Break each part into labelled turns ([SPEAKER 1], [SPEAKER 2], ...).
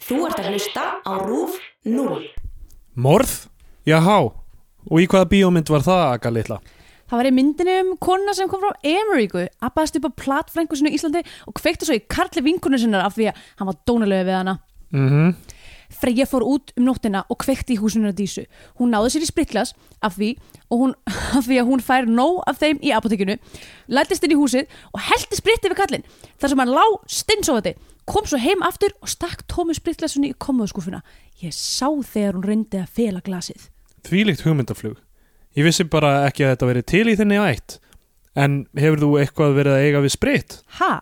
[SPEAKER 1] Þú ert að hlusta á RÚF 0.
[SPEAKER 2] Morð? Jáhá, og í hvaða bíómynd var það, Aga litla?
[SPEAKER 3] Það var í myndinni um kona sem kom frá Ameríku abbaðast upp á platfrængu sinu í Íslandi og kveikti svo í karli vinkunum sinnar af því að hann var dónalegu við hana
[SPEAKER 2] Mm
[SPEAKER 3] Freyja fór út um nóttina og kveikti í húsinu hennar Dísu. Hún náði sér í spritlas af því, og hún, af því að hún fær nóg af þeim í apotekinu, lættist inn í húsið og heldi spritti við kallinn þar sem hann lá stinsofandi, kom svo heim aftur og stakk tómu spritlasunni í komoðskúfuna. Ég sá þegar hún reyndi að fela glasið.
[SPEAKER 2] Þvílíkt hugmyndaflug. Ég vissi bara ekki að þetta verið til í þinni ætt. En hefur þú eitthvað verið að eiga við sprit?
[SPEAKER 3] Ha?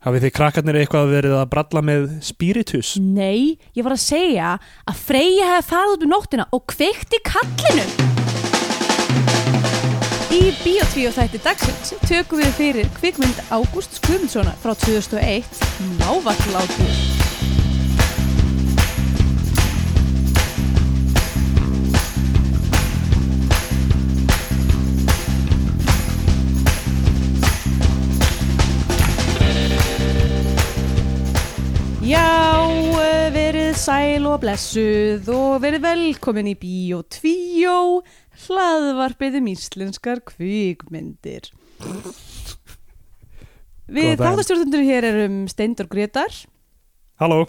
[SPEAKER 2] Hafið þið krakkarnir eitthvað verið að bralla með spiritus?
[SPEAKER 3] Nei, ég var að segja að Freyja hefði farið út um nóttina og kveikti í kallinu. Í Bíotvíó þætti dagsins tökum við fyrir kvikmynd Ágústs Guðmundssonar frá 2001 Mávaklátur. Já, eh, verið sæl og blessuð og verið velkomin í Bíó 2, hlaðvarpið um íslenskar kvikmyndir. Við
[SPEAKER 2] Góðan daginn.
[SPEAKER 3] þáttastjórnundur hér erum Steindur Gretar
[SPEAKER 2] Halló,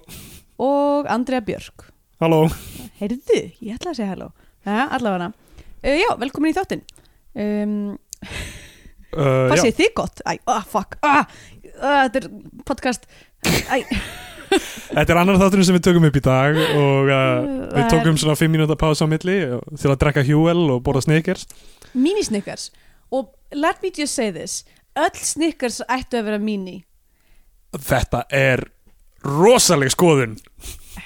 [SPEAKER 3] og Andrea Björk.
[SPEAKER 2] halló.
[SPEAKER 3] Heyrðu, ég ætla að segja halló. Ja, allavega. Uh, já, velkomin í þáttin. Um,
[SPEAKER 2] Uh, já.
[SPEAKER 3] hvað segir þið gott? Æ, ah, fuck, ah, ah, þetta er podcast. Æ,
[SPEAKER 2] Þetta er annar þátturinn sem við tökum upp í dag og uh, við tókum svona 5 mínúta pása á milli til að drekka hjúel og borða sneakers.
[SPEAKER 3] Minisnickers og let me just say this öll Snickers ættu að vera mini
[SPEAKER 2] Þetta er rosaleg skoðun.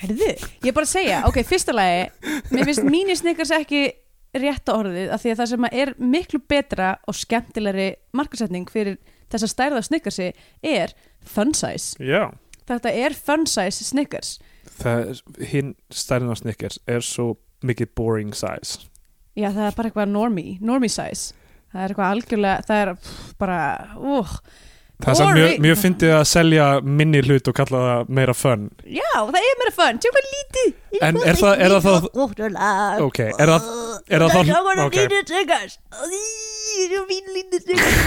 [SPEAKER 3] herðu, ég er bara að segja, ok, fyrsta lagi mér finnst Minisnickers ekki rétta orðið af því að það sem er miklu betra og skemmtilegri markasetning fyrir þess að stærða Snickersi er fun size
[SPEAKER 2] Já.
[SPEAKER 3] þetta er fun size Snickers
[SPEAKER 2] Það er, hinn stærðin á sneakers er svo mikið boring size.
[SPEAKER 3] já, það er bara eitthvað normie, normie size það er eitthvað algjörlega, það er pff, bara, úh,
[SPEAKER 2] Það er samt
[SPEAKER 3] Boring.
[SPEAKER 2] mjög, mjög fyndið að selja minni hlut og kalla það meira fun.
[SPEAKER 3] já, það er meira fun tjók hvað lítið
[SPEAKER 2] En er það, er það þá,
[SPEAKER 4] Ótturlag
[SPEAKER 2] ok, er það, er það
[SPEAKER 4] Það
[SPEAKER 2] þá,
[SPEAKER 4] voru
[SPEAKER 2] ok,
[SPEAKER 4] mínu tryggars Það voru mínu línu tryggars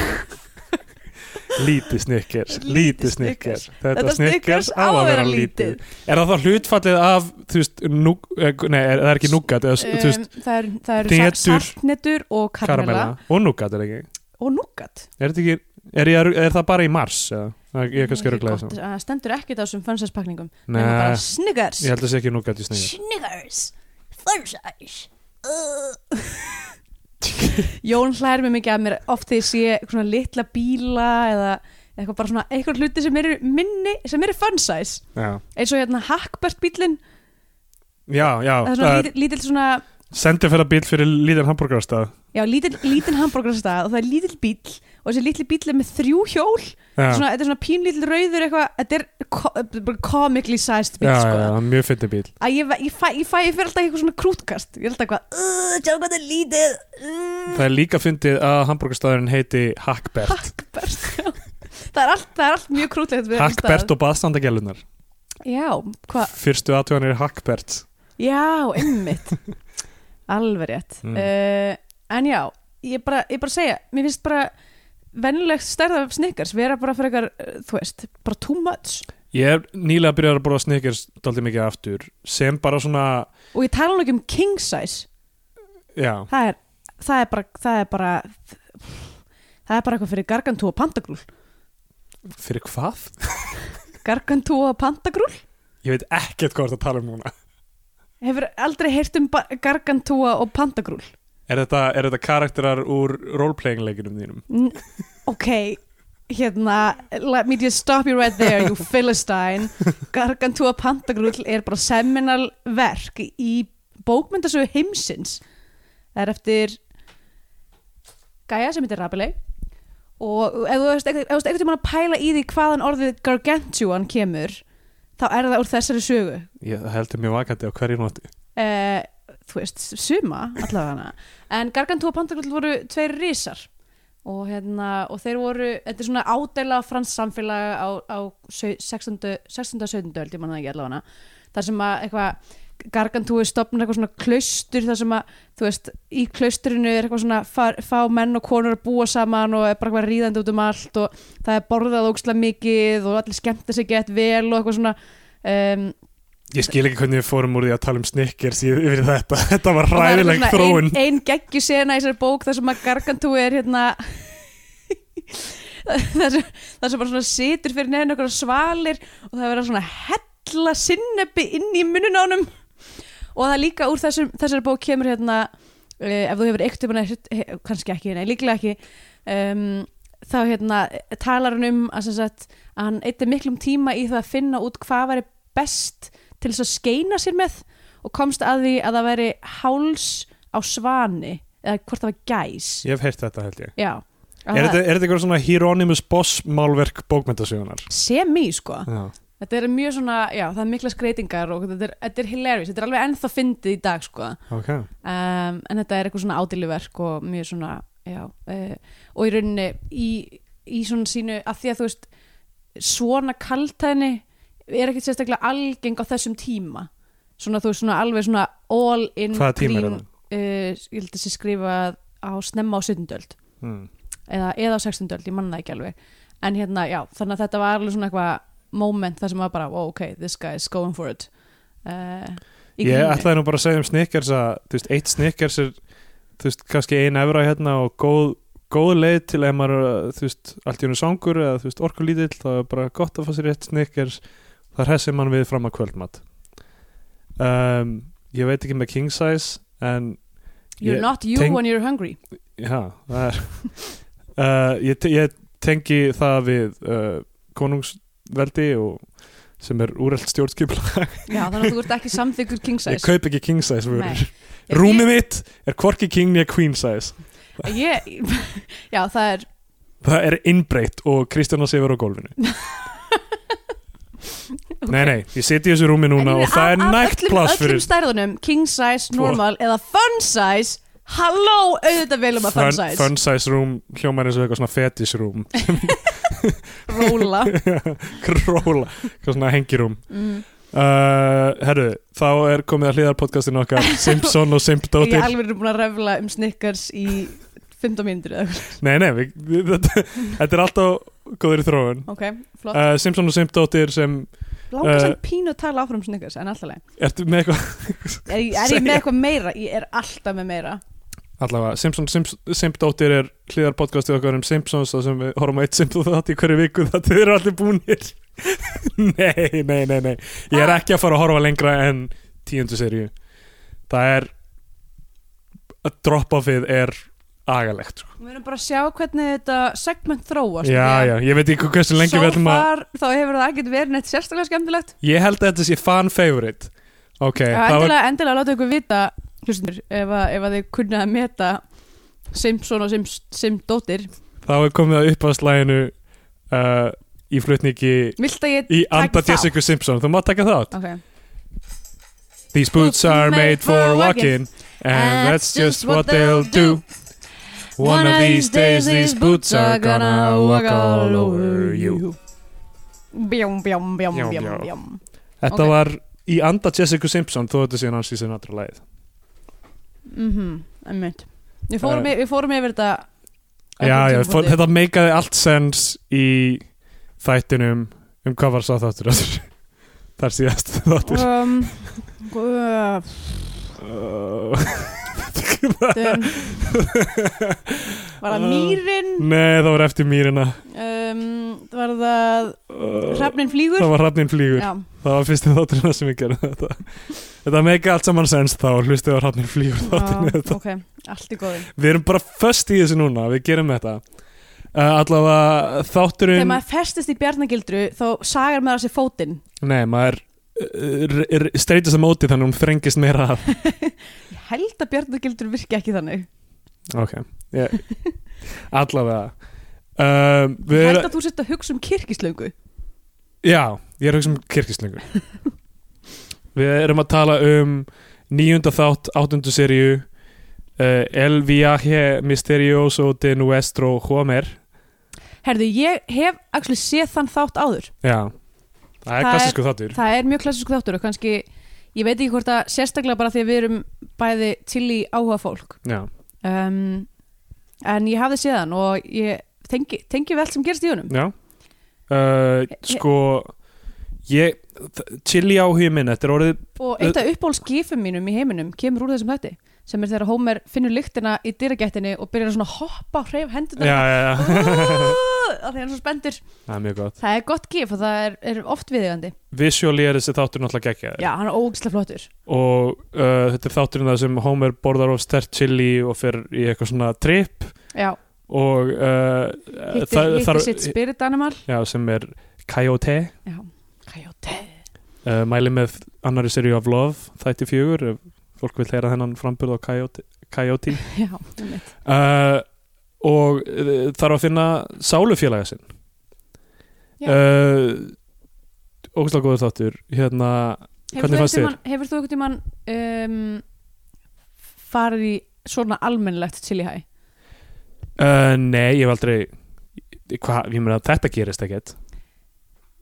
[SPEAKER 2] lítið sneakers,
[SPEAKER 3] Lítið
[SPEAKER 2] lítið sneakers.
[SPEAKER 3] Snickers.
[SPEAKER 2] Þetta sneakers á að vera lítið. Er það þá hlutfallið af, þú veist, nú, eh, nei, er, það er ekki núgat, eða, s- þú
[SPEAKER 3] um,
[SPEAKER 2] veist,
[SPEAKER 3] það eru er
[SPEAKER 2] hnetur-
[SPEAKER 3] saltnetur og karamella
[SPEAKER 2] karamella og núgat er ekki.
[SPEAKER 3] og núgat
[SPEAKER 2] Er þetta ekki, er, ég, er það bara í mars, eða? Það er- Ég er kannski öruglega þessum.
[SPEAKER 3] það stendur ekki þessum fönnsæspakningum
[SPEAKER 2] Nei.
[SPEAKER 3] nema bara sniggars
[SPEAKER 2] Ég held að það sé ekki núgat í sneakers.
[SPEAKER 4] Sniggars Funsæs
[SPEAKER 3] Jón hlær mér mikið að mér oft þegar ég sé eitthvað svona litla bíla eða eitthvað bara svona eitthvað hluti sem eru minni sem eru fönnsæs
[SPEAKER 2] Já,
[SPEAKER 3] eins og hérna hackbert bílin
[SPEAKER 2] já, já.
[SPEAKER 3] það er
[SPEAKER 2] það
[SPEAKER 3] svona
[SPEAKER 2] er-
[SPEAKER 3] lítill, lítill svona
[SPEAKER 2] Sendiferðarbíl fyrir líðan hambúrgarstað
[SPEAKER 3] já lítill, lítill hambúrgarstað og það er lítill bíl og þessi lítill bíl er með þrjú hjól
[SPEAKER 2] Já,
[SPEAKER 3] svona, þetta er svona pínlítill rauður eitthvað þetta er ko- bara comically sized bíl
[SPEAKER 2] já,
[SPEAKER 3] sko.
[SPEAKER 2] já, já, mjög fyndið bíl
[SPEAKER 3] að ég, ég, fæ, ég, fæ, ég fyrir alltaf eitthvað svona krútkast ég er alltaf eitthvað
[SPEAKER 4] Sjá hvað það er lítið Uh,
[SPEAKER 2] Það er líka fyndið að hambúrgarstaðurinn heiti Hackbert
[SPEAKER 3] hackbert það, er allt, það er allt mjög krútlegt við þennan
[SPEAKER 2] Hackbert og baðstandagjalunar
[SPEAKER 3] stað. já, hva,
[SPEAKER 2] Fyrstu aðtjóðanir er Hackbert
[SPEAKER 3] já, einmitt alveg rétt
[SPEAKER 2] Mm.
[SPEAKER 3] uh, en já, ég bara, ég bara segja mér finnst bara venjulegt stærða snikkars vera bara fyrir eitthvað, þú veist bara too much
[SPEAKER 2] Ég er nýlega að byrja að borða sneakers daldið mikið aftur sem bara svona,
[SPEAKER 3] og ég tala nú ekki um king size
[SPEAKER 2] já
[SPEAKER 3] það er, það er bara það er bara það er bara eitthvað fyrir gargantú og pandagrúl
[SPEAKER 2] Fyrir hvað?
[SPEAKER 3] gargantú og pandagrúl
[SPEAKER 2] Ég veit ekkert hvað það tala um núna
[SPEAKER 3] Hefur aldrei heyrt um ba- gargantúa og pandagrúl?
[SPEAKER 2] Er þetta, er þetta karakterar úr roleplaying leikinum þínum?
[SPEAKER 3] N ok, hérna, let me just stop you right there, you philistine. Gargantúa pandagrúl er bara seminal verk í bókmyndasögu heimsins. Það er eftir Gaia sem heitir Rabelais og ef þú veist eitthvað, eitthvað tímann að pæla í því hvaðan orðið gargantuan kemur, þá er það úr þessari sögu.
[SPEAKER 2] Ég heldur mjög vakandi á hverju nóttu
[SPEAKER 3] uh, þú veist, suma allavega hana en Gargantúa Pantagrull voru tveir risar og, hérna, og þeir voru, þetta er svona ádela frans samfélag á, á sau- 16. 16. 17. öld, ég manna það ekki allavega þar sem að eitthvað Gargantúi stopnir eitthvað svona klaustur þar sem að, þú veist, í klausturinu er eitthvað svona far, fá menn og konur að búa saman og er bara eitthvað ríðandi út um allt og það er borðað ógstlega mikið og allir skemmta sig gett vel og eitthvað svona um,
[SPEAKER 2] Ég skil ekki hvernig við fórum úr því að tala um snikkers yfir þetta, þetta var
[SPEAKER 3] og það er
[SPEAKER 2] ræðileg
[SPEAKER 3] svona
[SPEAKER 2] þróun
[SPEAKER 3] ein, ein geggju sena í þessari bók þar sem að Gargantúi er hérna þar sem, þar sem bara svona situr fyrir nefn okkur svalir og það verða svona hella sinnebi inn í munnun ánum og það er líka úr þessum, þessari bók kemur hérna uh, ef þú hefur eitt um hana kannski ekki, nei, líklega ekki um, þá hérna talar hann um að, sem sagt, að hann eitthi miklum tíma í það að finna út hvað væri best til þess að skeina sér með og komst að því að það væri háls á svani eða hvort það var gæs
[SPEAKER 2] Ég hef heyrt þetta held ég
[SPEAKER 3] Já,
[SPEAKER 2] Er þetta, er þetta eitthvað svona Hieronymus Boss málverk bókmyndasögunar?
[SPEAKER 3] semi sko
[SPEAKER 2] Já.
[SPEAKER 3] þetta er mjög svona, já það er mikla skreitingar og þetta er, þetta er hilarious, þetta er alveg ennþá fyndið í dag sko
[SPEAKER 2] Ok,
[SPEAKER 3] um, en þetta er eitthvað svona ádýluverk og mjög svona já, uh, og í rauninni í, í svona sínu að því að þú veist svona kaltæðni er ekkert sérstaklega algeng á þessum tíma svona þú veist svona alveg svona all in
[SPEAKER 2] Hvaða tíma er
[SPEAKER 3] green, uh, ég held að þessi skrifað á snemma á 17. öld
[SPEAKER 2] mm.
[SPEAKER 3] eða, eða á 16. öld, ég manna það ekki alveg en hérna, já, þannig að þetta var alveg svona eitthvað moment þar sem var bara, oh, ok, this guy is going for it uh, í
[SPEAKER 2] Ég
[SPEAKER 3] gríninu.
[SPEAKER 2] ætlaði nú bara að segja um Snickers að þú veist, eitt Snickers er þú veist, kannski ein evra hérna og góð, góð leið til ef maður þú veist, allt í hennu sangur eða þú veist, orkulítill þá er bara gott að fá sér eitt Snickers þar hessi mann við fram að kvöldmat um, Ég veit ekki með king size en
[SPEAKER 3] You're
[SPEAKER 2] ég-
[SPEAKER 3] not you
[SPEAKER 2] teng-
[SPEAKER 3] when you're hungry
[SPEAKER 2] Já, það er uh, ég, te- ég tengi það við uh, konungsveldi og sem er úrelt stjórnskipla
[SPEAKER 3] Já, þannig að þú ert ekki samþykkur king
[SPEAKER 2] Ég
[SPEAKER 3] size
[SPEAKER 2] kaup ekki king size
[SPEAKER 3] Nei.
[SPEAKER 2] vörur Rúmið mitt er hvorki king nýja queen size
[SPEAKER 3] ég, Já, það er
[SPEAKER 2] Það er innbreytt og Kristjana sefur á gólfinu Nei, nei, ég seti í þessu rúmi núna og það er nægt pláss
[SPEAKER 3] Öllum
[SPEAKER 2] fyrir
[SPEAKER 3] stærðunum, king size, normal eða fun size Halló, auðvitað velum að fun,
[SPEAKER 2] fun,
[SPEAKER 3] size
[SPEAKER 2] fun size room hljómar eins og eitthvað svona fetish room
[SPEAKER 3] Róla
[SPEAKER 2] króla, eitthvað svona hengirúm
[SPEAKER 3] mm.
[SPEAKER 2] Uh, herru, þá er komið að hliðarpodcastinu okkar Simpson og
[SPEAKER 3] Ég
[SPEAKER 2] Simpdóttir
[SPEAKER 3] er alveg búin að refla um snickers í 15 mínútur eða eitthvað.
[SPEAKER 2] Nei, nei, við, við, þetta, þetta er alltaf góður í þróun
[SPEAKER 3] Ok, flott
[SPEAKER 2] uh, Simpson og Simpdóttir sem
[SPEAKER 3] Láka
[SPEAKER 2] uh,
[SPEAKER 3] sem pínu að tala áfram um snickers en alltaf leið
[SPEAKER 2] Ertu með eitthvað,
[SPEAKER 3] Er, ég- er ég
[SPEAKER 2] Segja.
[SPEAKER 3] með eitthvað meira? Ég er alltaf með meira
[SPEAKER 2] allavega Simpson og Simp, Simpdóttir er hliðarpodcastið okkar um Simpsons og sem við horfum á eitt Simpson þátt í hverju viku það þið eru allir búnir Nei, nei, nei, nei Ég
[SPEAKER 3] Ah.
[SPEAKER 2] er ekki að fara að horfa lengra en tíundu seríu Það er drop-offið er agalegt sko.
[SPEAKER 3] Við erum bara að sjá hvernig þetta segment þróast
[SPEAKER 2] Já, já, ég veit ekki hversu lengi við
[SPEAKER 3] Svo
[SPEAKER 2] ætlum að
[SPEAKER 3] far þá hefur það ekkert verið neitt sérstaklega skemmtilegt
[SPEAKER 2] Ég held að þetta sé fan favorite Ok,
[SPEAKER 3] Já,
[SPEAKER 2] það Eh, var
[SPEAKER 3] endilega, endilega láta ykkur vita hlustundur, ef, að- ef að þið kunna að meta Simpson og Sims, Simdóttir
[SPEAKER 2] þá er komið að uppáðslæginu uh, í flutningi
[SPEAKER 3] Vilt að ég
[SPEAKER 2] í
[SPEAKER 3] taka
[SPEAKER 2] anda
[SPEAKER 3] þátt?
[SPEAKER 2] Jessica Simpson, þú mátt taka þátt
[SPEAKER 3] Ok,
[SPEAKER 2] These boots are made for walking and that's just what they'll do One of these days these boots are gonna walk all over you
[SPEAKER 3] bjóm, bjóm, bjóm,
[SPEAKER 2] Bjám,
[SPEAKER 3] bjóm,
[SPEAKER 2] bjám.
[SPEAKER 3] bjóm
[SPEAKER 2] Þetta
[SPEAKER 3] Ok.
[SPEAKER 2] var í anda Jessica Simpson þó þetta sé hans í sinna allra læð
[SPEAKER 3] Mhm, einmitt Við fórum,
[SPEAKER 2] Eh.
[SPEAKER 3] uh, við fórum yfir þetta á
[SPEAKER 2] Já,
[SPEAKER 3] einhverjum
[SPEAKER 2] já, fó-
[SPEAKER 3] tímapunkti.
[SPEAKER 2] þetta meikaði allt sens í þættinum um hvað var sá þáttur aftur? þar síðast þáttur
[SPEAKER 3] um, guð, um, Var það mýrin
[SPEAKER 2] Nei, það var eftir mýrina
[SPEAKER 3] um, Var það
[SPEAKER 2] Uh, Það
[SPEAKER 3] hrefnin flýgur
[SPEAKER 2] var Hrafnin flýgur
[SPEAKER 3] Já,
[SPEAKER 2] Það var fyrsti þátturinn sem ég gerði þetta Þetta meika allt saman sens þá Hlustið á Hrafnin flýgur þátturinn
[SPEAKER 3] já,
[SPEAKER 2] þetta.
[SPEAKER 3] ok, allt í góði
[SPEAKER 2] Við erum bara föst í þessu núna Við gerum þetta Uh, allavega þátturinn
[SPEAKER 3] Þegar maður festist í bjarnagildru þá sagar maður sér fótinn
[SPEAKER 2] Nei, maður uh, r- r- streytist á móti þannig að hún þrengist meira að
[SPEAKER 3] Ég held að bjarnagildru virki ekki þannig
[SPEAKER 2] Ok, ég, allavega um,
[SPEAKER 3] Ég
[SPEAKER 2] Við
[SPEAKER 3] held
[SPEAKER 2] erum,
[SPEAKER 3] að þú sért að hugsa um kirkislöngu
[SPEAKER 2] já, ég er að hugsa um kirkislingu Við erum að tala um nýjunda þátt, áttundu seríu uh, El Viaje Misterioso de Nuestro Homer
[SPEAKER 3] Herðu, ég hef actually séð þann þátt áður
[SPEAKER 2] Já, það
[SPEAKER 3] Það
[SPEAKER 2] er
[SPEAKER 3] er-
[SPEAKER 2] klassísku þáttur
[SPEAKER 3] Það er mjög klassísku þáttur og kannski ég veit ekki hvort að sérstaklega bara því að við erum bæði til í áhuga fólk
[SPEAKER 2] Já,
[SPEAKER 3] um, en ég hafði séð hann og ég tengi, tengi vel sem gerist í honum
[SPEAKER 2] já uh, Sko ég, þ- chili áhugi minn þetta er orðið,
[SPEAKER 3] og eitt af uppáhaldsgifum mínum í heiminum kemur úr þessum hætti sem er þegar Homer finnur lyktina í dyragættinni og byrjar að svona hoppa og hreyf
[SPEAKER 2] já,
[SPEAKER 3] hendurna
[SPEAKER 2] já, já
[SPEAKER 3] og þeir eru svo spendur
[SPEAKER 2] það er mjög gott
[SPEAKER 3] það er gott gif og það er, er oft viðegandi
[SPEAKER 2] Visually er þessi þáttur náttúrulega geggjaður
[SPEAKER 3] já, hann er ógislega flottur
[SPEAKER 2] og uh, þetta er þátturinn það sem Homer borðar of stert chili og fer í eitthvað svona trip
[SPEAKER 3] já,
[SPEAKER 2] og uh,
[SPEAKER 3] hittir,
[SPEAKER 2] það-
[SPEAKER 3] hittir
[SPEAKER 2] þar-
[SPEAKER 3] sitt spirit animal
[SPEAKER 2] já, sem er Coyote
[SPEAKER 3] já, hæjóte
[SPEAKER 2] uh, mæli með annari serju af Love þætti fjögur, ef fólk vil heyra þennan framburð á Coyote, Coyote.
[SPEAKER 3] já, einmitt.
[SPEAKER 2] uh, og uh, þarf að finna sálufélaga sinn
[SPEAKER 3] Já.
[SPEAKER 2] uh, ógustlega góður þáttur hérna,
[SPEAKER 3] hefur,
[SPEAKER 2] Hvernig
[SPEAKER 3] þú
[SPEAKER 2] fannst þér?
[SPEAKER 3] tíman, hefur þú eitthvað mann um, farið í svona almennlegt chili high
[SPEAKER 2] uh, nei, ég hef aldrei hva, ég meina þetta gerist ekkert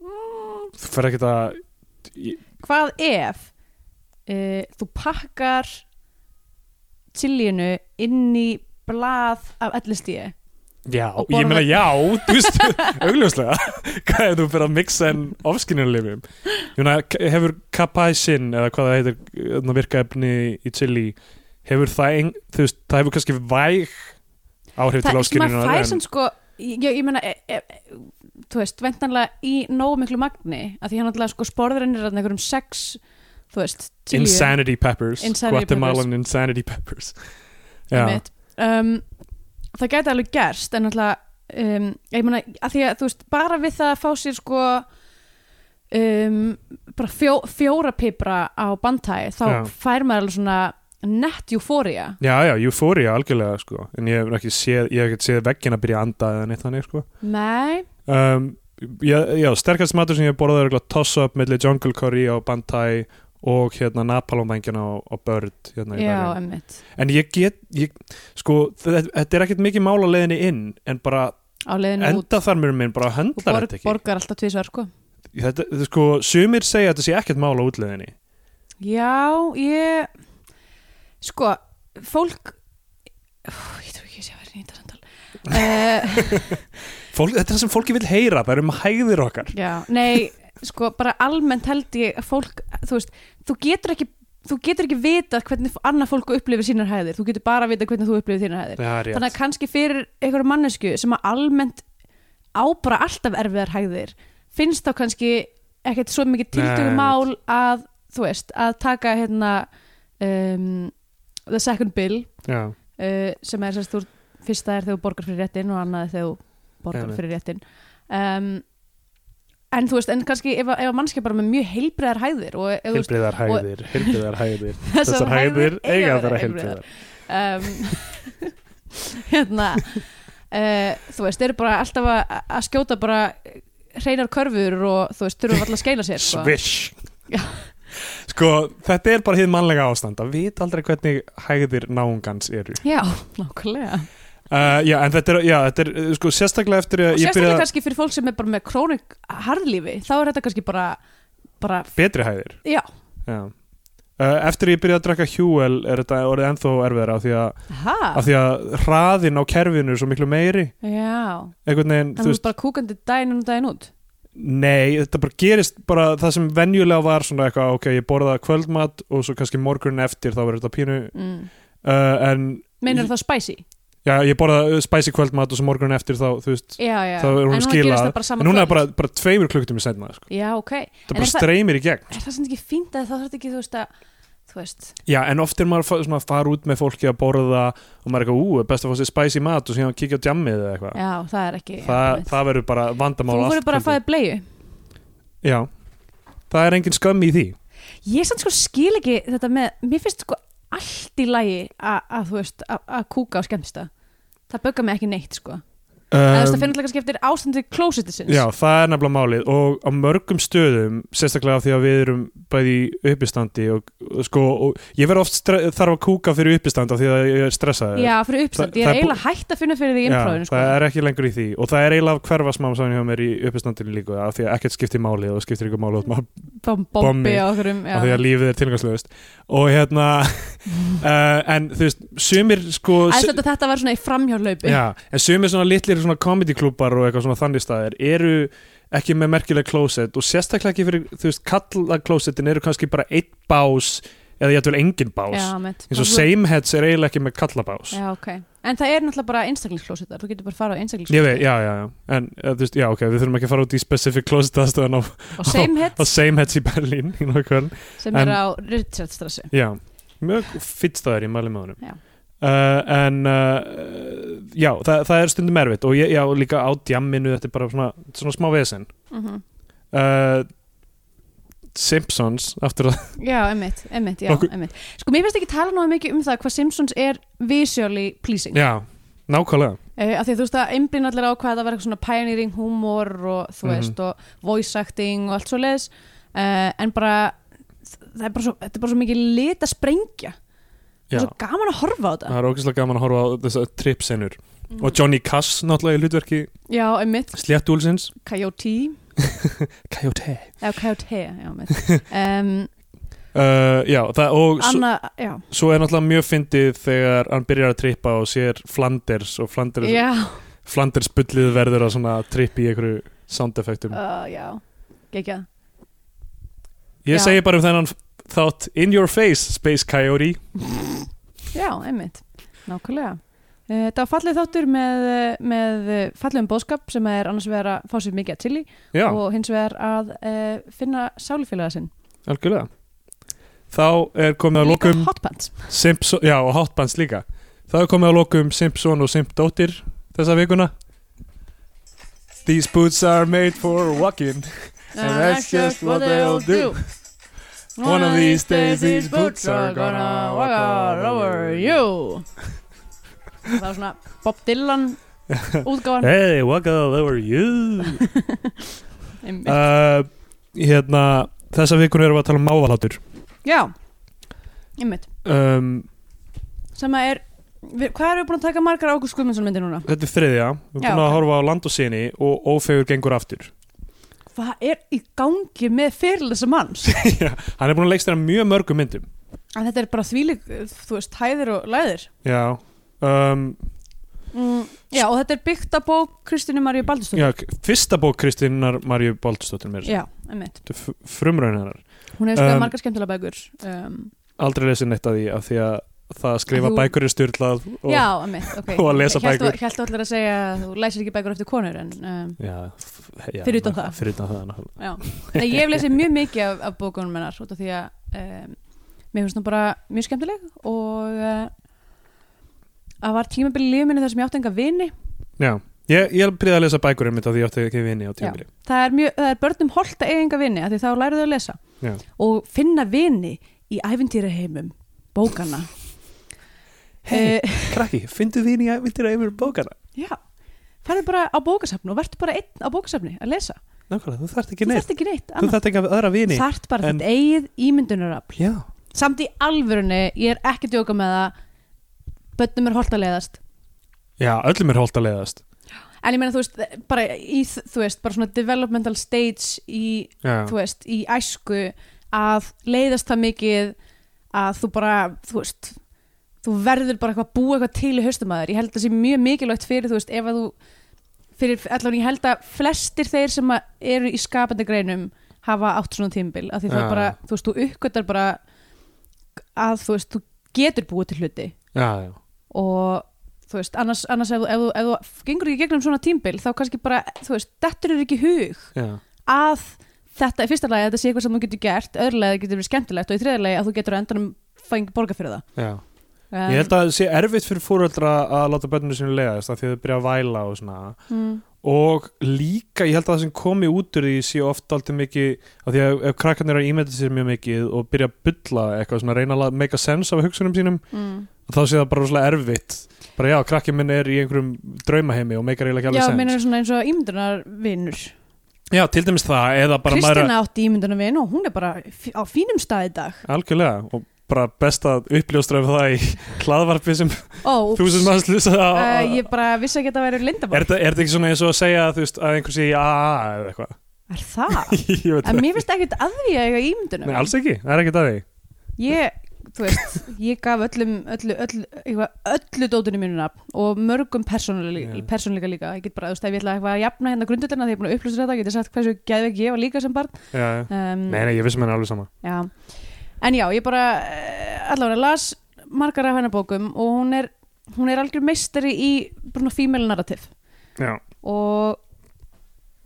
[SPEAKER 3] Mm.
[SPEAKER 2] þú fer ekkert að
[SPEAKER 3] hvað ef uh, þú pakkar chilinu inn í blað af ellistíði
[SPEAKER 2] já,
[SPEAKER 3] Og
[SPEAKER 2] ég
[SPEAKER 3] borða-
[SPEAKER 2] meina já, þú veist augljóslega, hvað er þú fyrir að mixa en ofskinnulifum ég meina, k- hefur kapæsin eða hvað það heitir, þarna virkaefni í chili, hefur það ein, þú veist, það hefur kannski væg áhrif til
[SPEAKER 3] það sem
[SPEAKER 2] ofskinnuna
[SPEAKER 3] maður fær sem sko ég, ég meina e, e, e, þú veist, vendanlega í nógu miklu magni að því hann alltaf sko sporðurinn er þarna einhverjum sex þú veist, chilium,
[SPEAKER 2] Insanity Peppers
[SPEAKER 3] Insanity
[SPEAKER 2] Guatemalan Insanity Peppers Já,
[SPEAKER 3] einmitt. um, það gæti alveg gerst en alltaf um, ég meina, að því að þú veist, bara við það að fá sér sko um, bara fjó, fjóra pipra á bandtæði, þá
[SPEAKER 2] Já.
[SPEAKER 3] fær maður alveg svona nett euphoria
[SPEAKER 2] já, já, euphoria algjörlega sko En ég hef nú ekki séð, ég hef ekki séð veggin að byrja að anda eða neitt þannig sko
[SPEAKER 3] nei,
[SPEAKER 2] um, já, já, sterkast matur sem ég borðaði er toss-up milli Jungle Curry á Bad Thai og hérna napalmvængjana á, á Bird hérna, í
[SPEAKER 3] já,
[SPEAKER 2] Berlín.
[SPEAKER 3] emmitt
[SPEAKER 2] En ég get, ég, sko, þetta þetta er ekkert mikið mál á leiðinni inn En bara
[SPEAKER 3] á leiðinu út
[SPEAKER 2] enda þar mér minn bara
[SPEAKER 3] og
[SPEAKER 2] höndlar
[SPEAKER 3] borg,
[SPEAKER 2] þetta ekki
[SPEAKER 3] borgar alltaf tvisvar sko
[SPEAKER 2] þetta, þetta, Sko, sumir segja að þetta sé ekkert mál á útleiðinni
[SPEAKER 3] Já, ég sko, fólk Úff, ég trú ekki að sé að vera nýta samtal uh,
[SPEAKER 2] Fólk, þetta er það sem fólki vil heyra, það er um hæðir okkar
[SPEAKER 3] Já, nei, sko, bara almennt held ég að fólk, þú veist þú getur ekki, þú getur ekki vita hvernig annað fólk upplifir sínar hæðir þú getur bara að vita hvernig þú upplifir þínar hæðir
[SPEAKER 2] Já, rétt.
[SPEAKER 3] þannig að kannski fyrir einhverju mannesku sem að almennt á bara alltaf erfiðar hægðir finnst þá kannski ekkert svo mikið
[SPEAKER 2] Nei,
[SPEAKER 3] tiltögumál að þú veist, að taka hérna um, the second bill
[SPEAKER 2] Já,
[SPEAKER 3] uh, sem er sérst þú fyrsta er þegar þú borgar fyrir réttin og annað er þegar þú borgar
[SPEAKER 2] Einmitt.
[SPEAKER 3] fyrir réttin um, en þú veist, en kannski ef, að- ef mannskja bara með mjög heilbreiðar hægðir og ef þú veist,
[SPEAKER 2] heilbriðar hæðir, heilbriðar hæðir Þessar hæðir
[SPEAKER 3] hægðir
[SPEAKER 2] eiga
[SPEAKER 3] að
[SPEAKER 2] að vera
[SPEAKER 3] vera
[SPEAKER 2] heilbriðar
[SPEAKER 3] um, hérna uh, þú veist, eru bara alltaf að, að skjóta bara hreinar körfur og þú veist, þurfum alltaf að skeila sér sko.
[SPEAKER 2] Swish
[SPEAKER 3] Já.
[SPEAKER 2] Sko, þetta er bara hið mannlega ástand að vita aldrei hvernig hæðir náungans eru
[SPEAKER 3] já, nákvæmlega
[SPEAKER 2] uh, Já, en þetta er, já, þetta er uh, sko, sérstaklega eftir
[SPEAKER 3] og
[SPEAKER 2] að ég
[SPEAKER 3] sérstaklega
[SPEAKER 2] byrja
[SPEAKER 3] kannski fyrir fólk sem er bara með krónik harðlífi, þá er þetta kannski bara bara,
[SPEAKER 2] betri hæðir
[SPEAKER 3] já
[SPEAKER 2] Já Uh, eftir að ég byrjaði að drekka hjúel er þetta orðið ennþó erfiðara af því að,
[SPEAKER 3] ha,
[SPEAKER 2] af því að hraðin á kerfinu er svo miklu meiri
[SPEAKER 3] já,
[SPEAKER 2] einhvern veginn,
[SPEAKER 3] þannig
[SPEAKER 2] þú
[SPEAKER 3] þú
[SPEAKER 2] veist,
[SPEAKER 3] er bara kúkandi daginn og daginn út
[SPEAKER 2] Nei, þetta bara gerist bara það sem venjulega var svona eitthvað ok, ég borða kvöldmat og svo kannski morgun eftir þá verður þetta pínu
[SPEAKER 3] mm.
[SPEAKER 2] uh, en
[SPEAKER 3] meinar það spicy
[SPEAKER 2] já, ég borða uh, spicy kvöldmat og svo morgun eftir þá, þú veist,
[SPEAKER 3] já, já,
[SPEAKER 2] þá er
[SPEAKER 3] en
[SPEAKER 2] hún
[SPEAKER 3] núna
[SPEAKER 2] skilað.
[SPEAKER 3] gerist það bara
[SPEAKER 2] en
[SPEAKER 3] saman
[SPEAKER 2] núna er bara, bara tveimur klukkutum í setna sko.
[SPEAKER 3] já, ok, en
[SPEAKER 2] það
[SPEAKER 3] er
[SPEAKER 2] bara
[SPEAKER 3] það-
[SPEAKER 2] streymir í gegn
[SPEAKER 3] er það sem ekki fínt að þá þarf ekki, þú veist að þú veist,
[SPEAKER 2] Já, en oft er maður fa- svona að fara út með fólki að borða og maður er eitthvað, ú, er best að fá sér spicy mat og síðan kíkja á djammið eða eitthvað
[SPEAKER 3] já, það er ekki
[SPEAKER 2] Þa,
[SPEAKER 3] einmitt.
[SPEAKER 2] það verður bara vandamál
[SPEAKER 3] Þú voru bara að
[SPEAKER 2] kvöldið.
[SPEAKER 3] fæða bleiu
[SPEAKER 2] Já, það er engin skömm í því
[SPEAKER 3] Ég sann sko skil ekki þetta með Mér finnst sko allt í lagi að, að þú veist að, að kúka á skemmtista Það böggar mig ekki neitt sko eða þú veist
[SPEAKER 2] um,
[SPEAKER 3] að finna alltaf kannski eftir ástandi klósettisins
[SPEAKER 2] Já, það er nefnilega málið og á mörgum stöðum, sérstaklega af því að við erum bæði í uppistandi og, og sko, og ég verð oft stre- þarf að kúka fyrir uppistand af því að ég er stressaður
[SPEAKER 3] Já, fyrir uppstand,
[SPEAKER 2] Það-
[SPEAKER 3] ég
[SPEAKER 2] það
[SPEAKER 3] er
[SPEAKER 2] er
[SPEAKER 3] eiginlega hægt að finna fyrir því í improvinu sko.
[SPEAKER 2] það er ekki lengur í því og það er eiginlega að hverfa smám saman hjá mér í uppistandinu líka af því að ekkert skiptir máli og skiptir ykkur máli og maður
[SPEAKER 3] Bom-
[SPEAKER 2] bombi.
[SPEAKER 3] Bombi á okkur um
[SPEAKER 2] af því að lífið er tilgangslöfust og hérna uh, en þú veist, sumir sko su-
[SPEAKER 3] Þetta, þetta var svona í framhjálaupi
[SPEAKER 2] já, en sumir svona litlir svona comedy klúpar og eitthvað svona þannig staðir eru ekki með merkileg closet og sérstaklega ekki fyrir, þú veist, kalla closetin eru kannski bara einn bás eða ég ætlur engin bás
[SPEAKER 3] já mitt
[SPEAKER 2] eins og same heads er eiginlega ekki með kallabás
[SPEAKER 3] Já, ok En það er náttúrulega bara einstaklingslósetar, þú getur bara að fara á
[SPEAKER 2] ég veit,
[SPEAKER 3] einstaklingslósetar
[SPEAKER 2] já, já, já, en uh, þú veist, já, ok við þurfum ekki að fara út í specific closet aðstöðan á,
[SPEAKER 3] Og
[SPEAKER 2] á
[SPEAKER 3] same heads
[SPEAKER 2] same heads í Berlín í nokkvörn
[SPEAKER 3] sem er
[SPEAKER 2] en-
[SPEAKER 3] á Richardstrassu
[SPEAKER 2] Já, mjög fýtt staður í mæli með honum
[SPEAKER 3] Já.
[SPEAKER 2] Uh, en uh, já, það, það er stundum erfitt og ég, já, líka á djamminu þetta er bara svona, svona smá vesen
[SPEAKER 3] Mhm.
[SPEAKER 2] uh, Simpsons aftur að
[SPEAKER 3] Já, emmitt, emmitt, já,
[SPEAKER 2] Okkur-
[SPEAKER 3] emmitt Sko, mér finnst ekki tala náðu mikið um það hvað Simpsons er visually pleasing uh,
[SPEAKER 2] já, nákvæmlega
[SPEAKER 3] af því að þú veist að einblinn allir á hvað það var eitthvað svona pioneering humor og þú
[SPEAKER 2] Mhm.
[SPEAKER 3] veist og voice acting og allt svo leis en bara það er bara svo, þetta er bara svo mikið lit að sprengja
[SPEAKER 2] já.
[SPEAKER 3] svo gaman að horfa á þetta
[SPEAKER 2] það er ógeðslega gaman að horfa á þessar tripsenur
[SPEAKER 3] Mm.
[SPEAKER 2] og Johnny Cass náttúrulega í hlutverki
[SPEAKER 3] Já, emmitt,
[SPEAKER 2] Sléttúlsins
[SPEAKER 3] Coyote
[SPEAKER 2] Coyote
[SPEAKER 3] eða Coyote, já, emmitt um,
[SPEAKER 2] uh, Já, það, og svo,
[SPEAKER 3] Anna, já,
[SPEAKER 2] svo er náttúrulega mjög fyndið þegar hann byrjar að trippa og sér Flanders og Flanders
[SPEAKER 3] já,
[SPEAKER 2] Flandersbullið verður að svona tripp í einhverju sound effectum
[SPEAKER 3] uh, já Gekja,
[SPEAKER 2] Ég
[SPEAKER 3] já.
[SPEAKER 2] segi bara um þennan þátt In your face, Space Coyote
[SPEAKER 3] já, emmitt Nákvæmlega Eh, Þetta var fallið þáttur með, eh, með eh, fallegum bóðskap sem er annars vegar að fá sér mikið að chili
[SPEAKER 2] Já,
[SPEAKER 3] og hins vegar að uh, finna sálufélaga sinn.
[SPEAKER 2] algjörlega Þá er komið að
[SPEAKER 3] Líka
[SPEAKER 2] lokum
[SPEAKER 3] hotpants.
[SPEAKER 2] Simpson, Já, og Hotbands líka Þá er komið að lokum Simpson og Simpdóttir þessa vikuna These boots are made for walking And that's just what they'll do. One of these days these boots are gonna walk all over
[SPEAKER 3] you. Það var svona Bob Dylan útgáðan.
[SPEAKER 2] Hey, walk all over you
[SPEAKER 3] Uh,
[SPEAKER 2] uh, Hérna, þessa vikuna erum við að tala um mávalátur
[SPEAKER 3] Já, einmitt.
[SPEAKER 2] um,
[SPEAKER 3] Sem að er, við, hvað erum við búin að taka margar Ágúst Guðmundsson myndir núna?
[SPEAKER 2] Þetta er þriðja, við erum
[SPEAKER 3] Já,
[SPEAKER 2] búin að
[SPEAKER 3] ok.
[SPEAKER 2] horfa á land og sinni og ófegur gengur aftur
[SPEAKER 3] Hvað er í gangi með fyrir þessa manns?
[SPEAKER 2] Já, Hann er búin að leikstæra mjög mörgum myndum
[SPEAKER 3] En þetta er bara þvílík, uh, þú veist, hæðir og læðir.
[SPEAKER 2] Já, um,
[SPEAKER 3] Mm, já, og þetta er byggt að bók Kristinu Maríu Baldurstóttur.
[SPEAKER 2] já k- fyrsta bók Kristínar Marju Baldursdóttir mér
[SPEAKER 3] Já, einmitt.
[SPEAKER 2] Þetta er frumraun hennar
[SPEAKER 3] Hún hefur skrifað
[SPEAKER 2] Um,
[SPEAKER 3] margar skemmtilega bækur. Um,
[SPEAKER 2] Aldrei lesið neitt af því af því að það að skrifa
[SPEAKER 3] Þú-
[SPEAKER 2] bækur er styrlað og,
[SPEAKER 3] já, einmitt, ok.
[SPEAKER 2] og að lesa bækur.
[SPEAKER 3] Hjæltu allir að segja að þú læsir ekki bækur eftir konur, en um,
[SPEAKER 2] Já, f- já,
[SPEAKER 3] Fyrir utan það.
[SPEAKER 2] Fyrir utan það nákvæmlega.
[SPEAKER 3] já. Nei, ég hef lesið mjög mikið af, af bókunum hennar, út af því að um, mér finnst hún bara mjög skemmtileg og uh, að var tímabili lífminni þar sem ég átti enga vini.
[SPEAKER 2] Já, ég, ég byrjaði að lesa bækur einmitt af því ég átti ekki vini á tímabili
[SPEAKER 3] Það er, mjög, það er börnum holdt að eiga enga vini, af því þá læru þau að lesa.
[SPEAKER 2] Já.
[SPEAKER 3] og finna vini í æfintýraheimum bókana hey.
[SPEAKER 2] Krakki, fyndu vini að myndir að yfir bókana
[SPEAKER 3] Eh, já, farðu bara á bókasafn og verður bara einn á bókasafni að lesa
[SPEAKER 2] Nákvæmlega, þú þarft ekki
[SPEAKER 3] þú
[SPEAKER 2] neitt
[SPEAKER 3] þarft ekki neitt
[SPEAKER 2] Þú
[SPEAKER 3] annað.
[SPEAKER 2] þarft ekki að aðra vini
[SPEAKER 3] þarft bara
[SPEAKER 2] en-
[SPEAKER 3] þitt eigið ímyndunarafl
[SPEAKER 2] Já,
[SPEAKER 3] samt í alvörunni, ég er ekki að djóka með það bönnum er holt að leiðast
[SPEAKER 2] já öllum er hólt að leiðast
[SPEAKER 3] en ég meina þú veist, bara í þú veist, bara svona developmental stage í
[SPEAKER 2] Já,
[SPEAKER 3] þú veist, í æsku að leiðast það mikið að þú bara, þú veist þú verður bara eitthvað að búa eitthvað til í haustum að þér, ég held að það sé mjög mikilvægt fyrir þú veist, ef að þú fyrir, allan ég held að flestir þeir sem að eru í skapandi greinum hafa átt svona tímbil, af því það
[SPEAKER 2] Já.
[SPEAKER 3] er bara þú veist, þú uppgötar bara að þú veist, þú getur búið til hluti
[SPEAKER 2] já, já
[SPEAKER 3] og þú veist, annars, annars ef, þú- ef, þú- ef þú gengur ekki í gegnum svona tímbil, þá kannski bara, þú veist, dettur er ekki í hug
[SPEAKER 2] Já,
[SPEAKER 3] að þetta í fyrsta lagi að þetta sé eitthvað sem þú getur gert öðrulega það getur verið skemmtilegt og í þriðja lagi að þú getur á endanum fæðing borga fyrir það
[SPEAKER 2] já.
[SPEAKER 3] um,
[SPEAKER 2] Ég held að það sé erfitt fyrir fóröldra að láta börnum sinni leiðast af því að þau byrja að væla og svona
[SPEAKER 3] mm,
[SPEAKER 2] og líka ég held að það sem komi út úr því sé oft alltaf mikið af því að ef krakkarnir eru að ímynda sér mjög mikið og byrja að bylla eitthvað svona reyna að la- make a sense af hugsunum sínum
[SPEAKER 3] mm.
[SPEAKER 2] þá sé það bara rosalega erfitt bara já, krakkið minn er í einhverjum draumaheimi og meikar eiginlega ekki
[SPEAKER 3] Já,
[SPEAKER 2] alveg
[SPEAKER 3] minnur
[SPEAKER 2] sens
[SPEAKER 3] svona eins og ímyndunarvinur
[SPEAKER 2] já, til dæmis það, eða bara maður er
[SPEAKER 3] Kristina átti ímyndunarvin og hún er bara fí- á fínum stað í dag
[SPEAKER 2] algjörlega og bara best að uppljóstra um það í hlaðvarpi sem
[SPEAKER 3] Ó,
[SPEAKER 2] þú sem maður slýsa
[SPEAKER 3] uh,
[SPEAKER 2] er
[SPEAKER 3] Ég bara vissi ekki að þetta væri lindabók
[SPEAKER 2] þetta er þetta ekki svona eins og að segja þú veist, að einhversi í AA eða eitthvað
[SPEAKER 3] Er það?
[SPEAKER 2] Ég veit
[SPEAKER 3] En
[SPEAKER 2] það.
[SPEAKER 3] mér finnst ekkert að því að eiga ímyndunum
[SPEAKER 2] Nei, alls ekki, það er ekkert að því
[SPEAKER 3] Ég, þú veist, ég gaf öllum öllu, öllu, eitthvað, öllu dótunum mínu nafn og mörgum persónuleika,
[SPEAKER 2] Já.
[SPEAKER 3] persónuleika líka ég get bara, þú veist, ef ég ætla eitthvað að jafna hérna grundullina þegar ég er búin að upplýsa þetta, get ég sagt hversu geðveik ég var líka sem barn
[SPEAKER 2] já, já.
[SPEAKER 3] um,
[SPEAKER 2] Nei, nei, ég vissum henni alveg sama
[SPEAKER 3] Já, en já, ég bara eh, allavega las margar af hennar bókum og hún er, hún er algjör meistari í bruna female narrative
[SPEAKER 2] Já,
[SPEAKER 3] og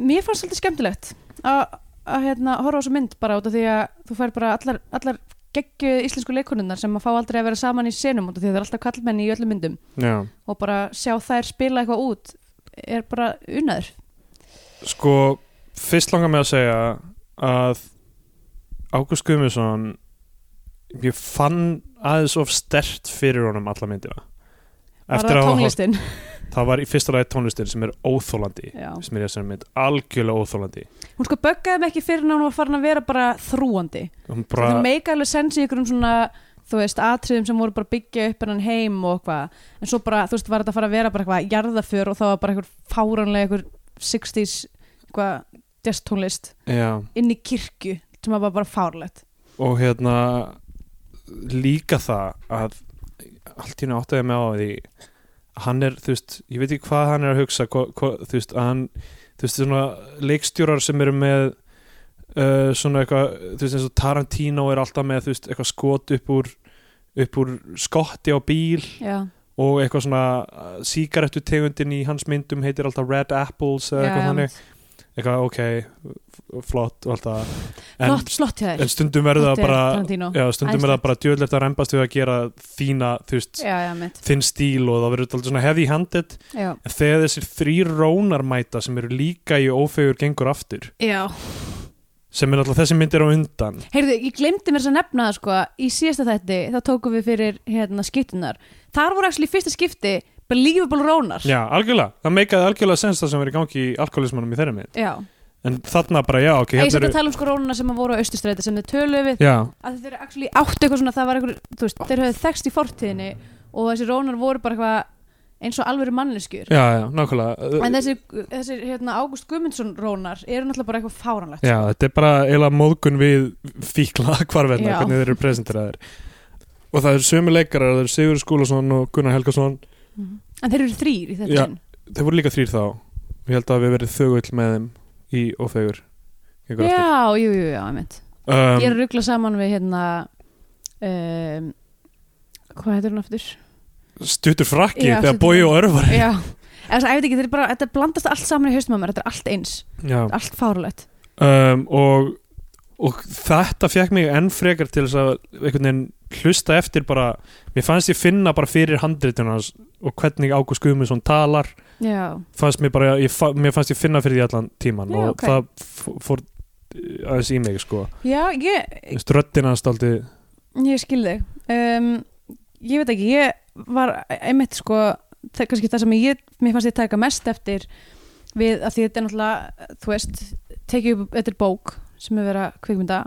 [SPEAKER 3] mér fannst svolítið skemmtilegt að að, hérna, horfa á þessu mynd bara út af því að þú fær bara allar, allar geggju íslensku leikonunnar sem að fá aldrei að vera saman í senum út af því að það er alltaf kallmenni í öllum myndum
[SPEAKER 2] já
[SPEAKER 3] og bara sjá þær spila eitthvað út er bara unnaður
[SPEAKER 2] Sko, fyrst langar mig að segja að Ágúst Guðmundsson ég fann aðeins of stert fyrir honum alla myndina
[SPEAKER 3] bara
[SPEAKER 2] að hafa horft-
[SPEAKER 3] tónlistin
[SPEAKER 2] það var í fyrsta lagi tónlistin sem er óþólandi
[SPEAKER 3] Já.
[SPEAKER 2] sem er í þessari mynd, algjörlega óþólandi
[SPEAKER 3] hún sko böggaði mig ekki fyrir en hún var farin að vera bara þrúandi
[SPEAKER 2] hún
[SPEAKER 3] Bra. það
[SPEAKER 2] bara,
[SPEAKER 3] meika alveg sens í ykkurum svona þú veist, atriðum sem voru bara að byggja upp hennan heim og hvað, en svo bara, þú veist, var þetta að fara að vera bara eitthvað jarðaför og það var bara einhver fáranlega einhver 60s eitthvað jazztónlist
[SPEAKER 2] já
[SPEAKER 3] inn í kirkju sem var bara, bara fárlegt
[SPEAKER 2] og hérna líka það að allt í henni áttaði mig á því hann er, þú veist, ég veit ekki hvað hann er að hugsa hva, hva, þú veist, að hann þú veist, svona leikstjórar sem eru með uh, svona eitthvað þú veist, eins og Tarantino er alltaf með þú veist, eitthvað skot upp úr upp úr skotti á bíl
[SPEAKER 3] Já,
[SPEAKER 2] og eitthvað svona sígarettu tegundin í hans myndum heitir alltaf Red Apples eða eitthvað þannig eitthvað, ok, flott og alltaf En-
[SPEAKER 3] flott, flott hjá þér
[SPEAKER 2] en stundum verður það
[SPEAKER 3] Flott hjá
[SPEAKER 2] bara
[SPEAKER 3] þér, Tarantino.
[SPEAKER 2] já, stundum er það
[SPEAKER 3] Æðislegt.
[SPEAKER 2] bara djöðlegt að rempast við að gera þína, þú veist,
[SPEAKER 3] Já, já, mitt
[SPEAKER 2] þinn stíl og það verður alltaf svona heavy handed
[SPEAKER 3] Já,
[SPEAKER 2] en þegar þessir þrýr rónar mæta sem eru líka í ófegur gengur aftur
[SPEAKER 3] já.
[SPEAKER 2] sem er alltaf þessi myndir á undan
[SPEAKER 3] Heyrðu, ég glemdi mér þess að nefna það sko í síðasta þætti, þá tókum við fyrir hérna skiptunar. Þar voru actually í fyrsta skipti believable rónar.
[SPEAKER 2] já, algjörlega, það meikaði algjörlega sens það sem er í gangi í alkoholismanum í þeirra mynd
[SPEAKER 3] Já.
[SPEAKER 2] en þarna bara, já, ok,
[SPEAKER 3] Ég
[SPEAKER 2] hérna
[SPEAKER 3] sætti að
[SPEAKER 2] eru
[SPEAKER 3] tala um sko rónuna sem að voru á austurstræti sem þau töluðu við
[SPEAKER 2] já,
[SPEAKER 3] að þeir eru actually áttu eitthvað svona það var eitthvað, þú veist, þeir höfðu þekst í fortíðinni og þessi rónar voru bara eitthvað eins og alvöru manneskjur
[SPEAKER 2] já, já, nákvæmlega
[SPEAKER 3] en þessi, þessi hérna, Ágúst Guðmundsson rónar eru náttúrulega bara eitthvað fáranlegt
[SPEAKER 2] Já, þetta er bara eiginlega móðgun við fíkla hvarverna,
[SPEAKER 3] Já.
[SPEAKER 2] hvernig þeir eru presenteraðir og það eru sömu leikarar, það eru Sigur Skúlason og Gunnar Helgason
[SPEAKER 3] en þeir eru þrýr í þetta
[SPEAKER 2] Já.
[SPEAKER 3] sinn
[SPEAKER 2] þeir voru líka þrýr þá ég held að við verið þögull með þeim í ófegur gengur aftur.
[SPEAKER 3] já, jú, jú, já, einmitt ég er
[SPEAKER 2] um,
[SPEAKER 3] að ruggla saman við hérna um, hvað heitir hún aftur?
[SPEAKER 2] stuttur frakki
[SPEAKER 3] Já,
[SPEAKER 2] þegar
[SPEAKER 3] stuttur
[SPEAKER 2] bói og örvar
[SPEAKER 3] já, eða þess að ég veit ekki, þetta er bara þetta blandast allt saman í haustum að mér, þetta er allt eins
[SPEAKER 2] Já.
[SPEAKER 3] allt fárlegt
[SPEAKER 2] um, og, og þetta fekk mig enn frekar til þess að einhvern veginn hlusta eftir bara mér fannst ég finna bara fyrir handritunans og hvernig Ágúst Guðmundsson talar
[SPEAKER 3] já,
[SPEAKER 2] fannst mér bara, ég, fa- mér fannst ég finna fyrir því allan tíman
[SPEAKER 3] Já,
[SPEAKER 2] og
[SPEAKER 3] ok.
[SPEAKER 2] það f- fór eh, aðeins í mig sko,
[SPEAKER 3] já ég,
[SPEAKER 2] Þú veist, röddin hans daldi
[SPEAKER 3] Ég skil þig um, Ég veit ekki, ég var einmitt sko, það, kannski það sem ég mér fannst ég taka mest eftir við að því þetta er náttúrulega þú veist, tekið upp, þetta er bók sem er verið að kvikmynda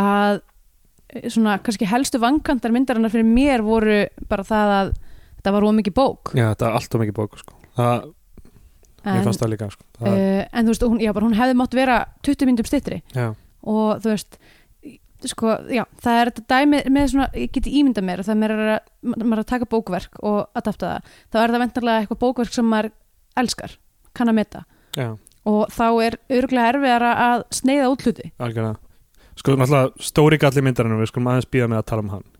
[SPEAKER 3] að eh, svona kannski helstu vankantar myndarinnar fyrir mér voru bara það að þetta var ómikið bók
[SPEAKER 2] já, þetta er allt og mikið bók sko. það, mér fannst það líka sko. það,
[SPEAKER 3] eh, en þú veist, hún, já, bara, hún hefði mátt vera 20 myndum styttri
[SPEAKER 2] já,
[SPEAKER 3] og þú veist sko, já, það er þetta dæmi með svona, ég geti ímyndað mér að það maður er að, maður er að taka bókverk og adapta það, þá er það vendarlega eitthvað bókverk sem maður elskar, kann að meta
[SPEAKER 2] já,
[SPEAKER 3] og þá er örgulega erfiðara að sneiða út hluti,
[SPEAKER 2] algjörlega sko, náttúrulega, stóri galli myndarinn við skulum aðeins býða með að tala um hann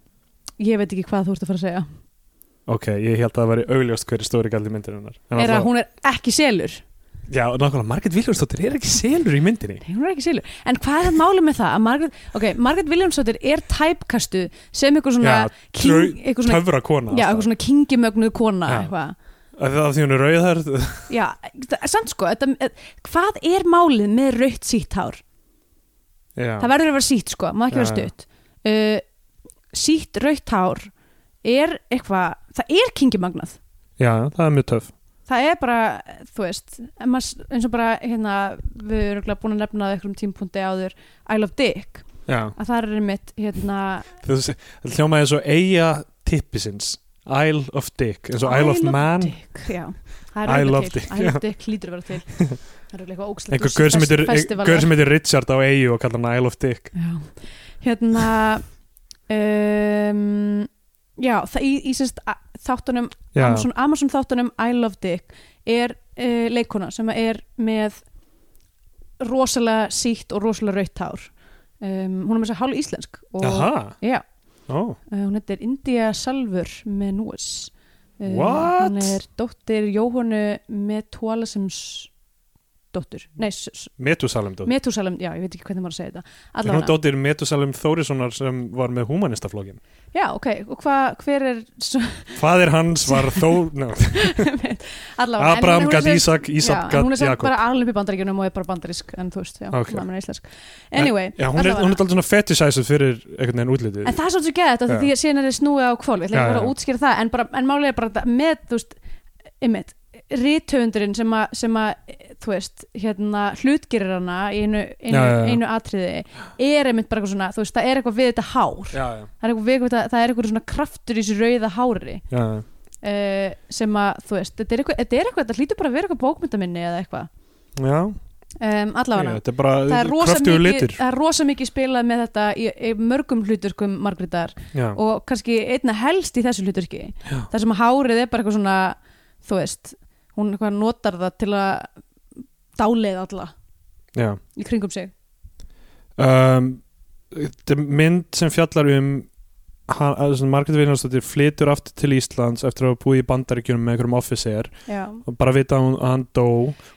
[SPEAKER 3] ég veit ekki hvað þú ert að fara að segja
[SPEAKER 2] ok, ég held að það væri augljóst hverju stóri galli myndarinn er En
[SPEAKER 3] er
[SPEAKER 2] náttúrulega-
[SPEAKER 3] að hún er ekki selur
[SPEAKER 2] já, nákvæmlega, Margrét Viljónsdóttir er ekki selur í myndinni
[SPEAKER 3] Nei, hún er ekki silur. En hvað er það málið með það? Að Margaret, ok, Margaret Williamsdóttir er tæpkastu sem eitthvað svona
[SPEAKER 2] Já,
[SPEAKER 3] king, eitthvað svona,
[SPEAKER 2] töfra kona
[SPEAKER 3] já, eitthvað svona kingimögnuð kona
[SPEAKER 2] Já.
[SPEAKER 3] eitthvað.
[SPEAKER 2] það er því hún er rauðhærð
[SPEAKER 3] Já, það- samt sko, þetta, eh, hvað er málið með rautt sítt hár?
[SPEAKER 2] Já.
[SPEAKER 3] Það verður að vera sítt sko, má ekki vera
[SPEAKER 2] Já, já.
[SPEAKER 3] stutt. Eh, Uh, sítt rautt hár er eitthvað, það er kingimagnað.
[SPEAKER 2] já, það er mjög töf
[SPEAKER 3] það er bara, þú veist en maður- eins og bara, hérna við erum örugglega búin að nefna það einhverjum tímpunkti áður I Love Dick,
[SPEAKER 2] já,
[SPEAKER 3] að það er mitt hérna,
[SPEAKER 2] þessi, það hljómaði eins og eiga tippisins Isle of Dick, eins og Isle, of Man
[SPEAKER 3] Dick já, það er
[SPEAKER 2] I
[SPEAKER 3] örugglega
[SPEAKER 2] Love
[SPEAKER 3] til.
[SPEAKER 2] Dick,
[SPEAKER 3] I Love
[SPEAKER 2] já.
[SPEAKER 3] Dick hlýtur að vera til það er örugglega eitthvað ógstlega
[SPEAKER 2] einhver gaur sem heitir- gaur sem heitir Richard á eigu og kallar hann Isle of Dick
[SPEAKER 3] Já, hérna um, Já, það í, í sérst a- þáttunum,
[SPEAKER 2] já,
[SPEAKER 3] Amazon, Amazon þáttunum I Love Dick er uh, leikona sem er með rosalega sítt og rosalega rautt hár um, Hún er með þess að hálf íslensk og,
[SPEAKER 2] aha,
[SPEAKER 3] Já,
[SPEAKER 2] ó,
[SPEAKER 3] uh, hún heitir India Salfur með núis
[SPEAKER 2] What?
[SPEAKER 3] Hún er dóttir Jóhonu með Tualasums dóttur, nei, s- s-
[SPEAKER 2] Metusalem dóttir
[SPEAKER 3] Methusalem, já, ég veit ekki hvernig maður að segja þetta
[SPEAKER 2] er
[SPEAKER 3] Allavega.
[SPEAKER 2] hún dóttir Metusalem Þórissonar sem var með humanistaflokkin
[SPEAKER 3] Já, ok, og hva, hver er svo-
[SPEAKER 2] fadir hans var þó no,
[SPEAKER 3] allavega
[SPEAKER 2] Abraham
[SPEAKER 3] en hún er
[SPEAKER 2] gat
[SPEAKER 3] sem-
[SPEAKER 2] Ísak,
[SPEAKER 3] Já,
[SPEAKER 2] Ísak
[SPEAKER 3] en hún
[SPEAKER 2] gat
[SPEAKER 3] er sem
[SPEAKER 2] Jakob
[SPEAKER 3] bara alveg upp í bandaríkjunum og er bara bandarísk en þú veist, já,
[SPEAKER 2] Ok.
[SPEAKER 3] okay. hún er íslensk Anyway,
[SPEAKER 2] já, hún er,
[SPEAKER 3] allavega.
[SPEAKER 2] hún er alltaf svona fetisæsuð fyrir einhvern veginn útlitið
[SPEAKER 3] en það er svolítið geðið þetta
[SPEAKER 2] Já.
[SPEAKER 3] því að síðan er þið snúið á kvól, ég ætla
[SPEAKER 2] Já,
[SPEAKER 3] ekki bara
[SPEAKER 2] já.
[SPEAKER 3] að útskýra það en, bara, en málið er bara þetta með, þú veist einmitt, rithöfundurinn sem að, sem að þú veist, hérna hlutgerir hana í einu, einu,
[SPEAKER 2] Já, já, já.
[SPEAKER 3] einu atriði er einmitt bara eitthvað svona, þú veist, það er eitthvað við þetta hár,
[SPEAKER 2] já, já,
[SPEAKER 3] það er eitthvað, við, það, það er eitthvað svona kraftur í þessu rauða hári
[SPEAKER 2] já,
[SPEAKER 3] uh, sem að, þú veist, þetta er eitthvað, þetta er eitthvað, þetta hlýtur bara að vera eitthvað bókmyndaminni eða eitthvað,
[SPEAKER 2] já
[SPEAKER 3] um, allavega
[SPEAKER 2] Ég, þetta er bara
[SPEAKER 3] það er rosa
[SPEAKER 2] kraftugur
[SPEAKER 3] mikið,
[SPEAKER 2] litur
[SPEAKER 3] það er rosa mikið spilað með þetta í, í mörgum hluturkum Margrétar
[SPEAKER 2] já,
[SPEAKER 3] og kannski einna helst í þessu hluturki
[SPEAKER 2] Já.
[SPEAKER 3] þar sem hárið er bara eitthvað svona þú veist, hún eitthvað notar það til að dáleið alla
[SPEAKER 2] já.
[SPEAKER 3] í kringum sig
[SPEAKER 2] um, þetta er mynd sem fjallar um hann, að svona Margrét Viljánsdóttir flytur aftur til Íslands eftir að hafa búið í bandaríkjunum með einhverjum officer
[SPEAKER 3] Já.
[SPEAKER 2] og bara vita að hún, að hann dó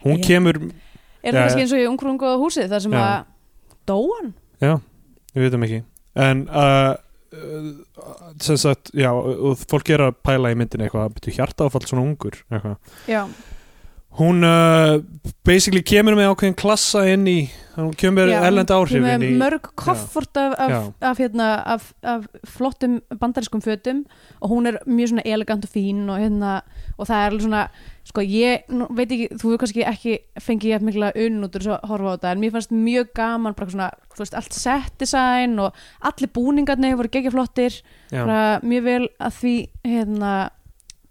[SPEAKER 2] hún
[SPEAKER 3] Já.
[SPEAKER 2] kemur,
[SPEAKER 3] er það
[SPEAKER 2] Já, já.
[SPEAKER 3] kannski eins og í ungrungoða húsið þar sem
[SPEAKER 2] Já.
[SPEAKER 3] að dóan
[SPEAKER 2] já, við vitum ekki en uh, uh, sem sagt, já, og fólk er að pæla í myndinu eitthvað, betur hjartaáfall svona ungur eitthvað
[SPEAKER 3] Já.
[SPEAKER 2] hún uh, basically kemur með ákveðin klassa inn í hún kemur
[SPEAKER 3] Já,
[SPEAKER 2] með erlend
[SPEAKER 3] Hún
[SPEAKER 2] áhrif
[SPEAKER 3] er
[SPEAKER 2] inn í
[SPEAKER 3] með mörg koffort af, af,
[SPEAKER 2] Já.
[SPEAKER 3] af, hérna, af, af flottum bandarískum fötum og hún er mjög svona elegant og fín og, hérna, og það er alveg svona sko ég nú, veit ekki, þú hefur kannski ekki fengið jafn mikla unn út úr þess að horfa á þetta en mér fannst mjög gaman bara svona þú veist, allt set design og allir búningarnir voru gegja flottir
[SPEAKER 2] já,
[SPEAKER 3] bara mjög vel að því hérna,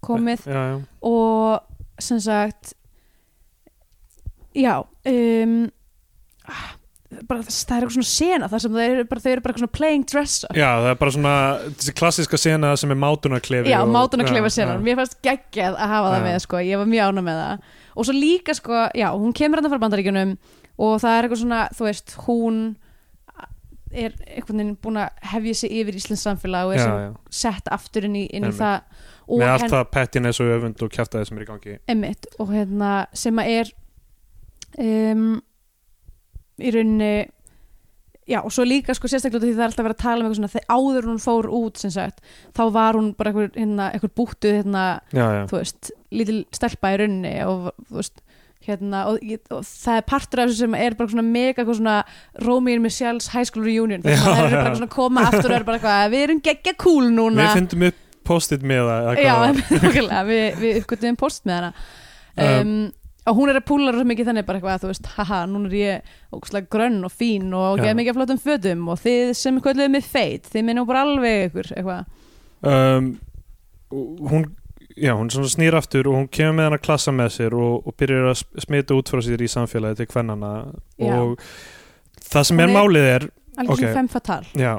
[SPEAKER 3] komið
[SPEAKER 2] já, já,
[SPEAKER 3] og sem sagt já um, ah, bara, það það er eitthvað svona sena þar sem þau eru bara, þau eru bara eitthvað svona playing dress up
[SPEAKER 2] Já, það er bara svona þessi klassiska sena sem er mátunarklefi
[SPEAKER 3] já,
[SPEAKER 2] og-
[SPEAKER 3] mátun að klefa
[SPEAKER 2] já,
[SPEAKER 3] senan,
[SPEAKER 2] já.
[SPEAKER 3] mér fannst geggjað að hafa það
[SPEAKER 2] Já.
[SPEAKER 3] með sko, ég var mjög ána með það og svo líka sko, já, hún kemur hann frá bandaríkjunum og það er eitthvað svona, þú veist hún er einhvern veginn búin að hefja sig yfir Íslands samfélag og er
[SPEAKER 2] Já,
[SPEAKER 3] sem
[SPEAKER 2] já.
[SPEAKER 3] sett aftur inn í, inn í
[SPEAKER 2] Einmitt.
[SPEAKER 3] það og
[SPEAKER 2] Með allt
[SPEAKER 3] henn-
[SPEAKER 2] það pettines og öfund og kjaftaði sem er í gangi
[SPEAKER 3] Emmitt og hérna sem að er um, í rauninni já og svo líka sko sérstaklega út af því það er alltaf verið að tala um eitthvað svona þegar áður en hún fór út sem sagt þá var hún bara eitthvað, hérna, eitthvað búttuð hérna
[SPEAKER 2] Já, já,
[SPEAKER 3] þú veist lítil stelpa í rauninni og þú veist hérna og, ég- og það er partur af þessu sem er bara svona mega eitthvað svona Romeo and Michelle's High School Reunion þess
[SPEAKER 2] Já,
[SPEAKER 3] að það eru
[SPEAKER 2] já.
[SPEAKER 3] bara svona að koma aftur og eru bara eitthvað við erum geggja cool núna
[SPEAKER 2] Við finnum upp post-it með það
[SPEAKER 3] Já, nákvæmlega, við, við uppgötum post með hana um, og hún er að púla rosa mikið þannig bara eitthvað að þú veist, haha, núna er ég ógslag grönn og fín og
[SPEAKER 2] Já.
[SPEAKER 3] geða mikið af flottum fötum og þið sem kvölduðu mig feit, þið minnum bara alveg ykkur eitthvað,
[SPEAKER 2] um, og Hún, já, hún svona snýr aftur og hún kemur með hana klassa með sér og, og byrjar að sm- smita út frá sér í samfélagi til hvernana
[SPEAKER 3] Já.
[SPEAKER 2] og það sem
[SPEAKER 3] Hún
[SPEAKER 2] er
[SPEAKER 3] er-
[SPEAKER 2] málið er
[SPEAKER 3] alveg okay.
[SPEAKER 2] Ok.
[SPEAKER 3] sem fem fatal
[SPEAKER 2] Já,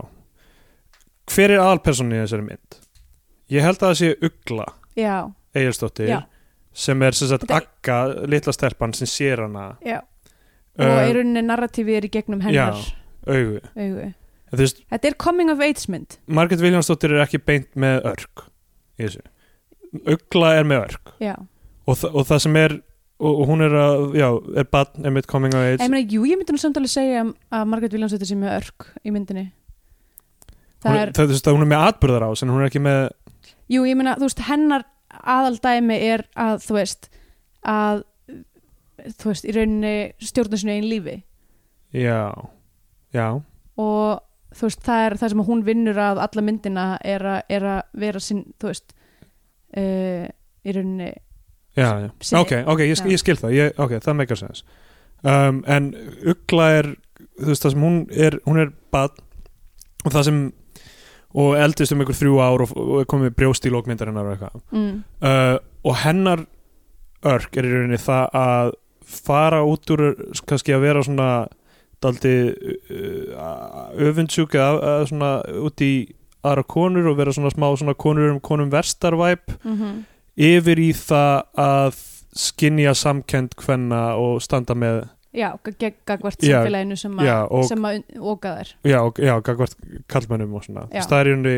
[SPEAKER 2] hver er aðalpersónin í þessari mynd? Ég held að það sé Ugla
[SPEAKER 3] Já,
[SPEAKER 2] Egilsdóttir
[SPEAKER 3] Já.
[SPEAKER 2] sem er sem sagt
[SPEAKER 3] Þetta-
[SPEAKER 2] Agga, litla stelpan sem sér hana
[SPEAKER 3] já og í
[SPEAKER 2] uh,
[SPEAKER 3] rauninni narratífið er í gegnum hennar
[SPEAKER 2] Já. augu
[SPEAKER 3] augu.
[SPEAKER 2] En þú veist,
[SPEAKER 3] Þetta er coming of age mynd
[SPEAKER 2] Margrét Viljánsdóttir er ekki beint með örk í þessu Ugla er með örk
[SPEAKER 3] Já,
[SPEAKER 2] og, þa og það sem er og, og hún er að, já, er badn emitt coming of
[SPEAKER 3] ég
[SPEAKER 2] age
[SPEAKER 3] meina, jú, ég myndi nú samtalið segja að Margaret Williamsdóttir sem er örk í myndinni
[SPEAKER 2] hún
[SPEAKER 3] Það
[SPEAKER 2] er,
[SPEAKER 3] er,
[SPEAKER 2] það, þú veist, að hún er með atbyrðar á en hún er ekki með,
[SPEAKER 3] Jú, ég meina, þú veist, hennar aðaldæmi er að, þú veist, að, þú veist, í rauninni stjórna sinu einn lífi
[SPEAKER 2] já já,
[SPEAKER 3] og þú veist, það er það sem hún vinnur að alla myndina er, a, er að vera sinn, þú veist, uh, í rauninni
[SPEAKER 2] já, já.
[SPEAKER 3] Sinni.
[SPEAKER 2] ok, ok, ég,
[SPEAKER 3] Já.
[SPEAKER 2] ég skil það ég, ok, það meikar sens um, en Ugla er þú veist það sem hún er, hún er bad og það sem og eldist um ykkur þrjú ár og, og er komið með brjóst í lókmyndarinnar og eitthvað
[SPEAKER 3] mm,
[SPEAKER 2] uh, og hennar örk er í rauninni það að fara út úr kannski að vera svona daldi uh, öfundsjúk eða uh, svona út í aðra konur og vera svona smá svona konur um konum verstarvæp
[SPEAKER 3] mm
[SPEAKER 2] yfir í það að skinja samkend hvenna og standa með
[SPEAKER 3] já, gegn gagvart
[SPEAKER 2] Já,
[SPEAKER 3] samfélaginu sem, a,
[SPEAKER 2] já, og-
[SPEAKER 3] sem að óga þær
[SPEAKER 2] já, og- já, gagvart kallmennum og svona
[SPEAKER 3] Já.
[SPEAKER 2] stærjunni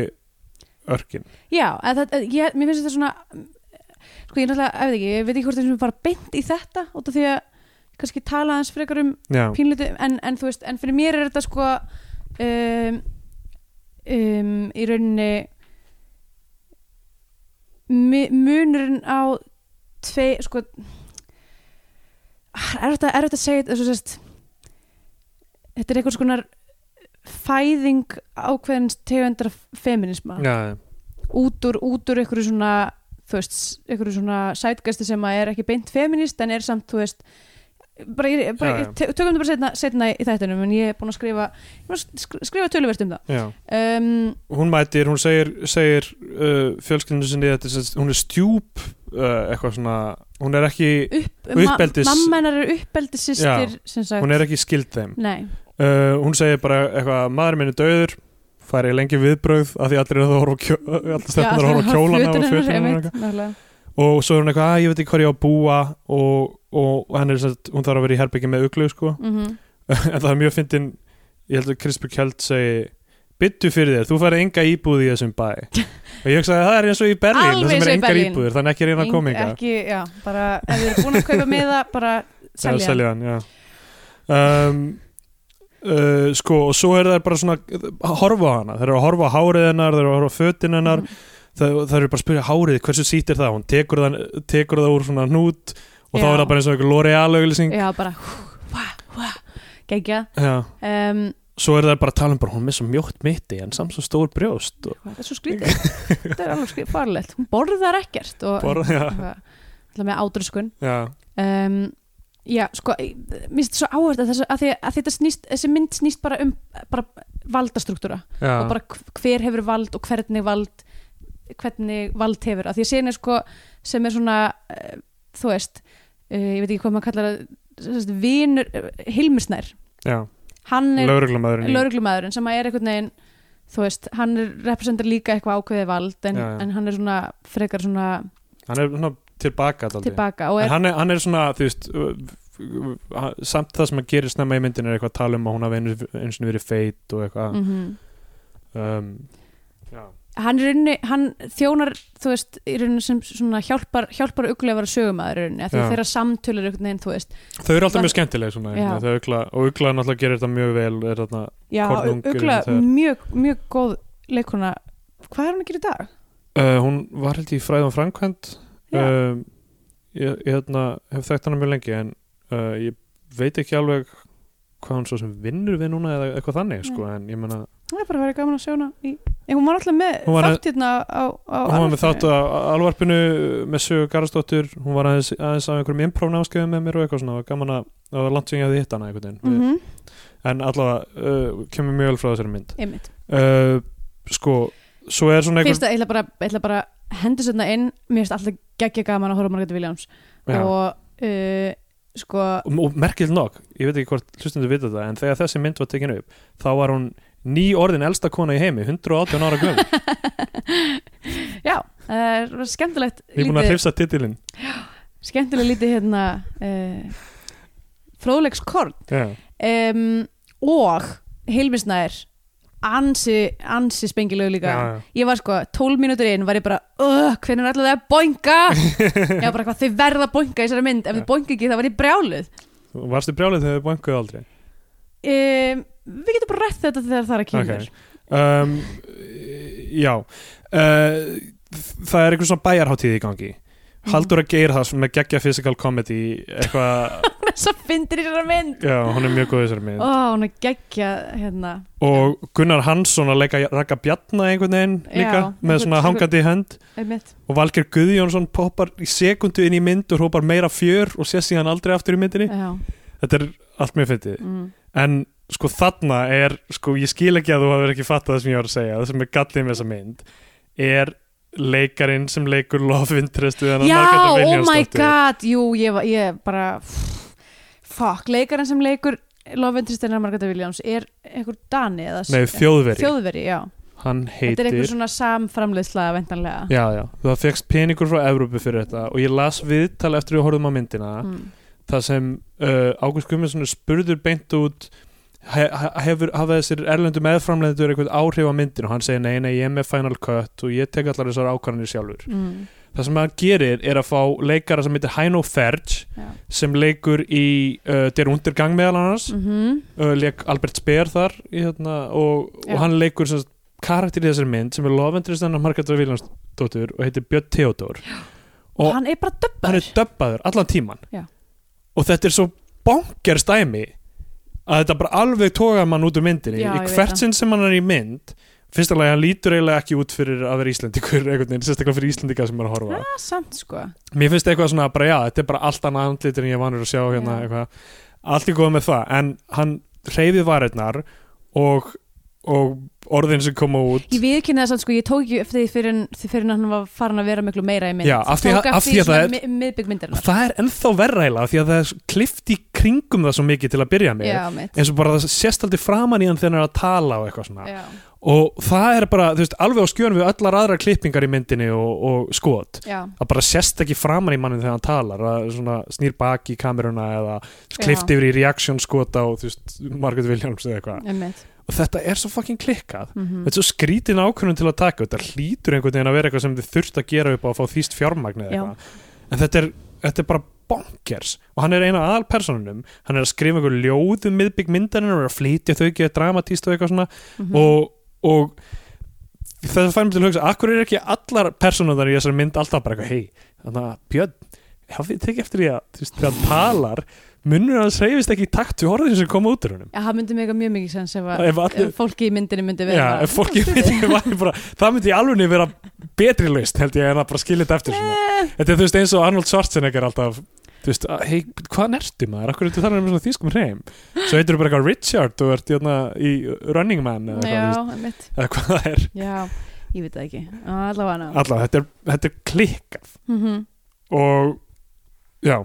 [SPEAKER 2] örkin
[SPEAKER 3] Já, að það, að ég, mér finnst þetta svona sko ég náttúrulega, ég veit ekki, ég veit ekki hvort það er bara beint í þetta út af því að kannski tala aðeins frekar um
[SPEAKER 2] já,
[SPEAKER 3] pínluti en, en þú veist, en fyrir mér er þetta sko um, um, í rauninni mi- munurinn á tvei, sko er þetta, er þetta að segja þetta, svo sést þetta er einhvers konar fæðing ákveðins tegundar feminisma
[SPEAKER 2] já,
[SPEAKER 3] út úr, út úr einhverju svona þú veist, einhverju svona sætgæsti sem að er ekki beint feminist en er samt, þú veist bara, ég, bara,
[SPEAKER 2] Já, já.
[SPEAKER 3] ég, te- tökum þetta bara setna, setna í þættinum en ég er búin að skrifa ég var að sk- skrifa töluvert um
[SPEAKER 2] já.
[SPEAKER 3] það um,
[SPEAKER 2] hún mætir, hún segir, segir uh, fjölskyldinu sinni þetta, er sem sagt- hún er stjúp uh, eitthvað svona, hún er ekki
[SPEAKER 3] upp,
[SPEAKER 2] Uppeldis-
[SPEAKER 3] ma mamma hennar er uppeldisistir
[SPEAKER 2] Já,
[SPEAKER 3] sem sagt
[SPEAKER 2] hún er ekki skild þeim
[SPEAKER 3] Nei,
[SPEAKER 2] uh, hún segir bara eitthvað, maður minn er döður fær ég lengi viðbröð af því allir eru að horfa á kjó- allar stelpunar að horfa á kjólana og
[SPEAKER 3] fötunum
[SPEAKER 2] fötunum og eitthvað og svo er hún eitthvað, að ég veit ekki hvað ég á að búa og, og hann er satt, hún þarf að vera í herbyggi með uglu sko,
[SPEAKER 3] Mhm.
[SPEAKER 2] en það er mjög fyndin ég held að Krispur Kjeld segi byttu fyrir þér, þú færði enga íbúð í þessum bæ og ég hugsaði að það er eins og í Berlín
[SPEAKER 3] Alveg
[SPEAKER 2] það sem
[SPEAKER 3] eins og
[SPEAKER 2] er
[SPEAKER 3] í
[SPEAKER 2] engar
[SPEAKER 3] Berlín.
[SPEAKER 2] íbúðir, þannig ekki reyna að koma enga
[SPEAKER 3] Ekki, já, bara ef þið eru búin að kaupa með það bara selja, hann.
[SPEAKER 2] selja hann já. um, uh, sko, og svo er það bara svona að horfa á hana, þeir eru að horfa á hárið hennar þeir eru að horfa á fötin
[SPEAKER 3] Mm.
[SPEAKER 2] hennar það, það eru bara að spyrja hárið, hversu sýtt er það hún tekur það, tekur það úr svona hnút og þá
[SPEAKER 3] Já.
[SPEAKER 2] er það bara eins og einhver L'Oreal auglýsing
[SPEAKER 3] Já, bara hva, hva, gegja
[SPEAKER 2] Já.
[SPEAKER 3] um,
[SPEAKER 2] svo er það bara að tala um bara hún er með svo mjótt mitti en samt svo stór brjóst og
[SPEAKER 3] það er svo skrítið þetta er alveg skrítið farlegt, hún borðar ekkert og
[SPEAKER 2] bara, já,
[SPEAKER 3] alltaf með ádröskun
[SPEAKER 2] já,
[SPEAKER 3] um, já, sko ég- mér finnst þetta svo áhverð að, þessu- að, því- að þetta snýst þessi mynd snýst bara um bara valdastruktúra
[SPEAKER 2] já.
[SPEAKER 3] og bara hv- hver hefur vald og hvernig vald hvernig vald hefur, að því að séin er sko sem er svona uh, þú veist, uh, ég veit ekki hvað maður kallar það, sem sagt, vinur, uh, Hilmisnær
[SPEAKER 2] já.
[SPEAKER 3] hann er
[SPEAKER 2] lauruglamæðurinn í-
[SPEAKER 3] lauruglumadurinn sem að er einhvern veginn þú veist, hann er, representar líka eitthvað ákveðið vald en,
[SPEAKER 2] Já, já.
[SPEAKER 3] en hann er svona frekar svona
[SPEAKER 2] hann er svona tilbaka dálítið.
[SPEAKER 3] tilbaka og
[SPEAKER 2] en
[SPEAKER 3] er,
[SPEAKER 2] hann er, hann er svona þú veist uh, uh, uh, samt það sem hann gerir snemma í myndin er eitthvað að tala um að hún hafi einu, einu sinni verið feit og eitthvað
[SPEAKER 3] mm
[SPEAKER 2] um, já,
[SPEAKER 3] hann, er inni, hann þjónar þú veist, í rauninni sem svona hjálpar, hjálpar uglega að vera sögumadur í rauninni, af því
[SPEAKER 2] Já.
[SPEAKER 3] þeirra samtölur einhvern veginn, þú veist
[SPEAKER 2] þau eru alltaf
[SPEAKER 3] Var-
[SPEAKER 2] mjög skemmtileg svona,
[SPEAKER 3] Já.
[SPEAKER 2] þau ugla, og ugla náttúrulega gerir þetta mjög vel er þarna,
[SPEAKER 3] já,
[SPEAKER 2] Kornungurinn
[SPEAKER 3] uglega
[SPEAKER 2] þegar-
[SPEAKER 3] mjög, mjög góð leikona hvað er hann að gera í dag?
[SPEAKER 2] uh, hún var held í fræðan framkvæmt
[SPEAKER 3] Já.
[SPEAKER 2] um, ég, ég hérna, hef þekkt hana mjög lengi en uh, ég veit ekki alveg hvað hún svo sem vinnur við núna eða eitthvað þannig sko,
[SPEAKER 3] Mm.
[SPEAKER 2] en ég meina
[SPEAKER 3] það er bara að vera gaman að sjá hana í... en hún var alltaf með
[SPEAKER 2] Hún var að-
[SPEAKER 3] þátt hérna á, á
[SPEAKER 2] hún var með
[SPEAKER 3] Arnarfirði.
[SPEAKER 2] þátt á alvarpinu með sögu Garðsdóttur, hún var aðeins, aðeins af einhverjum imprófnámskefum með mér og eitthvað svona og gaman að það var langt sem ég hefði hitt hana einhvern veginn
[SPEAKER 3] Mhm,
[SPEAKER 2] en allavega uh, kemur mjög vel frá þessari mynd
[SPEAKER 3] einmitt
[SPEAKER 2] uh, sko, svo er svona einhver
[SPEAKER 3] Fyrst að ég ætla bara, ég ætla bara að hendur sérna inn, mér finnst alltaf geggja gaman að horfa á Margaret Williams
[SPEAKER 2] Já. og,
[SPEAKER 3] og uh, sko
[SPEAKER 2] og merkilt nokk, ég veit ekki hvort hlustundu vita það, en þegar þessi mynd var tekin upp þá var hún ný orðin elsta kona í heimi 118 ára gömul,
[SPEAKER 3] já, það er skemmtilegt
[SPEAKER 2] ég er búin að
[SPEAKER 3] lítið,
[SPEAKER 2] hrifsa titilinn
[SPEAKER 3] skemmtilegt lítið hérna uh, fróðleikskorn
[SPEAKER 2] já,
[SPEAKER 3] um, og heilmisnæðir ansi, ansi spengilegu líka
[SPEAKER 2] já,
[SPEAKER 3] ég var sko 12 mínútur inn var ég bara "Ugh, hvernig er alltaf það að boinga ég var bara hvað þau verða að boinga í þessari mynd ef
[SPEAKER 2] Já.
[SPEAKER 3] þau boinga ekki þá var ég brjáluð
[SPEAKER 2] varstu brjálið þegar þau bankuð aldrei
[SPEAKER 3] um, við getum bara rætt þetta þegar það er að kynna
[SPEAKER 2] Ok. um, já uh, það er einhver svona bæjarháttíð í gangi
[SPEAKER 3] Mhm.
[SPEAKER 2] Haldur að geir það með geggja physical comedy eitthvað,
[SPEAKER 3] Þess að fyndir í þessar mynd
[SPEAKER 2] já, hún er mjög góð í þessari mynd
[SPEAKER 3] Ó, hún er geggja hérna
[SPEAKER 2] og Gunnar Hansson að leika Raka Bjarna einhvern veginn líka
[SPEAKER 3] Já,
[SPEAKER 2] með
[SPEAKER 3] einhvern-
[SPEAKER 2] svona hangandi í hönd
[SPEAKER 3] einmitt.
[SPEAKER 2] og Valger Guðjónsson poppar í sekundu inn í mynd og hrópar meira fjör og sé síðan aldrei aftur í myndinni
[SPEAKER 3] Já,
[SPEAKER 2] þetta er allt mjög fyndið
[SPEAKER 3] mm.
[SPEAKER 2] en sko þarna er sko ég skil ekki að þú hafur ekki fattað það sem ég var að segja það sem er gallið með þessa mynd er leikarinn sem leikur Love Interest við hana
[SPEAKER 3] Já
[SPEAKER 2] Margrétar
[SPEAKER 3] oh my
[SPEAKER 2] Vilhjálmsdóttur.
[SPEAKER 3] god Jú, ég, var- ég bara Fuck, leikarinn sem leikur Love Interest hennar Margareta Williams er einhver Dani eða
[SPEAKER 2] Nei, þjóðveri,
[SPEAKER 3] Þjóðveri, já
[SPEAKER 2] hann
[SPEAKER 3] Þetta er
[SPEAKER 2] heitir
[SPEAKER 3] einhver svona samframleiðsla vendanlega
[SPEAKER 2] Já, já, það fegst peningur frá Evrópu fyrir þetta og ég las viðtal eftir við horfum á myndina
[SPEAKER 3] mm.
[SPEAKER 2] það sem uh, Ágúst Guðmundsson er spurður beint út he, he- hefur, hafa þessir erlendu meðframlendur eitthvað áhrif á myndinu og hann segir nei, nei, ég er með Final Cut og ég tek allar þessar ákvarðanir sjálfur
[SPEAKER 3] Mm.
[SPEAKER 2] það sem hann gerir er að fá leikara sem heitir Heino Ferge
[SPEAKER 3] Já.
[SPEAKER 2] sem leikur í uh, Der Undergang meðal annars
[SPEAKER 3] Mm
[SPEAKER 2] uh, leik Albert Speer þar í, hérna, og,
[SPEAKER 3] Já.
[SPEAKER 2] og hann leikur sem sagt karakter í þessari mynd sem er lofendrist hennar Margaret Viljánsdóttur og heitir Björn Theodor Og-
[SPEAKER 3] Hann er bara döbbar
[SPEAKER 2] hann er döbbaður allan tíman
[SPEAKER 3] Já.
[SPEAKER 2] og þetta er svo bonger stæmi að þetta bara alveg tóga mann út úr myndinni
[SPEAKER 3] Já,
[SPEAKER 2] í
[SPEAKER 3] ég veit
[SPEAKER 2] hvert
[SPEAKER 3] það.
[SPEAKER 2] sinn sem hann er í mynd fyrsta lagi hann lítur eiginlega ekki út fyrir að vera Íslendingur einhvern veginn, sérstaklega fyrir Íslendinga sem er að horfa
[SPEAKER 3] ah, Samt sko
[SPEAKER 2] mér finnst eitthvað svona bara já, þetta er bara allt annað andlit en ég er vanur að sjá hérna
[SPEAKER 3] Já.
[SPEAKER 2] eitthvað allt er góð með það, en hann hreyfið varirnar og, og orðin sem koma út
[SPEAKER 3] Ég viðkynna það samt sko, ég tók ekki eftir því fyrir, fyrir hann var farin að vera miklu meira í mynd
[SPEAKER 2] Já, af því að-
[SPEAKER 3] Tók
[SPEAKER 2] af því að það er-
[SPEAKER 3] svona mi- miðbik myndarinnar
[SPEAKER 2] það er ennþá verra eiginlega því að það er klift í kringum það svo mikið til að byrja með
[SPEAKER 3] Já, mitt
[SPEAKER 2] eins og bara það sést aldrei framan í hann þegar hann er að tala og eitthvað svona
[SPEAKER 3] Já,
[SPEAKER 2] og það er bara, þú veist, alveg á skjön við allar aðrar klippingar í myndinni og, og skot
[SPEAKER 3] já,
[SPEAKER 2] það bara sést ekki framan í mannin þegar hann talar það er svona snýr baki í kameruna eða klift
[SPEAKER 3] Já.
[SPEAKER 2] yfir í reaction skot á, þú veist, Margaret Williams eða eitthvað
[SPEAKER 3] einmitt
[SPEAKER 2] og þetta er svo fucking klikkað
[SPEAKER 3] mm
[SPEAKER 2] þetta er svo skrítin ákvörðun til að taka þetta hlýtur einhvern veginn að vera eitthvað sem þið þurft að gera upp á að fá þýst fjármagn eða
[SPEAKER 3] Já.
[SPEAKER 2] eitthvað en þetta er, þetta er bara bonkers og hann er eina aðal personunum hann er að skrifa einhver ljóðum miðbygg myndarinn og er að flytja þau ekki að dramatíst og eitthvað svona
[SPEAKER 3] mhm. Mm.
[SPEAKER 2] og, og það fær mér til að hugsa akkur er ekki allar personunar í þessari mynd alltaf bara eitthvað hei, þannig að Björn hafið tekið eftir því að þú veist, þegar hann talar munnur hans reyfist ekki í takt við orðin sem koma út úr húnum
[SPEAKER 3] Já, það myndi mega mjög mikið sens ef, að-
[SPEAKER 2] Ef allir-
[SPEAKER 3] ef fólki í myndinni myndi vera
[SPEAKER 2] Já,
[SPEAKER 3] bara-
[SPEAKER 2] ef fólki myndi væri bara, það myndi í alveg vera betri laust held ég en að bara skilja þetta eftir svona.
[SPEAKER 3] "Eh,
[SPEAKER 2] Þetta er þú veist eins og Arnold Schwarzenegger alltaf þú veist, að, hei, hvað nertu maður? Akkur ertu þannig með svona þýskum hreim? Svo heitir þú bara eitthvað Richard og ert jörna, í Running Man eða
[SPEAKER 3] Já,
[SPEAKER 2] eitthvað, þú veist,
[SPEAKER 3] einmitt
[SPEAKER 2] eða hvað það er
[SPEAKER 3] Já, ég veit það ekki Allavega hana Mhm.
[SPEAKER 2] Alla, þetta er, þetta er klikkað og já,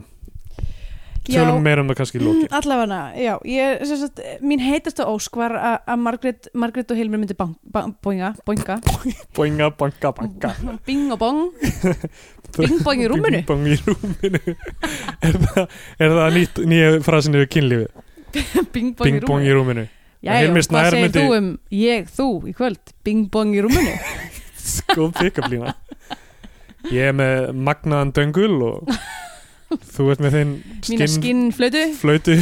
[SPEAKER 2] tölum meira um það kannski í lókin
[SPEAKER 3] Mhm, Allavega hana, já ég, sem sagt, Mín heitasta ósk var að að Margrét, Margrét og Hilmir myndi bang, bang, boinga, boinga
[SPEAKER 2] Boinga, banka, banka
[SPEAKER 3] Bing og bong Bing bong í rúminu
[SPEAKER 2] Bing bong í rúminu Er það, er það nýtt, nýja frasinni við kynlífið?
[SPEAKER 3] Bing bong í
[SPEAKER 2] Bing bong í rúminu
[SPEAKER 3] rúminu Jæja,
[SPEAKER 2] Hilmir Snær
[SPEAKER 3] hvað segir
[SPEAKER 2] myndi-
[SPEAKER 3] þú um ég, þú í kvöld Bing bong í rúminu
[SPEAKER 2] góð pick-up lína ég er með magnaðan döngul og þú ert með þinn
[SPEAKER 3] Mína
[SPEAKER 2] skinn
[SPEAKER 3] skinnflötu
[SPEAKER 2] flötu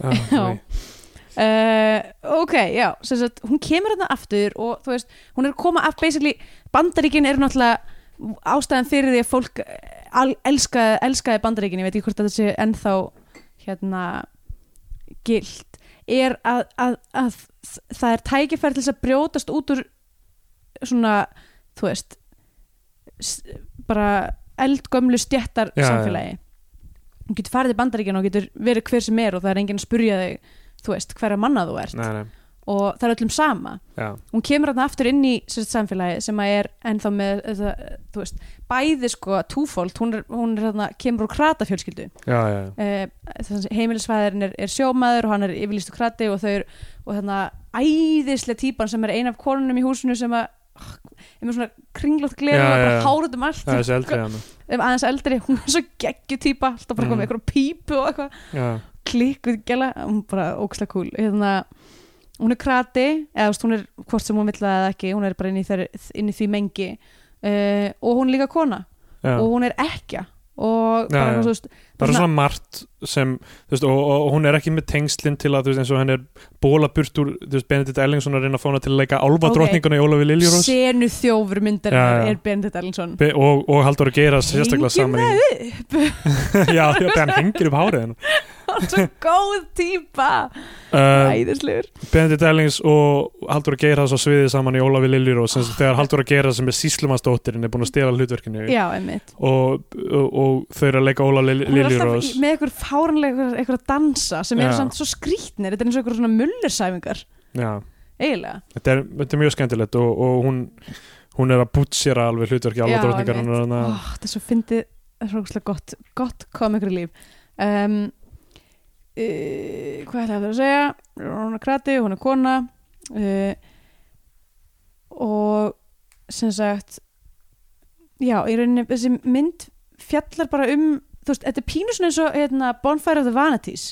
[SPEAKER 2] ah,
[SPEAKER 3] Já.
[SPEAKER 2] nei.
[SPEAKER 3] Uh, ok, já, sem sagt, hún kemur hérna aftur og þú veist, hún er að koma af basically, bandaríkin eru náttúrulega ástæðan fyrir því að fólk eh, al, elskaði, elskaði bandaríkin, ég veit ekki hvort þetta sé ennþá hérna gilt, er að, að, að það er tækifæri til þess að brjótast út úr svona, þú veist s- bara eldgömlu stjættar
[SPEAKER 2] Já, já.
[SPEAKER 3] samfélagi hún getur farið til bandaríkina og getur verið hver sem er og það er enginn að spurja þig þú veist, hverja manna þú ert
[SPEAKER 2] Nei, nei.
[SPEAKER 3] og það er öllum sama
[SPEAKER 2] Já.
[SPEAKER 3] hún kemur þarna aftur inn í sérst, samfélagi sem að er ennþá með eða, þú veist, bæði sko túfólt hún, er, hún er þarna, kemur úr kratafjölskyldu
[SPEAKER 2] Já, já, já.
[SPEAKER 3] uh, heimilisfæðurinn er, er sjómaður og hann er yfirlýstu krati og þau eru og þarna æðislega típan sem er ein af konunum í húsinu sem að ah, er með svona kringlótt gleru
[SPEAKER 2] Já,
[SPEAKER 3] og bara
[SPEAKER 2] já, já.
[SPEAKER 3] hárut um allt
[SPEAKER 2] það er þessi eldri hann
[SPEAKER 3] Ef aðeins eldri, hún er svo geggju típa alltaf bara
[SPEAKER 2] Mm.
[SPEAKER 3] komið með eitthvað pípu og eitthvað
[SPEAKER 2] já,
[SPEAKER 3] klikkuð gæla, hún er bara ókslega cool hérna, hún er krati eða þú veist, hún er hvort sem hún vill það eða ekki hún Eh, er bara inn í, þeir, inn í því mengi uh, og hún er líka kona
[SPEAKER 2] já.
[SPEAKER 3] og hún er ekki og
[SPEAKER 2] Já,
[SPEAKER 3] bara,
[SPEAKER 2] já.
[SPEAKER 3] já. Svo,
[SPEAKER 2] það er svona margt sem þú veist, og, og, og hún er ekki með tengslinn til að þú veist, eins og henn er bólaburt úr þú veist, Benedikt Ellingsson að reyna að fá hana til að leika álfadrottninguna í Ólafi Liljurós
[SPEAKER 3] senu þjófur myndar
[SPEAKER 2] Já, já.
[SPEAKER 3] er Benedikt Ellingsson
[SPEAKER 2] Be og, og Halldór Geira sérstaklega
[SPEAKER 3] Hengjum
[SPEAKER 2] saman í já, já, þegar hann hengir upp hárið hennar.
[SPEAKER 3] hann er svo góð típa
[SPEAKER 2] uh,
[SPEAKER 3] æðislegur
[SPEAKER 2] Benedikt Ellings og Halldór Geira svo sviðið saman í Ólafi Liljurós sem sagt, þegar Halldór Geira sem er síslumastóttirinn er búin að stela hlutverkinu
[SPEAKER 3] já, einmitt
[SPEAKER 2] og, og, og þau eru að leika Ólafi
[SPEAKER 3] hún er alltaf
[SPEAKER 2] Liljurós
[SPEAKER 3] í- með einhver fáranlega einhver dansa sem
[SPEAKER 2] Já.
[SPEAKER 3] eru samt svo skrítnir þetta er eins og einhver svona mullersæfingar
[SPEAKER 2] já
[SPEAKER 3] eiginlega
[SPEAKER 2] þetta er, þetta er mjög skemmtilegt og, og hún, hún er að bútsera alveg hlutverki alveg drottningar hún er hana,
[SPEAKER 3] oh, það er svo fyndið það er svo ógeðslega gott, gott komikri líf um, uh, hvað er það að segja hún er krati, hún er kona uh, og sem sagt já, í rauninni þessi mynd fjallar bara um þú veist, þetta er pínu svona eins og hérna, Bonfire of the Vanities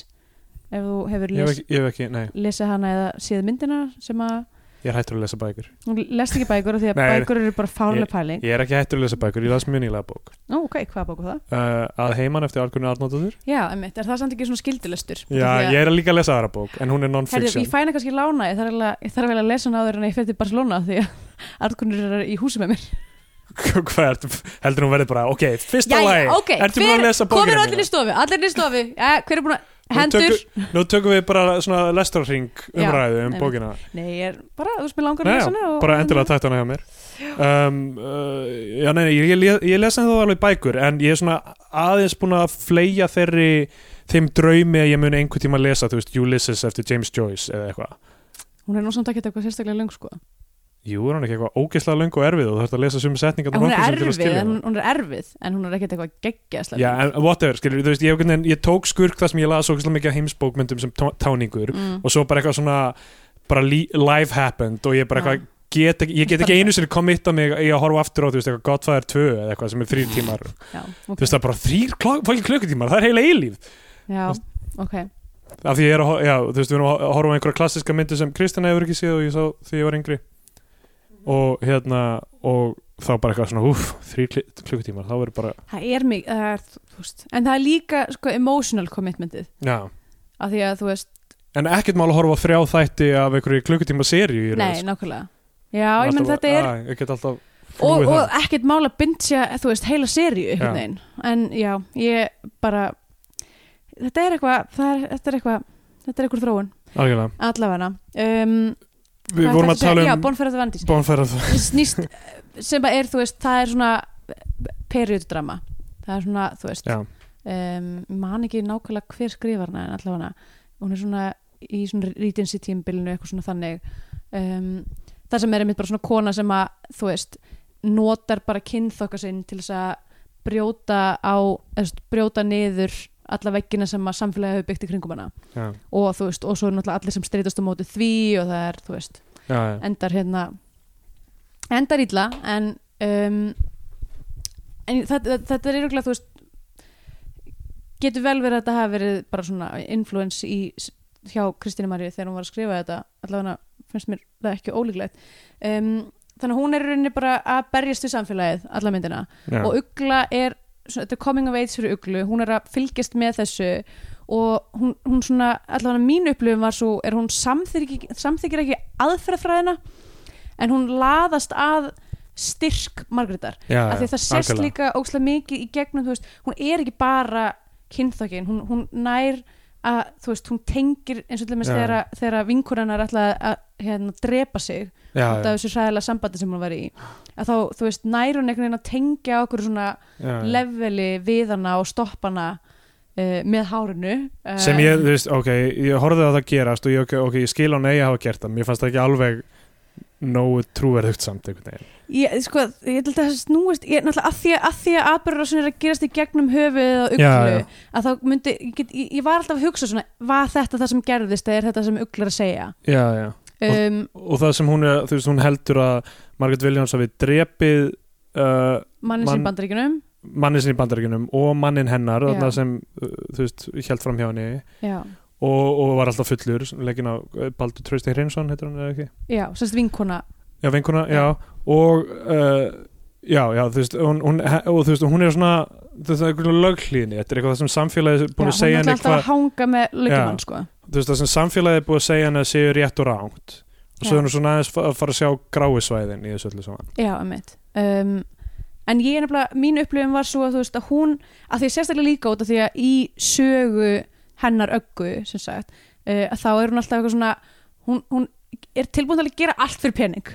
[SPEAKER 3] ef þú hefur
[SPEAKER 2] ég hef
[SPEAKER 3] les,
[SPEAKER 2] ekki, ég hef ekki, nei,
[SPEAKER 3] lesið hana eða séð myndina sem að
[SPEAKER 2] ég er hættur að lesa bækur
[SPEAKER 3] hún lest ekki bækur af því að
[SPEAKER 2] Nei,
[SPEAKER 3] bækur eru bara fárlega
[SPEAKER 2] ég-
[SPEAKER 3] pæling
[SPEAKER 2] ég er ekki hættur að lesa bækur, ég las mjög nýlega bók
[SPEAKER 3] Ó, ok, hvað bækur það?
[SPEAKER 2] uh, að heiman eftir Argunni Arnóttur
[SPEAKER 3] Já, emmitt, er það samt ekki svona skildilestur?
[SPEAKER 2] já, ég er líka að lesa aðra bók en hún er
[SPEAKER 3] Herðu,
[SPEAKER 2] non-fiction
[SPEAKER 3] ég fæna kannski lána, ég þarf eiginlega- ég þarf vel að lesa hana áður en ég fer til Barcelona því að Arnkunnur er í húsi með mér
[SPEAKER 2] hvað ertu, heldur hún verði bara ok, fyrsta lagi, ertu búin að lesa
[SPEAKER 3] komir
[SPEAKER 2] bókina
[SPEAKER 3] allir í stofu, allir í stofu ja, hver er búin að, hendur
[SPEAKER 2] Nú, tökum, nú tökum við bara svona lestarhring
[SPEAKER 3] Já,
[SPEAKER 2] umræðu um
[SPEAKER 3] einmitt.
[SPEAKER 2] bókina
[SPEAKER 3] Nei, ég er bara, þú veist, mér langar að
[SPEAKER 2] Nei, já,
[SPEAKER 3] lesa hana og, hérna-
[SPEAKER 2] bara endilega tætt hana hjá mér um, uh, já, nei, nei, ég, ég, ég lesa þá alveg bækur en ég er svona aðeins búin að fleia þeirri þeim draumi að ég mun einhvern tíma lesa þú veist, Ulysses eftir James Joyce eða eitthvað
[SPEAKER 3] Hún er nú samt ekki eitthvað sérstaklega löng sko
[SPEAKER 2] Jú, er hann ekki eitthvað ógeðslega löng og erfið og þú þarfst að lesa sumi setningar
[SPEAKER 3] En hún er erfið, en hún- hún er erfið en hún er ekki eitthvað geggjæðslega
[SPEAKER 2] Já, en whatever, skilur, þú veist, ég, hef einhvern veginn- ég tók skurk það sem ég las ógeðslega mikið af heimsbókmyndum sem tó- táningur
[SPEAKER 3] mm.
[SPEAKER 2] og svo bara eitthvað svona bara lí- life happened og ég bara
[SPEAKER 3] Já.
[SPEAKER 2] eitthvað get ekki, ég get ekki einu sinni committa mig í að horfa aftur á þú veist eitthvað Godfather 2 eða eitthvað sem er þrýr tímar
[SPEAKER 3] Já,
[SPEAKER 2] þú
[SPEAKER 3] ok,
[SPEAKER 2] veist það er bara þrýr fólki klukkutímar það er heila eilíf
[SPEAKER 3] já, ok
[SPEAKER 2] af því ég er að, hor- já, þú veist við erum að hor- horfa á einhverja klassiska myndi sem Kristjana hefur ekki séð og ég sá því ég var yngri
[SPEAKER 3] Mhm.
[SPEAKER 2] og hérna og þá bara eitthvað svona úf þrýr klukkutímar þá verður bara
[SPEAKER 3] Það er mig, það er, þú veist En það er líka, sko, emotional commitmentið
[SPEAKER 2] já
[SPEAKER 3] af því að, þú veist,
[SPEAKER 2] en ekkert mál að horfa á þrjá þætti af einhverju klukkutíma seríu
[SPEAKER 3] Nei, nákvæmlega Já, ég menn þetta er
[SPEAKER 2] "Ah, ég get alltaf
[SPEAKER 3] og,
[SPEAKER 2] flúið það.
[SPEAKER 3] og ekkert mál að bindja þú veist, heila seríu
[SPEAKER 2] Já.
[SPEAKER 3] einhvern veginn en já, ég bara þetta er eitthvað það er- þetta er eitthvað þetta er eitthvað þróun
[SPEAKER 2] algjörlega
[SPEAKER 3] allavega um,
[SPEAKER 2] Við
[SPEAKER 3] hvað
[SPEAKER 2] vorum að
[SPEAKER 3] ætlaði
[SPEAKER 2] tala um
[SPEAKER 3] segja? já, Bonfire of the Vandís
[SPEAKER 2] Bonfire of the
[SPEAKER 3] snýst sem að er, þú veist, það er svona perioddrama það er svona, þú veist
[SPEAKER 2] Já.
[SPEAKER 3] um, man ekki nákvæmlega hver skrifar hana en allavega hún er svona í svona rítins í tímbilinu eitthvað svona þannig um, það sem er einmitt bara svona kona sem að þú veist, notar bara kynþokka sinn til þess að brjóta á, eða þú veist, brjóta niður alla veggina sem að samfélagi hefur byggt í kringum hana
[SPEAKER 2] Já,
[SPEAKER 3] og þú veist, og svo er náttúrulega allir sem streytast á móti því og það er, þú veist
[SPEAKER 2] já, já.
[SPEAKER 3] endar hérna endar illa en, um, en þetta, þetta er yfirlega þú veist getur vel verið að þetta hafi verið bara svona influence í, hjá Kristínu Maríu þegar hún var að skrifa þetta allavega finnst mér það ekki ólíklegt um, þannig að hún er í rauninni bara að berjast við samfélagið alla myndina
[SPEAKER 2] já.
[SPEAKER 3] og Ugla er svona, þetta er coming of age fyrir Uglu, hún er að fylgjast með þessu og hún, hún svona allavega mín upplifum var svo er hún samþykir, samþykir ekki aðferðfræðina en hún laðast að styrk Margrétar
[SPEAKER 2] já,
[SPEAKER 3] af því að það sést
[SPEAKER 2] algjörlega.
[SPEAKER 3] líka ókslega mikið í gegnum þú veist, hún er ekki bara kynþokkin, hún, hún nær að þú veist, hún tengir eins og til dæmis
[SPEAKER 2] Já.
[SPEAKER 3] þegar, að- þegar vinkurinnar ætla að hérna, drepa sig
[SPEAKER 2] já,
[SPEAKER 3] út af þessu sæðilega sambandi sem hún var í að þá, þú veist, nær hún einhvern veginn að tengja okkur svona
[SPEAKER 2] já, já.
[SPEAKER 3] leveli við hana og stoppa hana uh, með hárinu uh,
[SPEAKER 2] sem ég, þú veist, ok, ég horfði að það gerast og ég, ok, ok, ég skil á nei að hafa gert það mér fannst það ekki alveg nógu trúverðugt samt einhvern veginn
[SPEAKER 3] ég, sko, ég held að það snúist ég, náttúrulega að því að, að, því að atbyrðarásinn er að gerast í gegnum höfuðið og uglu
[SPEAKER 2] Já, já.
[SPEAKER 3] að þá myndi, ég, get, ég, ég var alltaf að hugsa svona, var þetta það sem gerðist eða er þetta sem uglar að segja
[SPEAKER 2] já, já.
[SPEAKER 3] um,
[SPEAKER 2] og það sem hún er, þú veist, hún heldur að Margaret Williams hafi drepið uh,
[SPEAKER 3] manni sem
[SPEAKER 2] mann-
[SPEAKER 3] bandaríkunum
[SPEAKER 2] mannin sinni í bandaríkunum og mannin hennar
[SPEAKER 3] Já.
[SPEAKER 2] þarna sem, uh, þú veist, held fram hjá henni
[SPEAKER 3] já,
[SPEAKER 2] og, og var alltaf fullur leggin á uh, Baldur Trausti Hreinsson heitir hann eða ekki
[SPEAKER 3] já, sérst vinkona
[SPEAKER 2] Já, eh, vinkuna, já, og uh, já, já, þú veist, hún, hún, og þú veist, hún er svona það er eitthvað löghlíðinni þetta er eitthvað það sem samfélagið er búin
[SPEAKER 3] Já,
[SPEAKER 2] að segja
[SPEAKER 3] hún
[SPEAKER 2] henni
[SPEAKER 3] ætla alltaf
[SPEAKER 2] hvað
[SPEAKER 3] að hanga með lögjumann sko.
[SPEAKER 2] þú veist það sem samfélagið er búið að segja henni að séu rétt og rangt og svo
[SPEAKER 3] Já.
[SPEAKER 2] er hún svona aðeins fa- að fara að sjá gráisvæðin í þessu öllu saman
[SPEAKER 3] Já, einmitt um, En ég er nefnilega, mín upplifin var svo að þú veist að hún, að því ég sérstaklega líka út af því að í sögu hennar öggu, sem sagt uh, að þá er hún alltaf eitthvað svona hún, hún er tilbúin til að gera allt fyrir pening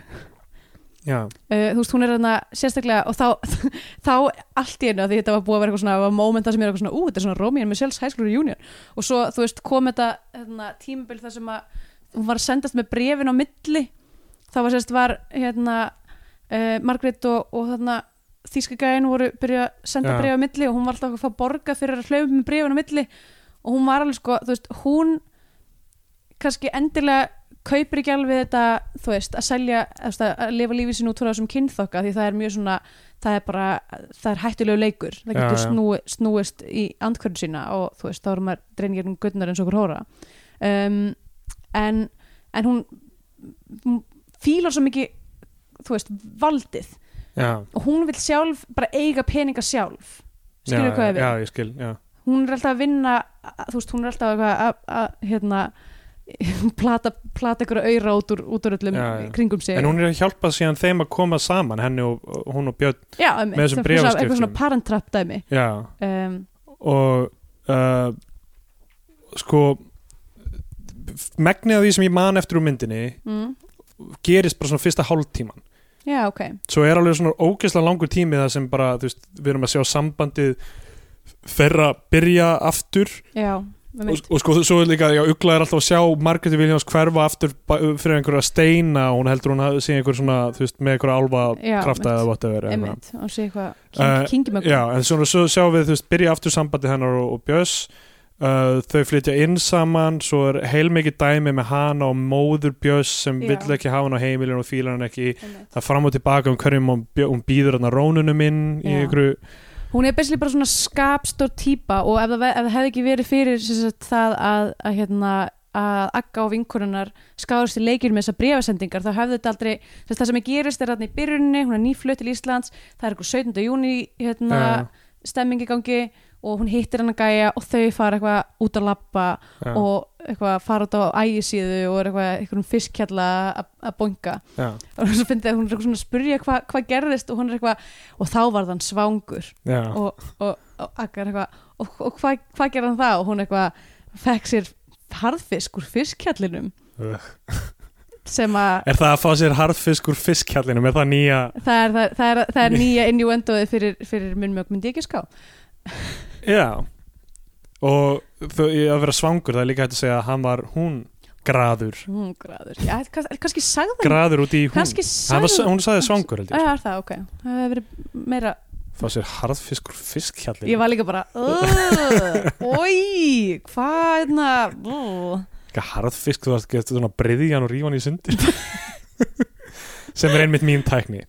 [SPEAKER 2] já,
[SPEAKER 3] uh, þú veist, hún er þarna sérstaklega og þá, þá allt í einu að því þetta var búið að vera eitthvað svona, var momenta sem er eitthvað svona ú, þetta er svona Romeo með sjálfs hæsklur í junior og svo, þú veist, kom þetta hérna, tímabil þar sem að hún var að sendast með brefin á milli þá var sérst var, hérna uh, Margrét og, og þarna þýska gæin voru byrjuð að senda
[SPEAKER 2] Já.
[SPEAKER 3] brefin á milli og hún var alltaf að fá borga fyrir að hlaupa með brefin á milli og hún var alveg sko, þú veist, hún kannski endilega kaupir ekki alveg þetta, þú veist, að selja þú veist, að lifa lífið sín út frá þessum kynþokka því það er mjög svona, það er bara það er hættulegu leikur, það
[SPEAKER 2] Já,
[SPEAKER 3] getur
[SPEAKER 2] já.
[SPEAKER 3] snúi, snúist í andkvörðu sína og þú veist, þá er maður dreyningir um gutnar eins og okkur hóra um, en, en hún, hún fílar svo mikið, þú veist, valdið
[SPEAKER 2] já,
[SPEAKER 3] og hún vil sjálf bara eiga peninga sjálf skilur
[SPEAKER 2] já,
[SPEAKER 3] hvað ég við?
[SPEAKER 2] já, ég skil já.
[SPEAKER 3] hún er alltaf að vinna að- þú veist, hún er alltaf eitthvað að, að hérna, plata, plata ykkur auðra út úr, út úr öllum
[SPEAKER 2] Já, já.
[SPEAKER 3] kringum sig
[SPEAKER 2] en hún er að hjálpa síðan þeim að koma saman henni og, og hún og Björn
[SPEAKER 3] já, um,
[SPEAKER 2] með þessum
[SPEAKER 3] eitthvað
[SPEAKER 2] bréfaskiptum.
[SPEAKER 3] svona parent trap dæmi
[SPEAKER 2] já,
[SPEAKER 3] um,
[SPEAKER 2] og uh, sko megnið af því sem ég man eftir úr myndinni
[SPEAKER 3] mm,
[SPEAKER 2] gerist bara svona fyrsta hálftíman
[SPEAKER 3] já, ok
[SPEAKER 2] svo er alveg svona ógeðslega langur tími það sem bara, þú veist, við erum að sjá sambandið þeirra byrja aftur
[SPEAKER 3] já, um,
[SPEAKER 2] og, og sko svo er líka, já, Ugla er alltaf að sjá Margreti Viljáns hverfa aftur ba- fyrir einhverja steina og hún heldur hún hafi sé einhver svona, þú veist, með einhverja álfa
[SPEAKER 3] Já,
[SPEAKER 2] krafta
[SPEAKER 3] einmitt.
[SPEAKER 2] eða whatever eða eitthvað.
[SPEAKER 3] einmitt, og sé eitthvað
[SPEAKER 2] Eh,
[SPEAKER 3] king, kingi með
[SPEAKER 2] Já, en svona svo sjáum við, þú veist, byrja aftur sambandi hennar og, og Björs uh, þau flytja inn saman, svo er heilmikið dæmi með hana og móður Björs sem
[SPEAKER 3] Já.
[SPEAKER 2] vill ekki hafa hann á heimilinu og fílar hann ekki það er fram og tilbaka um hverjum hún, bjó- hún býður hann að rónunum inn í
[SPEAKER 3] Já.
[SPEAKER 2] einhverju
[SPEAKER 3] hún er basically bara svona skapstór típa og ef það, ve- ef það hefði ekki verið fyrir sem sagt, það að, að hérna að Agga og vinkurinnar skáðust í leikir með þessar brefasendingar, þá hefði þetta aldrei sem sagt, það sem er gerist er þarna í byrjunni, hún er nýflutt til Íslands, það er eitthvað 17. júni hérna,
[SPEAKER 2] Já.
[SPEAKER 3] stemming í gangi og hún hittir hann að gæja og þau fara eitthvað út að labba
[SPEAKER 2] Já,
[SPEAKER 3] og eitthvað fara út á ægisíðu og er eitthvað eitthvað fiskkjalla að- að bonga
[SPEAKER 2] já,
[SPEAKER 3] og svo finnst það hún er eitthvað svona að spurja hvað hva gerðist og hún er eitthvað og þá var þann svangur
[SPEAKER 2] já,
[SPEAKER 3] og, og, og Aggar eitthvað og, og hvað hva gerði hann það og hún eitthvað fekk sér harðfisk úr fiskkjallinum
[SPEAKER 2] Ugh.
[SPEAKER 3] sem að
[SPEAKER 2] Er það að fá sér harðfisk úr fiskkjallinum, er það nýja
[SPEAKER 3] það er, það, það er, það er nýja innuendoði fyrir, fyrir munnmjög myndi ég ekki ská
[SPEAKER 2] Já og þau, að vera svangur, það er líka hægt að segja að hann var hún graður,
[SPEAKER 3] hún græður, já, kann, kannski sagði hann
[SPEAKER 2] graður út í hún
[SPEAKER 3] kannski
[SPEAKER 2] Hann var,
[SPEAKER 3] sagði
[SPEAKER 2] hún sagði svangur held ég
[SPEAKER 3] Já, er það, ok, það hefur verið meira
[SPEAKER 2] fá sér harðfisk úr fiskkjallinu
[SPEAKER 3] ég var líka bara oi, hvað hérna, ú,
[SPEAKER 2] Ekki harðfisk, þú varst gett svona breiðjan og rífan í sundir sem er einmitt mín tækni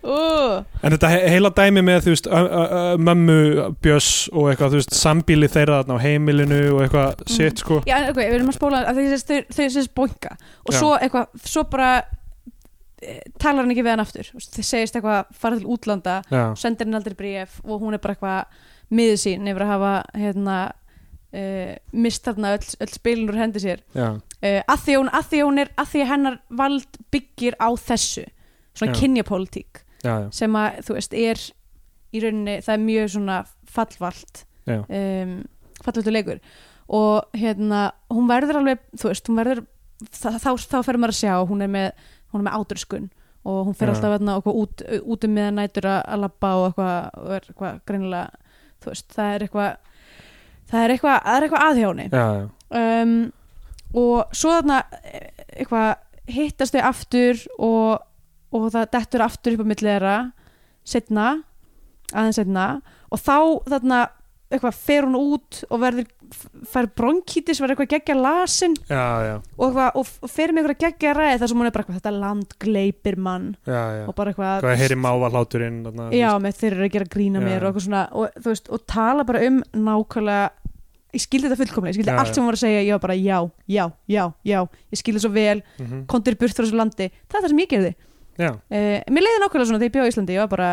[SPEAKER 3] ú.
[SPEAKER 2] en þetta he- heila dæmi með þú veist ö- ö- ö- mömmu Björs og eitthvað þú veist sambíli þeirra þarna á heimilinu og eitthvað shit sko
[SPEAKER 3] Já, en ok, við erum að spóla að þau, þau, þau sést boinga og
[SPEAKER 2] Já.
[SPEAKER 3] svo eitthvað, svo bara e, talar hann ekki við hann aftur þau segist eitthvað fara til útlanda
[SPEAKER 2] Já,
[SPEAKER 3] sendir hann aldrei bréf og hún er bara eitthvað miður sín yfir að hafa hérna, uh, mist þarna öll, öll spilin úr hendi sér
[SPEAKER 2] já,
[SPEAKER 3] uh, að, því að hún, að því að hún er að því að hennar vald byggir á þessu svona
[SPEAKER 2] Já.
[SPEAKER 3] kynjapólitík
[SPEAKER 2] já, já,
[SPEAKER 3] sem að þú veist er í rauninni, það er mjög svona fallvalt
[SPEAKER 2] Já.
[SPEAKER 3] um, fallvaltu leikur og hérna, hún verður alveg þú veist, hún verður þá, þá, þá fer maður að sjá, hún er með, hún er með áturskun og hún fer
[SPEAKER 2] Já.
[SPEAKER 3] alltaf hérna, okkur, út, út um meðan nætur að- að labba og eitthvað, og er eitthvað greinilega þú veist, það er eitthvað það er eitthvað, það er eitthvað aðhjóni
[SPEAKER 2] já, já.
[SPEAKER 3] um, og svo þarna eh, eitthvað hittast þau aftur og, og það dettur aftur upp á milli þeirra setna, aðeins setna og þá þarna eitthvað fer hún út og verður fær bronkítis, verður eitthvað geggja lasin
[SPEAKER 2] já, já,
[SPEAKER 3] og, eitthvað, og, og fer með eitthvað geggja ræði þar sem hún er bara eitthvað þetta land gleipir mann
[SPEAKER 2] já, já.
[SPEAKER 3] og bara eitthvað
[SPEAKER 2] Hvað heyri máva hláturinn þarna, þú
[SPEAKER 3] já,
[SPEAKER 2] veist.
[SPEAKER 3] með þeir eru að gera grína
[SPEAKER 2] Já.
[SPEAKER 3] mér og eitthvað svona og, þú veist, og tala bara um nákvæmlega ég skildi þetta fullkomlega, ég skildi
[SPEAKER 2] Já,
[SPEAKER 3] allt sem hún var að segja ég var bara já, já, já, já ég skildi svo vel,
[SPEAKER 2] Mhm.
[SPEAKER 3] kontur burt frá þessu landi það er það sem ég gerði Eh,
[SPEAKER 2] já,
[SPEAKER 3] uh, mér leiði nákvæmlega svona þegar ég bjóð í Íslandi ég var bara,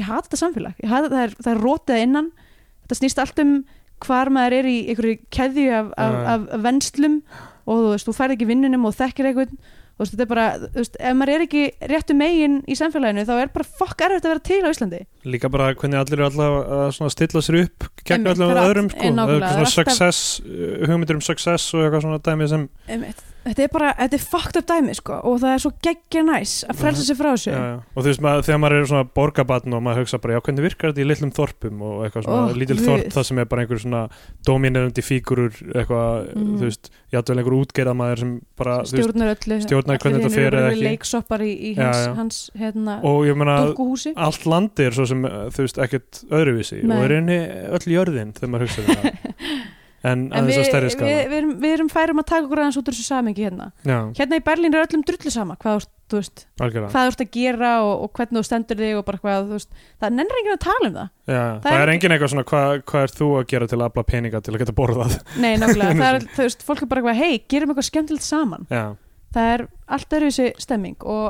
[SPEAKER 3] ég hata þetta samfélag ég hata, það, er, það er rótið að innan þetta snýst allt um hvar maður er í einhverju keðju af, af,
[SPEAKER 2] Já.
[SPEAKER 3] af venslum og þú veist, þú færð ekki vinnunum og þekkir einhvern þú veist, þetta er bara, þú veist, ef maður er ekki réttu megin í samfélaginu þá er bara fokk erfitt að vera til á Íslandi
[SPEAKER 2] líka bara hvernig allir eru alltaf að svona stilla sér upp gegn
[SPEAKER 3] Einmitt,
[SPEAKER 2] öllum
[SPEAKER 3] það er allt-
[SPEAKER 2] öðrum sko.
[SPEAKER 3] eh, nákvæmlega,
[SPEAKER 2] það er
[SPEAKER 3] það er
[SPEAKER 2] svona
[SPEAKER 3] alltaf-
[SPEAKER 2] success, uh, hugmyndir um success og eitthvað svona dæmi sem
[SPEAKER 3] Einmitt. þetta er bara, þetta er fokkt upp dæmi sko, og það er svo geggja næs að frelsa sig frá þessu
[SPEAKER 2] Mhm. Já, já. og þú veist maður, þegar maður er svona borgabatn og maður hugsa bara, já hvernig virkar þetta í litlum þorpum og eitthvað svona,
[SPEAKER 3] Ó,
[SPEAKER 2] lítil
[SPEAKER 3] Oh, guð.
[SPEAKER 2] þorp það sem er bara einhver svona dominerandi fígurur eitthvað,
[SPEAKER 3] Mhm.
[SPEAKER 2] þú veist, játvel einhver útgerðamaður sem bara, þú veist,
[SPEAKER 3] stjórnar öllu
[SPEAKER 2] stjórnar hvernig þetta fer eða
[SPEAKER 3] eða
[SPEAKER 2] ekki.
[SPEAKER 3] leiksoppar í, í
[SPEAKER 2] Já,
[SPEAKER 3] hans,
[SPEAKER 2] já.
[SPEAKER 3] hans hérna,
[SPEAKER 2] og ég meina
[SPEAKER 3] dúkkuhúsi
[SPEAKER 2] allt landi er svo sem, uh, þú veist, ekkert öðruvísi
[SPEAKER 3] Nei.
[SPEAKER 2] og er einni öll jörðin þegar maður hugsa þetta en
[SPEAKER 3] en
[SPEAKER 2] aðeins
[SPEAKER 3] við,
[SPEAKER 2] að stærri
[SPEAKER 3] við,
[SPEAKER 2] skala
[SPEAKER 3] við, erum, við erum færum að taka okkur aðeins út úr þessu samingi hérna
[SPEAKER 2] já,
[SPEAKER 3] hérna í Berlín er öllum drullu sama hvað þú, þú veist,
[SPEAKER 2] algjörlega
[SPEAKER 3] hvað þú ert að gera og, og hvernig þú stendur þig og bara hvað þú veist, það nennir enginn að tala um það
[SPEAKER 2] Já, það, er
[SPEAKER 3] ekki-
[SPEAKER 2] engin eitthvað svona hvað hva er þú að gera til að afla peninga til að geta borðað
[SPEAKER 3] nei, nákvæmlega, það er, þú veist, fólk er bara eitthvað hei, gerum eitthvað skemmtilegt saman
[SPEAKER 2] Já,
[SPEAKER 3] það er allt öðruvísi stemming og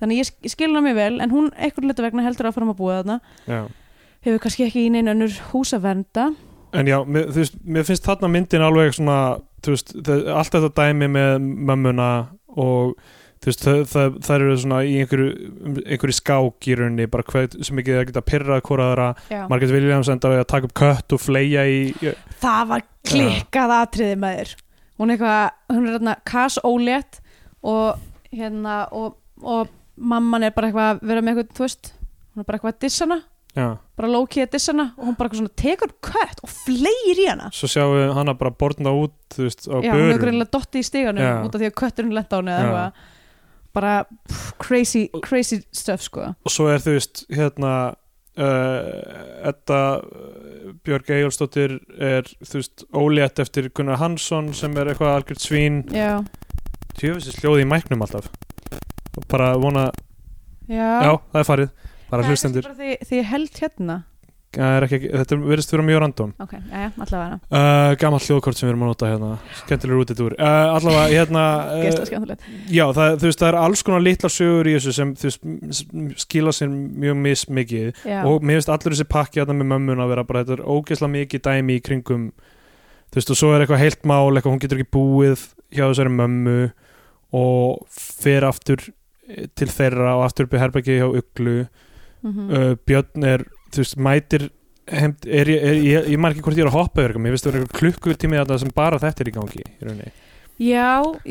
[SPEAKER 3] þannig ég, sk- ég skil hana mjög vel en hún eitthvað letu vegna heldur áfram að búa þarna
[SPEAKER 2] já
[SPEAKER 3] hefur kannski ekki í neinu önnur hús að vernda
[SPEAKER 2] En já, mér, þú veist, mér finnst þarna myndin alveg svona, þú veist, það, allt þetta dæmi með mömmuna og þú veist, það, það, það eru svona í einhverju, einhverju skák í rauninni, bara hvað sem ekki það geta pyrrað hvora þeirra,
[SPEAKER 3] Já.
[SPEAKER 2] Margaret Williams endar á því að taka upp kött og fleia í,
[SPEAKER 3] það var klikkað atriði með þér hún er eitthvað, hún er hérna kas ólétt og hérna og, og mamman er bara eitthvað að vera með eitthvað, þú veist hún er bara eitthvað að dissa hana,
[SPEAKER 2] já,
[SPEAKER 3] bara lókið að dissa hana og hún bara eitthvað svona tekur kött og fleir í hana
[SPEAKER 2] svo sjáum við hana bara borna út, þú veist, á
[SPEAKER 3] já, hún er
[SPEAKER 2] börum.
[SPEAKER 3] greinlega dotti í stiganum
[SPEAKER 2] Já.
[SPEAKER 3] út af því að kötturinn lenda á henni
[SPEAKER 2] Já.
[SPEAKER 3] eða eitthvað bara pff, crazy, crazy stuff sko
[SPEAKER 2] og svo er þú veist hérna uh, Edda uh, Björg Eyjólfsdóttir er þú veist ólétt eftir Gunnar Hansson sem er eitthvað algjört svín
[SPEAKER 3] já,
[SPEAKER 2] tjöfisins hljóði í mæknum alltaf Og bara vona,
[SPEAKER 3] já,
[SPEAKER 2] já, það er farið bara
[SPEAKER 3] það er kannski
[SPEAKER 2] hlustendur,
[SPEAKER 3] bara því, því ég held hérna
[SPEAKER 2] það er ekki, þetta verðist vera mjög random
[SPEAKER 3] ok, já, allavega
[SPEAKER 2] uh, gammal hljóðkort sem við erum að nota hérna skemmtilegur út þetta úr, uh, allavega hérna
[SPEAKER 3] gæsla
[SPEAKER 2] uh,
[SPEAKER 3] skemmtilegt
[SPEAKER 2] Já, það, þú veist, það er alls konar litlar sögur í þessu sem þú veist, m- s- skila sér mjög mismikið
[SPEAKER 3] já,
[SPEAKER 2] og mér finnst allur þessi pakki að með mömmun að vera bara þetta er ógeðslega mikið dæmi í kringum þú veist og svo er eitthvað heilt mál eitthvað hún getur ekki búið hjá þessari mömmu og fer aftur eh, til þeirra og aftur upp í herbergi hjá Uglu
[SPEAKER 3] mhm.
[SPEAKER 2] uh, Björn er, þú veist, mætir hemd, er, ég- er, ég, ég man ekki hvort ég er að hoppa yfir eitthvað, mér finnst það vera eitthvað klukkur tími þarna sem bara þetta er í gangi í rauninni
[SPEAKER 3] Já,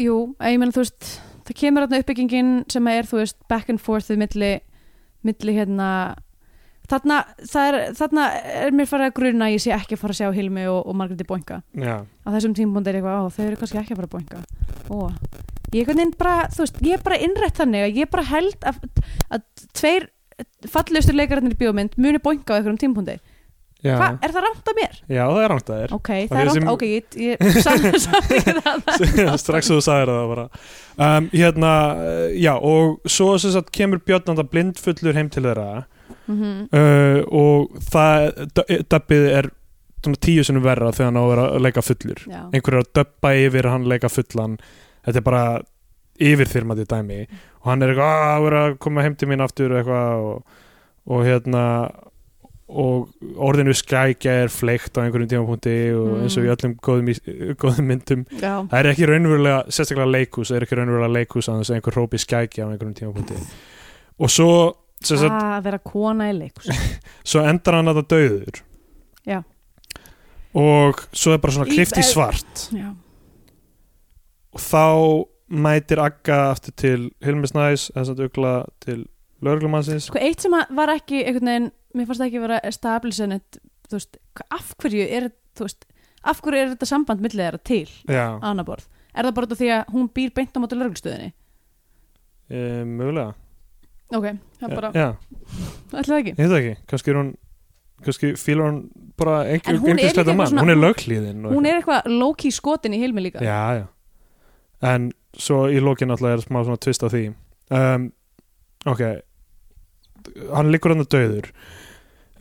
[SPEAKER 3] jú, að ég meina þú veist það kemur þarna uppbyggingin sem er þú veist back and forthið milli milli hérna þarna, það er, þarna er mér farið að gruna að ég sé ekki að fara að sjá Hilmi og, og Margréti Boinka
[SPEAKER 2] Já,
[SPEAKER 3] á þessum tímpúnd er ég eitthvað, á þau eru kannski ekki að fara að Boinka Ó, ég er bara þú veist, ég er bara innrætt þannig að ég bara held að, að tveir fallegustu leikararnir í bíómynd muni Boinka á einhverjum tímpúndi,
[SPEAKER 2] já,
[SPEAKER 3] hvað, er það rámt að mér?
[SPEAKER 2] já það er rangt að þér
[SPEAKER 3] Ok,
[SPEAKER 2] Og
[SPEAKER 3] það er
[SPEAKER 2] ég
[SPEAKER 3] rámt,
[SPEAKER 2] sem-
[SPEAKER 3] ok, ég, ég saman, saman, saman,
[SPEAKER 2] strax þú sagðir það bara um, hérna, eh, já og svo sem sagt kemur Björn anda blindfullur heim til þeirra
[SPEAKER 3] saman.
[SPEAKER 2] uh, og það döbbið er svona tíu sinni verra þegar hann á að vera að leika fullur
[SPEAKER 3] Já.
[SPEAKER 2] einhver er að döbba yfir hann leika fullan þetta er bara yfirþyrmandi dæmi og hann er eitthvað að vera að koma heim til mín aftur og eitthvað og, og hérna og orðinu skækja er fleikt á einhverjum tímapunkti og eins og í öllum góðum, í- góðum myndum
[SPEAKER 3] Já.
[SPEAKER 2] Það er ekki raunverulega, sérstaklega leikús, það er ekki raunverulega leikús að þess að einhver hrópi skæki á einhverjum tímapunkti. Og svo, sem sagt,
[SPEAKER 3] að vera kona í leikus
[SPEAKER 2] svo endar hann að það döður.
[SPEAKER 3] Ah. Já.
[SPEAKER 2] Og svo er bara svona
[SPEAKER 3] Í- eh,
[SPEAKER 2] klift í svart.
[SPEAKER 3] já,
[SPEAKER 2] Og þá mætir Agga aftur til Hilmi Snæs, þess að ugla til lögreglumannsins.
[SPEAKER 3] sko eitt sem að var ekki einhvern veginn, mér fannst það ekki vera established, þú veist, hva- af hverju er, þú veist, af hverju er þetta samband millið þeirra til
[SPEAKER 2] Já,
[SPEAKER 3] annaborð er það bara út af því að hún býr beint á móti lörgulstöðinni
[SPEAKER 2] e, mögulega. Eh,
[SPEAKER 3] ok, það er bara,
[SPEAKER 2] Já,
[SPEAKER 3] ætlaði það ekki
[SPEAKER 2] ég veit það ekki. Kannski er hún, kannski fílar hún bara
[SPEAKER 3] En
[SPEAKER 2] einhver,
[SPEAKER 3] hún er
[SPEAKER 2] einhver
[SPEAKER 3] líka
[SPEAKER 2] slæta
[SPEAKER 3] eitthvað
[SPEAKER 2] mann.
[SPEAKER 3] svona-
[SPEAKER 2] Hún er löglíðin.
[SPEAKER 3] hún er eitthvað low-key skotin í hilmi líka
[SPEAKER 2] já, já. en svo í lókin alltaf er smá svona tvist á því um, ok hann liggur hann döður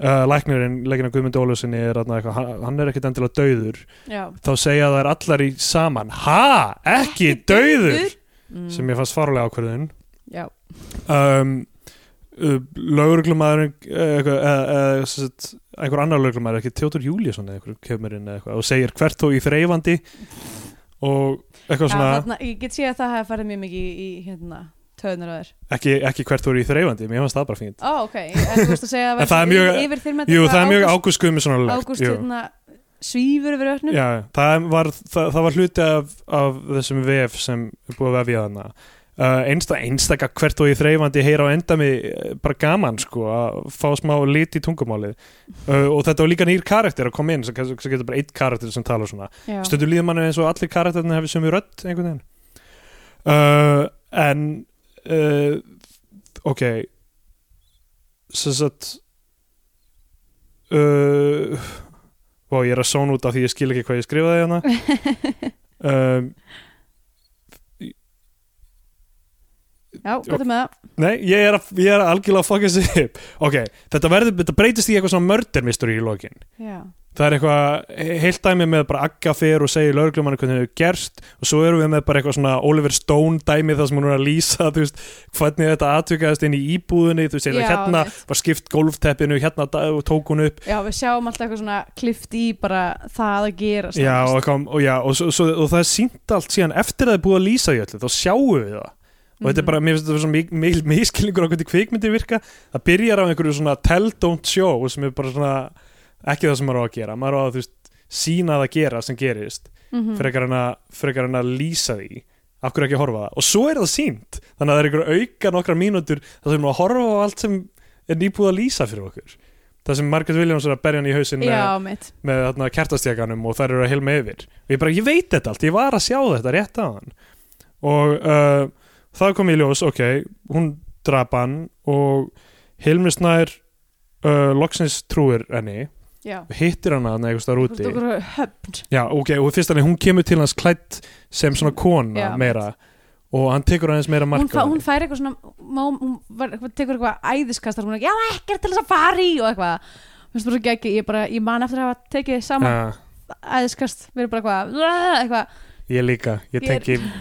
[SPEAKER 2] uh, læknirinn, leggina Guðmund Ólafsinni er hann eitthvað, hann- hann er ekkit endilega döður
[SPEAKER 3] já.
[SPEAKER 2] þá segja það er allar í saman ha, ekki döður
[SPEAKER 3] Mm,
[SPEAKER 2] sem ég fannst farulega ákvörðun
[SPEAKER 3] já.
[SPEAKER 2] um, uh, eh, lögreglumæður einhver annar lögreglumæður ekki Teodor Júliusson eða einhver kemur inn eða eitthvað og segir hvert þó í þreifandi og eitthvað svona
[SPEAKER 3] þarna, ég get sé að það hefði farið mjög mikið í, í hérna, töðnur á þér
[SPEAKER 2] ekki, ekki hvert þú eru í þreifandi, mér fannst það bara fínt
[SPEAKER 3] ó ok, en þú veist að segja að
[SPEAKER 2] En það er
[SPEAKER 3] væri
[SPEAKER 2] mjög-
[SPEAKER 3] yfir þeim
[SPEAKER 2] Jú, það er mjög ágústskuðum svona legt
[SPEAKER 3] ágúst hérna, svífur yfir ötnum
[SPEAKER 2] Já, það var, það, það var hluti af, af þessum vef sem er búið að vefja þarna uh, einsta, einstaka hvert og í þreifandi heyra á endami eh, bara gaman sko að fá smá lit í tungumálið uh, og þetta var líka nýr karakter að koma inn sem, sem getur bara eitt karakter sem talar svona
[SPEAKER 3] Já.
[SPEAKER 2] stundum líður manni eins og allir karakterna hefur sem við rödd einhvern veginn uh, en uh, ok sem sagt uh, og ég er að són út af því ég skil ekki hvað ég skrifaði hérna um,
[SPEAKER 3] já, gott með það
[SPEAKER 2] nei, ég er, að, ég er að algjörlega að fucking sig upp ok, þetta, verður, þetta breytist í eitthvað svona murder mystery í lokin
[SPEAKER 3] já,
[SPEAKER 2] það er eitthvað heilt dæmi með bara Agga fyrir og segir lögreglumann hvernig það er gerst og svo erum við með bara eitthvað svona Oliver Stone dæmi þar sem hún er að lýsa þú veist, hvernig þetta atvikaðist inn í íbúðinni þú veist,
[SPEAKER 3] Já,
[SPEAKER 2] eiginlega hérna
[SPEAKER 3] einmitt.
[SPEAKER 2] var skipt gólfteppinu hérna da- og tók hún upp
[SPEAKER 3] já, við sjáum alltaf eitthvað svona klift í bara það að gera
[SPEAKER 2] já, og, eitthvað, og, já, og, svo, svo, og það er sínt allt síðan eftir að það er búið að lýsa í öllu þá sjáum við það og
[SPEAKER 3] Mhm.
[SPEAKER 2] þetta er bara, mér finnst þetta svona mik- mik- miskilningur á hvernig kvikmyndir virka það byrjar á einhverju svona tell don't show sem er bara svona ekki það sem maður á að gera maður á að þú veist, sína það gera sem gerist
[SPEAKER 3] Mhm.
[SPEAKER 2] frekar en að, frekar en að lýsa því af hverju ekki að horfa á það og svo er það sínt þannig að það er einhver auka nokkra mínútur það sem er að horfa á allt sem er nýbúið að lýsa fyrir okkur það sem Margaret Williams er að berja hann í hausinn með,
[SPEAKER 3] já, mitt
[SPEAKER 2] með þarna, kertastjaganum og þær eru að helma yfir og ég bara, ég veit þetta allt, ég var að sjá þetta rétt á hann og uh, það kom í ljós, ok hún drap hann og Hilmi Snær uh, loksins trúir henni
[SPEAKER 3] já,
[SPEAKER 2] hittir hann að hann eitthvað
[SPEAKER 3] þú
[SPEAKER 2] þar
[SPEAKER 3] veist
[SPEAKER 2] úti
[SPEAKER 3] okkur höfn
[SPEAKER 2] Já, ok, og fyrst hann, hún kemur til hans klætt sem svona kona
[SPEAKER 3] Já,
[SPEAKER 2] meira og hann tekur aðeins meira
[SPEAKER 3] hún,
[SPEAKER 2] marka
[SPEAKER 3] fá, hún fær eitthvað svona má, hún var, tekur eitthvað æðiskastar hún er ekki, já, ekkert til þess að fara í og eitthvað Mér finnst bara svo geggi, ég, bara, ég man eftir að hafa tekið saman
[SPEAKER 2] Já,
[SPEAKER 3] æðiskast, við erum bara eitthvað, "Uah", eitthvað.
[SPEAKER 2] ég líka, ég
[SPEAKER 3] Ég er-
[SPEAKER 2] tengi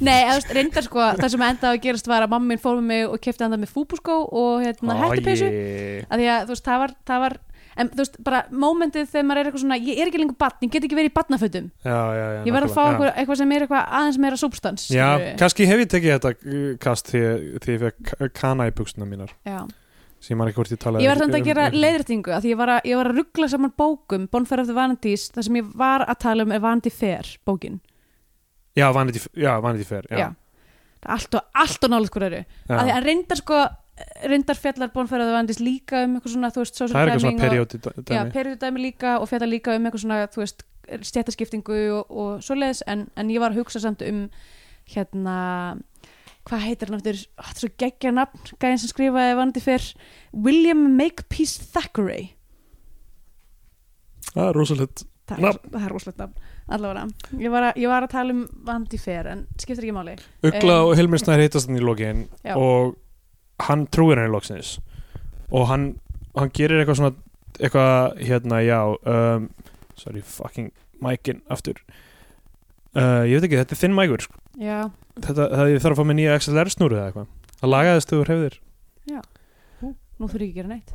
[SPEAKER 3] Nei, eða, þú veist, reyndar sko, það sem endaði að gerast var að mamma mín fór með mig og kefti handa með fúbúskó og hérna, hættupeysu
[SPEAKER 2] ég...
[SPEAKER 3] að því að þú veist, það var, það var en þú veist, bara mómentið þegar maður er eitthvað svona ég er ekki lengur batn, ég get ekki verið í batnafötum
[SPEAKER 2] Já, já, já
[SPEAKER 3] ég verð að fá
[SPEAKER 2] nákvæmlega,
[SPEAKER 3] eitthvað, eitthvað sem er eitthvað aðeins meira substans
[SPEAKER 2] Já, já
[SPEAKER 3] skilurðu.
[SPEAKER 2] kannski hef ég tekið þetta uh, kast því, því ég fekk kana í buksuna mínar
[SPEAKER 3] já.
[SPEAKER 2] sem ég maður ekki hvort ég talaði
[SPEAKER 3] Ég var samt að
[SPEAKER 2] um-
[SPEAKER 3] gera
[SPEAKER 2] um-
[SPEAKER 3] leiðrætingu að því ég var að, ég var að ruggla saman bókum Bonfire of the Vanities, það sem ég var að tala um er Vanity Fair bókin
[SPEAKER 2] Já, vanið í, í fer já.
[SPEAKER 3] Já. Það er allt og, allt og nálega skur eru
[SPEAKER 2] Já.
[SPEAKER 3] að því að reyndar sko reyndar fjallar Bonfire of the Vanities líka um eitthvað svona, þú veist, social
[SPEAKER 2] Það er eitthvað svona
[SPEAKER 3] climbing og-
[SPEAKER 2] perióti
[SPEAKER 3] Já,
[SPEAKER 2] dæmi
[SPEAKER 3] periodudæmi líka og fjallar líka um eitthvað svona, þú veist, stjættaskiptingu og, og svoleiðis en, en ég var að hugsa samt um hérna hvað heitir hann aftur, Ó, þetta er svo geggja nafn gæðin sem skrifaði Vanity Fair William Makepeace Thackeray
[SPEAKER 2] Það er rosalegt
[SPEAKER 3] Það er,
[SPEAKER 2] Nafn.
[SPEAKER 3] það er rosalegt nafn, allavega ég var, að, ég var að tala um Vandi Fer en skiptir ekki máli
[SPEAKER 2] Ugla
[SPEAKER 3] Um,
[SPEAKER 2] og Hilmir Snær hittast hann í lokin
[SPEAKER 3] Já.
[SPEAKER 2] og hann trúir henni loksins og hann, hann gerir eitthvað svona eitthvað hérna já um, sorry fucking mækin aftur uh, ég veit ekki þetta er þinn mækur sko.
[SPEAKER 3] Já,
[SPEAKER 2] þetta, það ég þarf að fá mig nýja XLR snúru eða eitthvað það lagaðist þú hefðir
[SPEAKER 3] nú þurfi ekki að gera neitt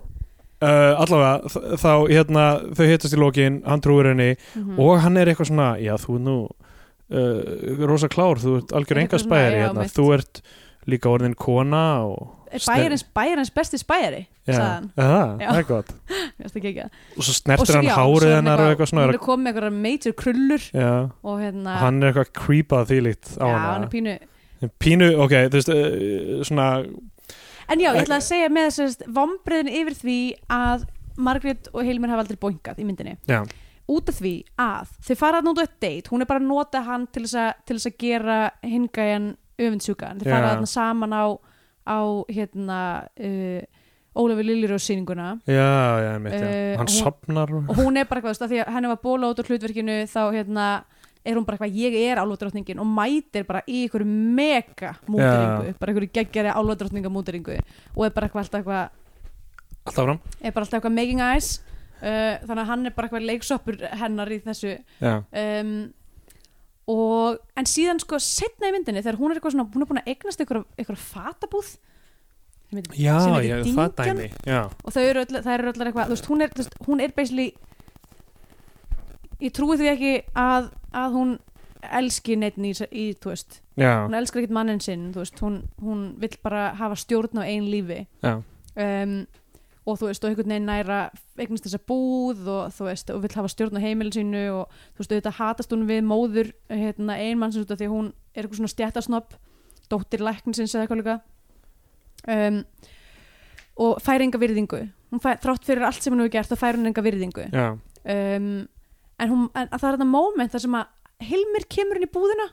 [SPEAKER 2] uh, allavega þ- þá hérna þau hittast í lokin hann trúir henni
[SPEAKER 3] Mhm.
[SPEAKER 2] og hann er eitthvað svona já þú er nú uh, rosa klár þú ert algjör
[SPEAKER 3] Eitthvað
[SPEAKER 2] enga
[SPEAKER 3] svona,
[SPEAKER 2] spæri
[SPEAKER 3] já,
[SPEAKER 2] hérna.
[SPEAKER 3] mitt.
[SPEAKER 2] þú ert líka orðin kona og
[SPEAKER 3] Er Bæjarins, bæjarins besti spæjari sagði
[SPEAKER 2] Já,
[SPEAKER 3] hann.
[SPEAKER 2] aha,
[SPEAKER 3] Já.
[SPEAKER 2] það er gott
[SPEAKER 3] Mér finnst það geggjað.
[SPEAKER 2] Og svo
[SPEAKER 3] Og
[SPEAKER 2] snertir
[SPEAKER 3] svo-
[SPEAKER 2] hann
[SPEAKER 3] já,
[SPEAKER 2] hárið
[SPEAKER 3] svo er hann
[SPEAKER 2] hennar og eitthvað svona
[SPEAKER 3] Hún er komið með eitthvað major krullur
[SPEAKER 2] Já,
[SPEAKER 3] og hérna
[SPEAKER 2] hann er eitthvað creepað þýlíkt á
[SPEAKER 3] Já, hann
[SPEAKER 2] hana
[SPEAKER 3] er pínu
[SPEAKER 2] Pínu, ok, þú veist uh, svona,
[SPEAKER 3] En já, ég ætla að segja með þess að vombriðin yfir því að Margrét og Hilmir hafa aldrei bóingað í myndinni
[SPEAKER 2] já,
[SPEAKER 3] út af því að þau fara þarna út á eitt date hún er bara að nota hann til þess að, til þess að gera hingæjan öfundsjúkan þau
[SPEAKER 2] Já.
[SPEAKER 3] fara þarna saman á, á hérna uh, Ólafi Liljurós sýninguna
[SPEAKER 2] já, já, mitt, já.
[SPEAKER 3] Eh,
[SPEAKER 2] Hann
[SPEAKER 3] hún-
[SPEAKER 2] sopnar og-
[SPEAKER 3] og hún er bara eitthvað, þú veist, af því að henni var bóla út á hlutverkinu þá hérna er hún bara eitthvað, ég er álóðdrottningin og mætir bara í einhverju mega múteringu, bara einhverju geggjari álóðdrottninga múteringu og er bara eitthvað alltaf eitthvað
[SPEAKER 2] Alltaf fram
[SPEAKER 3] er bara alltaf eitthvað making eyes uh, þannig að hann er bara eitthvað leiksoppur hennar í þessu
[SPEAKER 2] Já,
[SPEAKER 3] um, og en síðan sko setna í myndinni þegar hún er eitthvað svona hún er búin að eignast eitthvað, eitthvað fatabúð sem heitir,
[SPEAKER 2] já,
[SPEAKER 3] sem heitir
[SPEAKER 2] ég
[SPEAKER 3] Dyngjan
[SPEAKER 2] það dæmi já,
[SPEAKER 3] og þau eru öll, það eru öllar eitthvað þú veist, hún er, þú veist, hún er basically ég trúi því ekki að, að hún elski neitt í, í, þú veist,
[SPEAKER 2] já,
[SPEAKER 3] hún elskar ekkert mannin sinn þú veist, hún, hún vill bara hafa stjórn á einn lífi
[SPEAKER 2] já,
[SPEAKER 3] um, og þú veist, og einhvern veginn næra eignast þessa búð og þú veist, og vill hafa stjórn á heimilu sínu og þú veist, auðvitað hatast hún við móður hérna, einmannsins út af því að hún er eitthvað svona stjættasnopp dóttir læknisins eða eitthvað líka um, og fær enga virðingu hún fær, þrátt fyrir allt sem hún hefur gert þá fær hún enga virðingu
[SPEAKER 2] já,
[SPEAKER 3] um, en, hún, en það er þetta moment þar sem að Hilmir kemur inn í búðina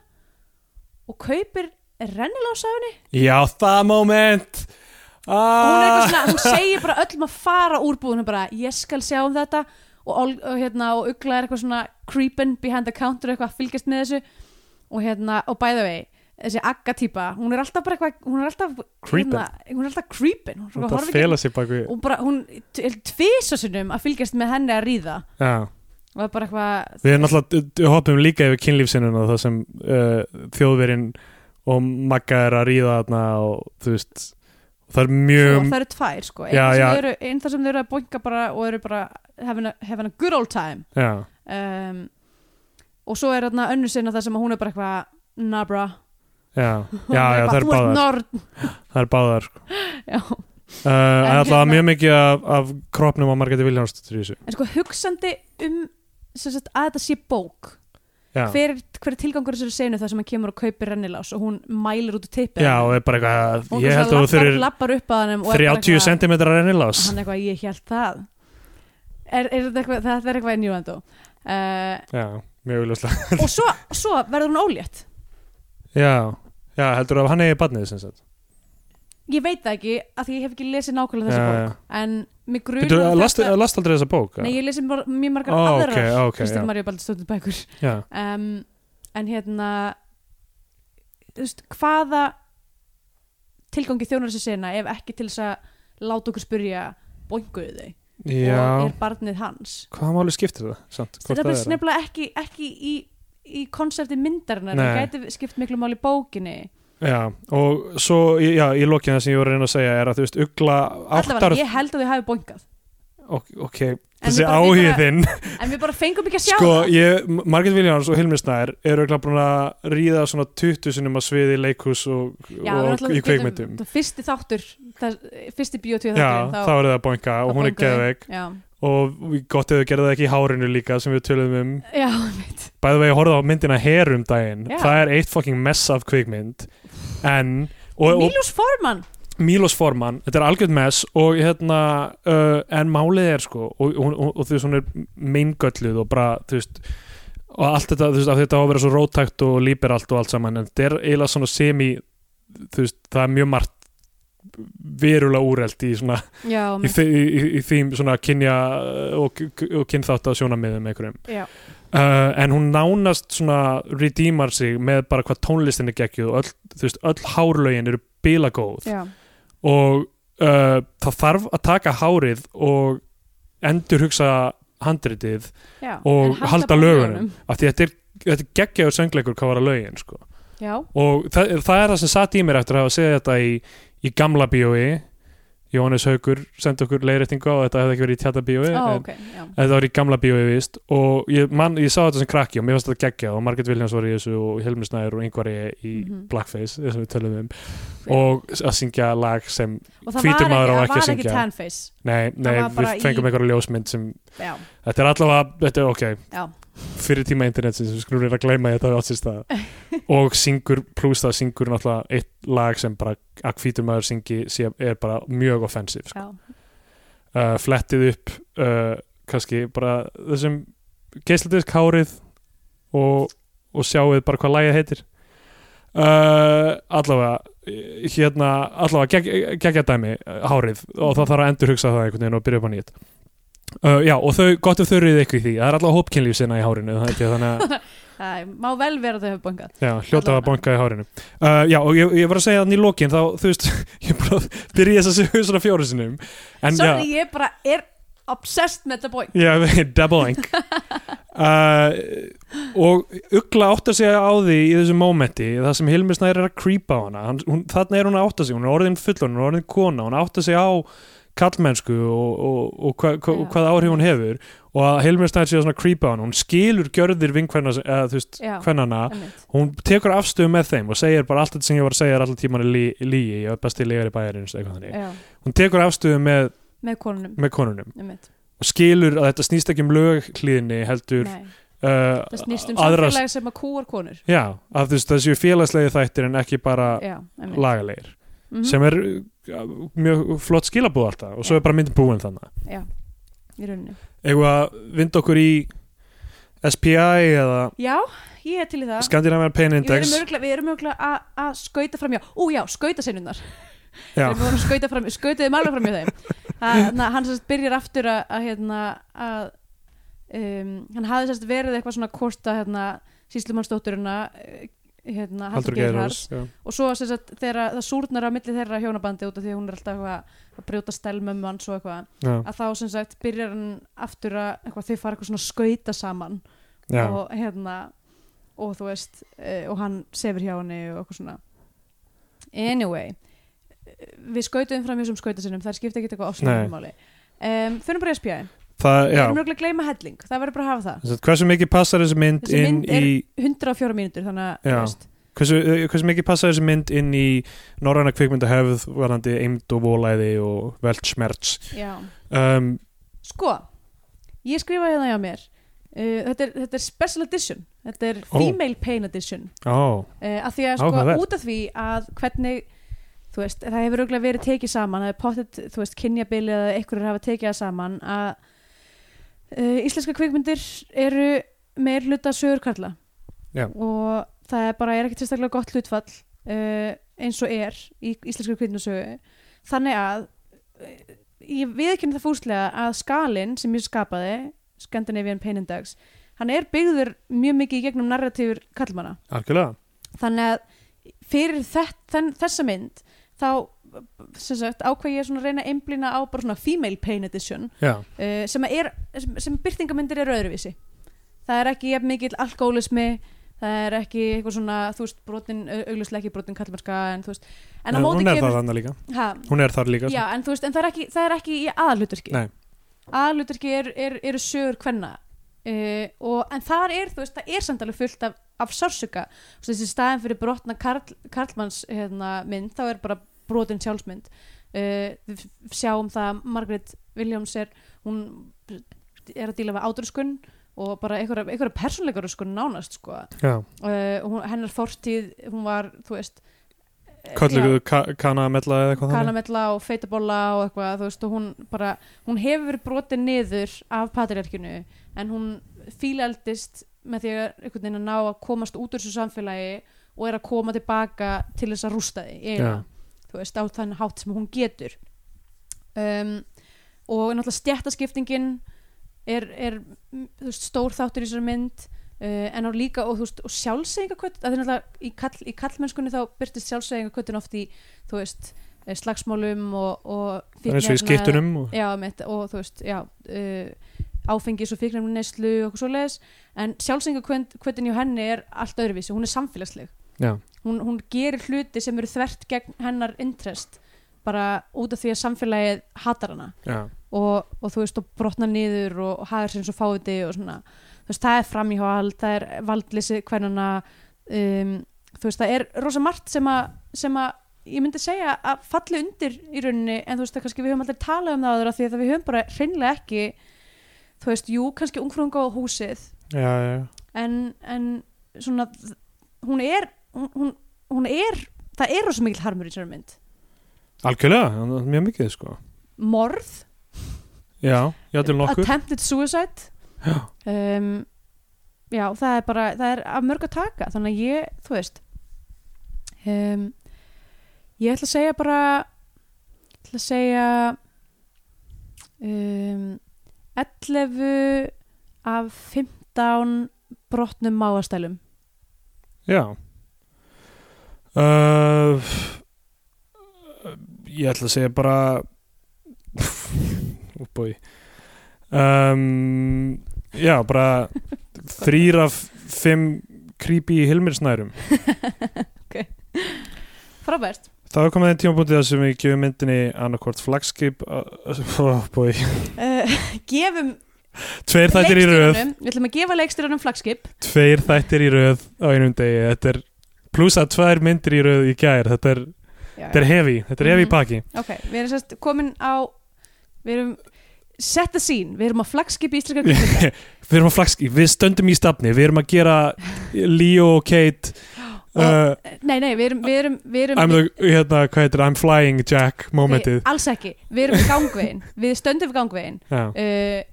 [SPEAKER 3] og kaupir rennilása
[SPEAKER 2] já, það moment
[SPEAKER 3] og hún er eitthvað
[SPEAKER 2] ah,
[SPEAKER 3] svona, hún segir bara öllum að fara úr búðinu bara, ég skal sjá um þetta og, Ol- og hérna, og Ugla er eitthvað svona creepin behind the counter eitthvað að fylgjast með þessu og hérna, og by the way þessi agga típa, hún er alltaf bara eitthvað hún er alltaf, hérna,
[SPEAKER 2] Creepin.
[SPEAKER 3] hún er alltaf creepin hún, er
[SPEAKER 2] hún er
[SPEAKER 3] svona
[SPEAKER 2] að
[SPEAKER 3] horfir
[SPEAKER 2] fela sig bak
[SPEAKER 3] ekki-
[SPEAKER 2] við
[SPEAKER 3] og bara, hún t- er tvisa sinnum að fylgjast með henni að ríða
[SPEAKER 2] já
[SPEAKER 3] og það er bara eitthvað
[SPEAKER 2] Við erum náttúrulega hoppum líka yfir kynlífsinnuna það sem uh, þjóðverinn og Magga er að ríða þarna og þú veist það er
[SPEAKER 3] Svo,
[SPEAKER 2] mjög
[SPEAKER 3] það eru tvær sko, einn
[SPEAKER 2] Já, já.
[SPEAKER 3] þar sem þau eru- ein þar sem þau eru að boinka bara og eru bara having a, having a good old time
[SPEAKER 2] já,
[SPEAKER 3] um, og svo er þarna önnur sinna það sem að hún er bara eitthvað nah bra
[SPEAKER 2] já,
[SPEAKER 3] Hún
[SPEAKER 2] já, já það er
[SPEAKER 3] þú ert
[SPEAKER 2] báðar
[SPEAKER 3] nörd
[SPEAKER 2] það er báðar sko.
[SPEAKER 3] Já.
[SPEAKER 2] uh, en alltaf
[SPEAKER 3] hérna-
[SPEAKER 2] mjög mikið af, af kropnum á Margeti Viljánsdóttir í þessu
[SPEAKER 3] en sko hugsandi um sem sagt, að þetta sé bók
[SPEAKER 2] já,
[SPEAKER 3] hver, er- hver er tilgangur þessari senu þar sem hann kemur og kaupir rennilás og hún mælir út úr tippið
[SPEAKER 2] já og
[SPEAKER 3] hennar?
[SPEAKER 2] er bara eitthvað
[SPEAKER 3] Hún
[SPEAKER 2] ég
[SPEAKER 3] bara
[SPEAKER 2] held að þú
[SPEAKER 3] lappar-
[SPEAKER 2] þurfir
[SPEAKER 3] lappar upp að hann
[SPEAKER 2] 30 cm rennilás
[SPEAKER 3] hann er eitthvað ég held það er, er þetta eitthvað, það er eitthvað í njúandó uh,
[SPEAKER 2] já, mjög viljóslega
[SPEAKER 3] og svo, svo verður hún ólétt
[SPEAKER 2] já, já, heldur að hann eigi barnið sem sagt
[SPEAKER 3] ég veit það ekki að því ég hef ekki lesið nákvæmlega þessa
[SPEAKER 2] Já, já.
[SPEAKER 3] bók en mig grunum
[SPEAKER 2] Byrju, last, last aldrei þessa bók?
[SPEAKER 3] um Nei, ég lesi bara mjög
[SPEAKER 2] Ó,
[SPEAKER 3] margar aðrar
[SPEAKER 2] ok,
[SPEAKER 3] okay,
[SPEAKER 2] ok, já.
[SPEAKER 3] Kristín Marja Baldurstóttir bækur
[SPEAKER 2] já,
[SPEAKER 3] um, En hérna þú veist, Hvaða tilgangi þjónar þessi sena ef ekki til þess að láta okkur spyrja boinguðu þau
[SPEAKER 2] já.
[SPEAKER 3] og er barnið hans
[SPEAKER 2] Hvaða máli skiptir það? Samt, hvort
[SPEAKER 3] Þetta
[SPEAKER 2] það
[SPEAKER 3] er
[SPEAKER 2] er
[SPEAKER 3] nefnilega ekki, ekki í, í konsepti myndarinnar það
[SPEAKER 2] Nei.
[SPEAKER 3] gæti skipt miklu máli í bókinni
[SPEAKER 2] Já, og svo, já, í lokinu sem ég voru að reyna að segja er að þú veist, ugla áttar
[SPEAKER 3] Allavega, ég held að þau hafi boingað
[SPEAKER 2] ok, ok, þessi
[SPEAKER 3] bara- við
[SPEAKER 2] áhugið
[SPEAKER 3] bara-
[SPEAKER 2] þinn
[SPEAKER 3] En við bara fengum ekki að sjá
[SPEAKER 2] sko,
[SPEAKER 3] það
[SPEAKER 2] ég, Margit Viljáns og Hilmir Snær eru ugla búin að ríða svona 20 sinnum á sviði í leikhús og,
[SPEAKER 3] Já, við
[SPEAKER 2] og
[SPEAKER 3] náttúrulega
[SPEAKER 2] í
[SPEAKER 3] getum-
[SPEAKER 2] kveikmyndum
[SPEAKER 3] það Fyrsti þáttur, það, fyrsti bíotvíð
[SPEAKER 2] Já, þá er það boinga og hún er geðveik
[SPEAKER 3] Já,
[SPEAKER 2] og við- gott ef þau gerðu það ekki í hárinu líka sem við töluðum um
[SPEAKER 3] já, mitt
[SPEAKER 2] bæði vegi horfði á myndina Her um daginn
[SPEAKER 3] Já.
[SPEAKER 2] það er eitt fucking mess af kveikmynd en, og, og
[SPEAKER 3] Milos Forman
[SPEAKER 2] Mílos Forman, þetta er algjörð mess og hérna, uh, en málið er sko, og, og, og, og þú veist, hún er meingölluð og bara, þú veist og allt þetta, þú veist, af því þetta á að vera svo rótækt og líberalt og allt saman, en þetta er eiginlega svona semi, þú veist, það er mjög margt verulega úrelt í svona,
[SPEAKER 3] Já,
[SPEAKER 2] í, þi- í, í, í því svona kynja og, og kynþátt að sjónamiðum einhverjum
[SPEAKER 3] já,
[SPEAKER 2] uh, en hún nánast svona redeemar sig með bara hvað tónlistin er geggjuð og öll, þú veist, öll hárlögin eru bílagóð
[SPEAKER 3] já
[SPEAKER 2] og uh, það þarf að taka hárið og endur hugsa handritið
[SPEAKER 3] Já,
[SPEAKER 2] Og
[SPEAKER 3] en
[SPEAKER 2] halda
[SPEAKER 3] bara
[SPEAKER 2] lögunum.
[SPEAKER 3] lögunum.
[SPEAKER 2] af því þetta er, þetta er geggjaður söngleikur hvað var að lögin sko.
[SPEAKER 3] Já,
[SPEAKER 2] og það, það er það sem satt í mér eftir að hafa segið þetta í, í gamla bíói Jóhannes Haugur sendi okkur leiðréttingu á þetta hefði ekki verið í tjata bíói
[SPEAKER 3] ó,
[SPEAKER 2] en
[SPEAKER 3] ok, já
[SPEAKER 2] þetta var í gamla bíói víst og ég, man, ég sá þetta sem krakki og mér fannst þetta geggja og Margaret Williams var í þessu og Helmi Snæður og yngvar ég í
[SPEAKER 3] Mhm.
[SPEAKER 2] Blackface þess að við tölum um og að syngja lag sem
[SPEAKER 3] Og það
[SPEAKER 2] hvítur maður á
[SPEAKER 3] var
[SPEAKER 2] ekki að
[SPEAKER 3] ekki, það var ekki
[SPEAKER 2] syngja.
[SPEAKER 3] tanface
[SPEAKER 2] nei, nei
[SPEAKER 3] var bara
[SPEAKER 2] við fengum
[SPEAKER 3] í-
[SPEAKER 2] einhverja ljósmynd sem
[SPEAKER 3] Já,
[SPEAKER 2] Þetta er allavega, þetta er ok,
[SPEAKER 3] já,
[SPEAKER 2] fyrir tíma internetsins, við skulum reyna að gleyma að þetta við áttist það og syngur, pluss það syngur náttúrulega eitt lag sem bara að hvítur maður syngi sé, er bara mjög offensiv, sko.
[SPEAKER 3] já,
[SPEAKER 2] uh, flettið upp uh, kannski bara þessum geisladisk hárið og, og sjáuð bara hvað lagið heitir uh, allavega eh, hérna, allavega gegg- geggja dæmi eh, hárið og það þarf að endur hugsa það einhvern veginn og byrja upp á nýtt uh, já og þau, gott ef þau reyðið eitthvað í því það er allavega hópkynlíf sinna í hárinu það held ég, þannig að
[SPEAKER 3] það er- má vel vera að þau hefur bongað
[SPEAKER 2] Já, hljóta að
[SPEAKER 3] Allavega.
[SPEAKER 2] banka í hárinu uh, Já, og ég, ég var að segja þannig í lokin þá, þú veist, ég bara byrja þess að segja svona fjóru sinum en,
[SPEAKER 3] Sorry, ég bara er obsessed með the boy
[SPEAKER 2] Já, double ink uh, og Ugla átta sig á því í þessu mómenti það sem Hilmi Snær er að creepa á hana hann, hún, þarna er hún að átta sig, hún er orðin fullon hún er orðin kona, hún átta sig á kallmennsku og, og, og hva, hva,
[SPEAKER 3] Já.
[SPEAKER 2] hvað áhrif hún hefur og að Hilmi Snær sé að svona creepa á hana hún skilur gjörðir vinkvenna eða þú veist,
[SPEAKER 3] Já.
[SPEAKER 2] hvernana
[SPEAKER 3] Einmitt.
[SPEAKER 2] hún tekur afstöðu með þeim og segir bara allt þetta sem ég var að segja er alltaf tíman lí, líi, ég er besti legar í bæjarins eitthvað þannig,
[SPEAKER 3] Já,
[SPEAKER 2] hún tekur afstöðu með,
[SPEAKER 3] með konunum
[SPEAKER 2] með konunum
[SPEAKER 3] einmitt.
[SPEAKER 2] og skilur að þetta snýst ekki um löghlíðinni heldur
[SPEAKER 3] Nei,
[SPEAKER 2] uh,
[SPEAKER 3] það snýst um
[SPEAKER 2] aðra-
[SPEAKER 3] samfélag sem að kúar konur
[SPEAKER 2] já, að þú veist það séu félagslegi þættir en ekki bara
[SPEAKER 3] Já, einmitt.
[SPEAKER 2] lagalegir
[SPEAKER 3] Mhm.
[SPEAKER 2] sem er uh, mjög flott skilabúð alltaf og svo
[SPEAKER 3] Já.
[SPEAKER 2] er bara myndin búin þannig
[SPEAKER 3] Já, í rauninni
[SPEAKER 2] eigum við að vinda okkur í SPI eða
[SPEAKER 3] Já, ég er til í það
[SPEAKER 2] Scandinavian Pain
[SPEAKER 3] Jú, Við
[SPEAKER 2] Index
[SPEAKER 3] erum örugglega- við erum örgulega að skauta fram hjá Ú já, skautasinnunnar
[SPEAKER 2] já,
[SPEAKER 3] Við vorum að skauta fram, skautaðum alveg fram hjá þeim Þannig að hann sérst byrjar aftur að, að, hérna, að um, hann hafði sérst verið eitthvað svona korta hérna, síslumannsdótturina eh, hérna,
[SPEAKER 2] Haldur
[SPEAKER 3] Haldur Geirharðs
[SPEAKER 2] Geirhars já.
[SPEAKER 3] og svo sem sagt, þegar það súrnar á milli þeirra hjónabandi út af því að hún er alltaf eitthvað að brjóta stelmum hans og eitthvað
[SPEAKER 2] Já,
[SPEAKER 3] að þá sem sagt byrjar hann aftur að eitthvað, þau fara eitthvað svona að skauta saman
[SPEAKER 2] já.
[SPEAKER 3] og hérna og þú veist, uh, og hann sefur hjá henni og eitthvað svona anyway, eh, við skautum fram þessum skautasinnum, þær skipta ekki eitthvað
[SPEAKER 2] Nei.
[SPEAKER 3] ofsnáðumáli um, fyrir bara í SPI,
[SPEAKER 2] það,
[SPEAKER 3] við
[SPEAKER 2] já
[SPEAKER 3] erum mjögulega að gleyma helling það verður bara að hafa það,
[SPEAKER 2] Sem sagt, hversu mikið passar þessi mynd
[SPEAKER 3] Þessi
[SPEAKER 2] inn
[SPEAKER 3] mynd er-
[SPEAKER 2] í
[SPEAKER 3] 104 mínútur þannig að, þú
[SPEAKER 2] Já.
[SPEAKER 3] veist,
[SPEAKER 2] hversu, eh, hversu mikið passar þessi mynd inn í norræna kvikmyndahefð varandi eimd og volæði og veltsmerts
[SPEAKER 3] já
[SPEAKER 2] um,
[SPEAKER 3] sko, ég skrifa hérna hjá mér uh, þetta, er, þetta er special edition þetta er
[SPEAKER 2] Ó.
[SPEAKER 3] female pain edition
[SPEAKER 2] Ó,
[SPEAKER 3] uh, að því að sko
[SPEAKER 2] Áhugavert.
[SPEAKER 3] út af því að hvernig þú veist, það hefur auðvitað verið tekið saman það er pottet, þú veist, kynjabili eða einhverjur hafa tekið það saman að uh, íslenska kvikmyndir eru meir hluta sögur karla
[SPEAKER 2] Já.
[SPEAKER 3] og það er bara er ekkert sérstaklega gott hlutfall uh, eins og er í íslenska kvikmyndasögu þannig að uh, ég viðkynna það fúslega að skalinn sem ég skapaði Scandinavian Pain Index hann er byggður mjög mikið í gegnum narratífur kallmanna
[SPEAKER 2] algjörlega
[SPEAKER 3] þannig að fyrir þett, þen, þessa mynd þá sem sagt, ákveð ég svona að reyna að einblýna á bara svona female pain edition
[SPEAKER 2] Já,
[SPEAKER 3] uh, sem, að er, sem, sem byrtingamyndir er öðruvísi það er ekki jafn mikill alkoholismi það er ekki eitthvað svona þú veist brotin, auglislega ekki brotin kallmarska en þú veist, en á móti
[SPEAKER 2] hún er
[SPEAKER 3] kemur
[SPEAKER 2] þar þannig líka
[SPEAKER 3] ha,
[SPEAKER 2] Hún er þar líka
[SPEAKER 3] já, en þú veist, en það er ekki, það er ekki í aðalhuturki
[SPEAKER 2] Nei.
[SPEAKER 3] aðalhuturki er, er, eru sögur hvenna uh, og, en þar er, þú veist, það er samt alveg fullt af, af sársuka Svo þessi staðin fyrir brotna karl, karlmanns hérna, mynd, þá er bara brotin sjálfsmynd uh, við f- sjáum það að Margaret Williams er hún er að díla við átröskun og bara einhverja, einhverja persónleikaröskun nánast sko.
[SPEAKER 2] já.
[SPEAKER 3] uh, hún, hennar fortíð, hún var þú veist eh, já
[SPEAKER 2] Kölluðu ka kana að mella eða eitthvað þannig
[SPEAKER 3] kanamella og feitabóla og eitthvað þú veist og hún bara, hún hefur verið brotið niður af patriarkinu en hún fílaldist með því að einhvern veginn að ná að komast út úr þessu samfélagi og er að koma tilbaka til þess að rústa því eiginlega.
[SPEAKER 2] Já.
[SPEAKER 3] þú veist, á þann hátt sem hún getur um, og náttúrulega stjættaskiptingin er, er mm, þú veist, stór þáttur í þessari mynd uh, en á líka og, þú veist, og sjálfsæðingakvöt að því náttúrulega í, kall, í kallmennskunni þá byrtist sjálfsæðingakvötin oft í þú veist, eh, slagsmálum og, og
[SPEAKER 2] Það er eins og í
[SPEAKER 3] fíkniefna-
[SPEAKER 2] skiptunum og...
[SPEAKER 3] já, mitt, og þú veist já, uh, áfengis og fíknum neyslu og okkur svoleiðis en sjálfsengakvöndin hjá henni er allt öðruvísi, hún er samfélagsleg
[SPEAKER 2] Já.
[SPEAKER 3] hún, hún gerir hluti sem eru þvert gegn hennar interest bara út af því að samfélagið hatar hana
[SPEAKER 2] Já.
[SPEAKER 3] og, og þú veist og brotnar niður og, og hagar sér eins og fáti og svona þú veist það er framhjóhald, það er valdlisi hvernana um, þú veist það er rosa margt sem að, sem að ég myndi segja að falli undir í rauninni en þú veist það kannski við höfum aldrei talað um það áður af því að við höfum bara hreinlega ekki þú veist, jú, kannski ungfrunga á húsið
[SPEAKER 2] Já, já,
[SPEAKER 3] en, en svona hún er, hún, hún, hún er það er rosa mikil harmur í sér mynd
[SPEAKER 2] algjörlega, það er mjög mikið sko
[SPEAKER 3] morð,
[SPEAKER 2] Já, já til nokkur
[SPEAKER 3] attempted suicide
[SPEAKER 2] já.
[SPEAKER 3] um, já, það er bara það er af mörg að taka þannig að ég, þú veist um, ég ætla að segja bara ég ætla að segja um, 11 af 15 brotnum máastælum
[SPEAKER 2] já. Uh, f- Ég ætla að segja bara Úbúi Oh um, Já, bara þrýr af fimm creepy hilmirsnærum
[SPEAKER 3] Frábært
[SPEAKER 2] Það er komið einn tímapunktið sem við gefum myndinni annarkvort flagskip oh boy.
[SPEAKER 3] uh, Gefum
[SPEAKER 2] Tveir þættir í röð
[SPEAKER 3] leikstjóranum- Við ætlum að gefa leikstyrunum flagskip
[SPEAKER 2] Tveir þættir í röð á einum degi Þetta er pluss að tvær myndir í röð í gær Þetta er,
[SPEAKER 3] já,
[SPEAKER 2] þetta er heavy Þetta er heavy
[SPEAKER 3] Mhm.
[SPEAKER 2] pakki
[SPEAKER 3] Ok, við erum sérst komin á Við erum Set the scene, við erum á flagskip í Ísleika kvikmynda
[SPEAKER 2] Við erum á flagskip, við stöndum í stafni Við erum að gera Leo og Kate uh,
[SPEAKER 3] Nei, nei, við erum, við erum, við erum
[SPEAKER 2] I'm, the, hérna, hvað heitir, I'm flying Jack momentið
[SPEAKER 3] við, Alls ekki, við erum við gangvegin Við stöndum við gangvegin
[SPEAKER 2] Já,
[SPEAKER 3] uh,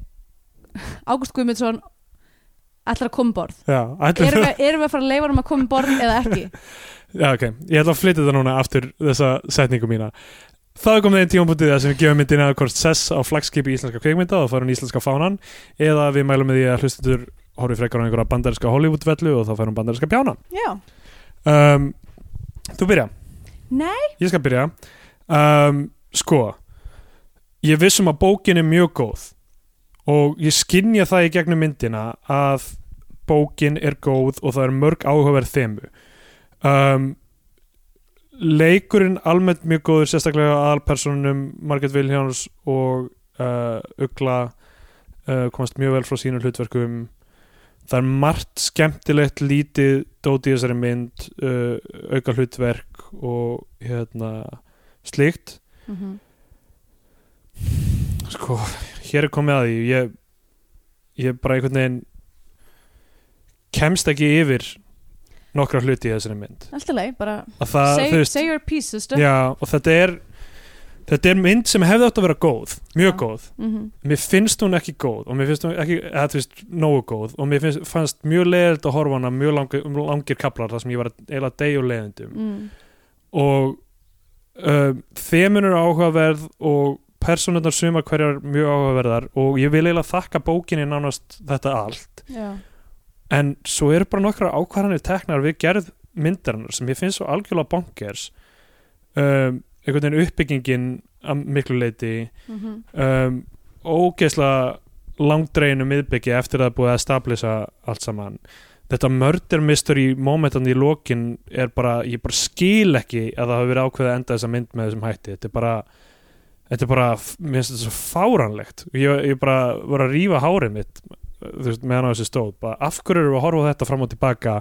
[SPEAKER 3] Ágúst Guðmundsson ætlar að koma um borð
[SPEAKER 2] já, ætlum-
[SPEAKER 3] erum við, erum við að fara að leifa hann um að koma um borð eða ekki
[SPEAKER 2] já ok, ég ætla að flytja þetta núna aftur þessa setningu mína Það er komið einn tímapunktið það sem við gefum myndina að hvort sess á flagskipi íslenska kveikmynda og farum íslenska fánan eða við mælum með því að hlustendur horfið frekar á einhverja bandariska Hollywood-vellu og þá færum bandariska bjána
[SPEAKER 3] Já,
[SPEAKER 2] um, Þú byrja
[SPEAKER 3] nei,
[SPEAKER 2] Ég skal byrja um, Sko Ég vissum að bókin er mjög góð og ég skinja það í gegnum myndina að bókin er góð og það er mörg áhugaverð þemu um, Leikurinn almennt mjög góður sérstaklega aðalpersonunum Margaret Vilhjáns og uh, Ugla uh, komast mjög vel frá sínum hlutverkum það er margt skemmtilegt lítið dóti í þessari mynd uh, auka hlutverk og hérna slíkt
[SPEAKER 3] Mhm.
[SPEAKER 2] sko, hér er komið að því ég, ég bara einhvern veginn kemst ekki yfir nokkra hluti í þessari mynd
[SPEAKER 3] allt í lagi bara
[SPEAKER 2] að það,
[SPEAKER 3] say,
[SPEAKER 2] Uh, þú veist,
[SPEAKER 3] say your piece, sister
[SPEAKER 2] já, og þetta er þetta er mynd sem hefði átt að vera góð mjög
[SPEAKER 3] Já.
[SPEAKER 2] góð,
[SPEAKER 3] Mhm.
[SPEAKER 2] mér finnst hún ekki góð og mér finnst hún ekki, eða þú veist, nógu góð og mér finnst, fannst mjög leiðilt að horfa á hana mjög langir, langir kaplar þar sem ég var eiginlega degjur leiðindum
[SPEAKER 3] mm.
[SPEAKER 2] og uh, þemun eru áhugaverð og persónurnar sumar hverjar mjög áhugaverðar og ég vil eiginlega þakka bókinni nánast þetta allt
[SPEAKER 3] Já.
[SPEAKER 2] en svo eru bara nokkra ákvarðanir teknar við gerð myndarinnar sem ég finnst svo algjörlega bonkers um, einhvern veginn uppbyggingin að miklu leiti
[SPEAKER 3] Mhm.
[SPEAKER 2] um, ógeðslega langdreinu miðbyggi eftir að það er búið að stablisa allt saman þetta murder mystery momentan í lokin er bara, ég bara skil ekki að það hafi verið ákveðið að enda þessa mynd með þessum hætti þetta er bara þetta er bara, mér finnst þetta svo fáranlegt ég, ég bara var að rífa hárið mitt þú veist, meðan á þessu stóð bara, af hverju eru að horfa á þetta fram og tilbaka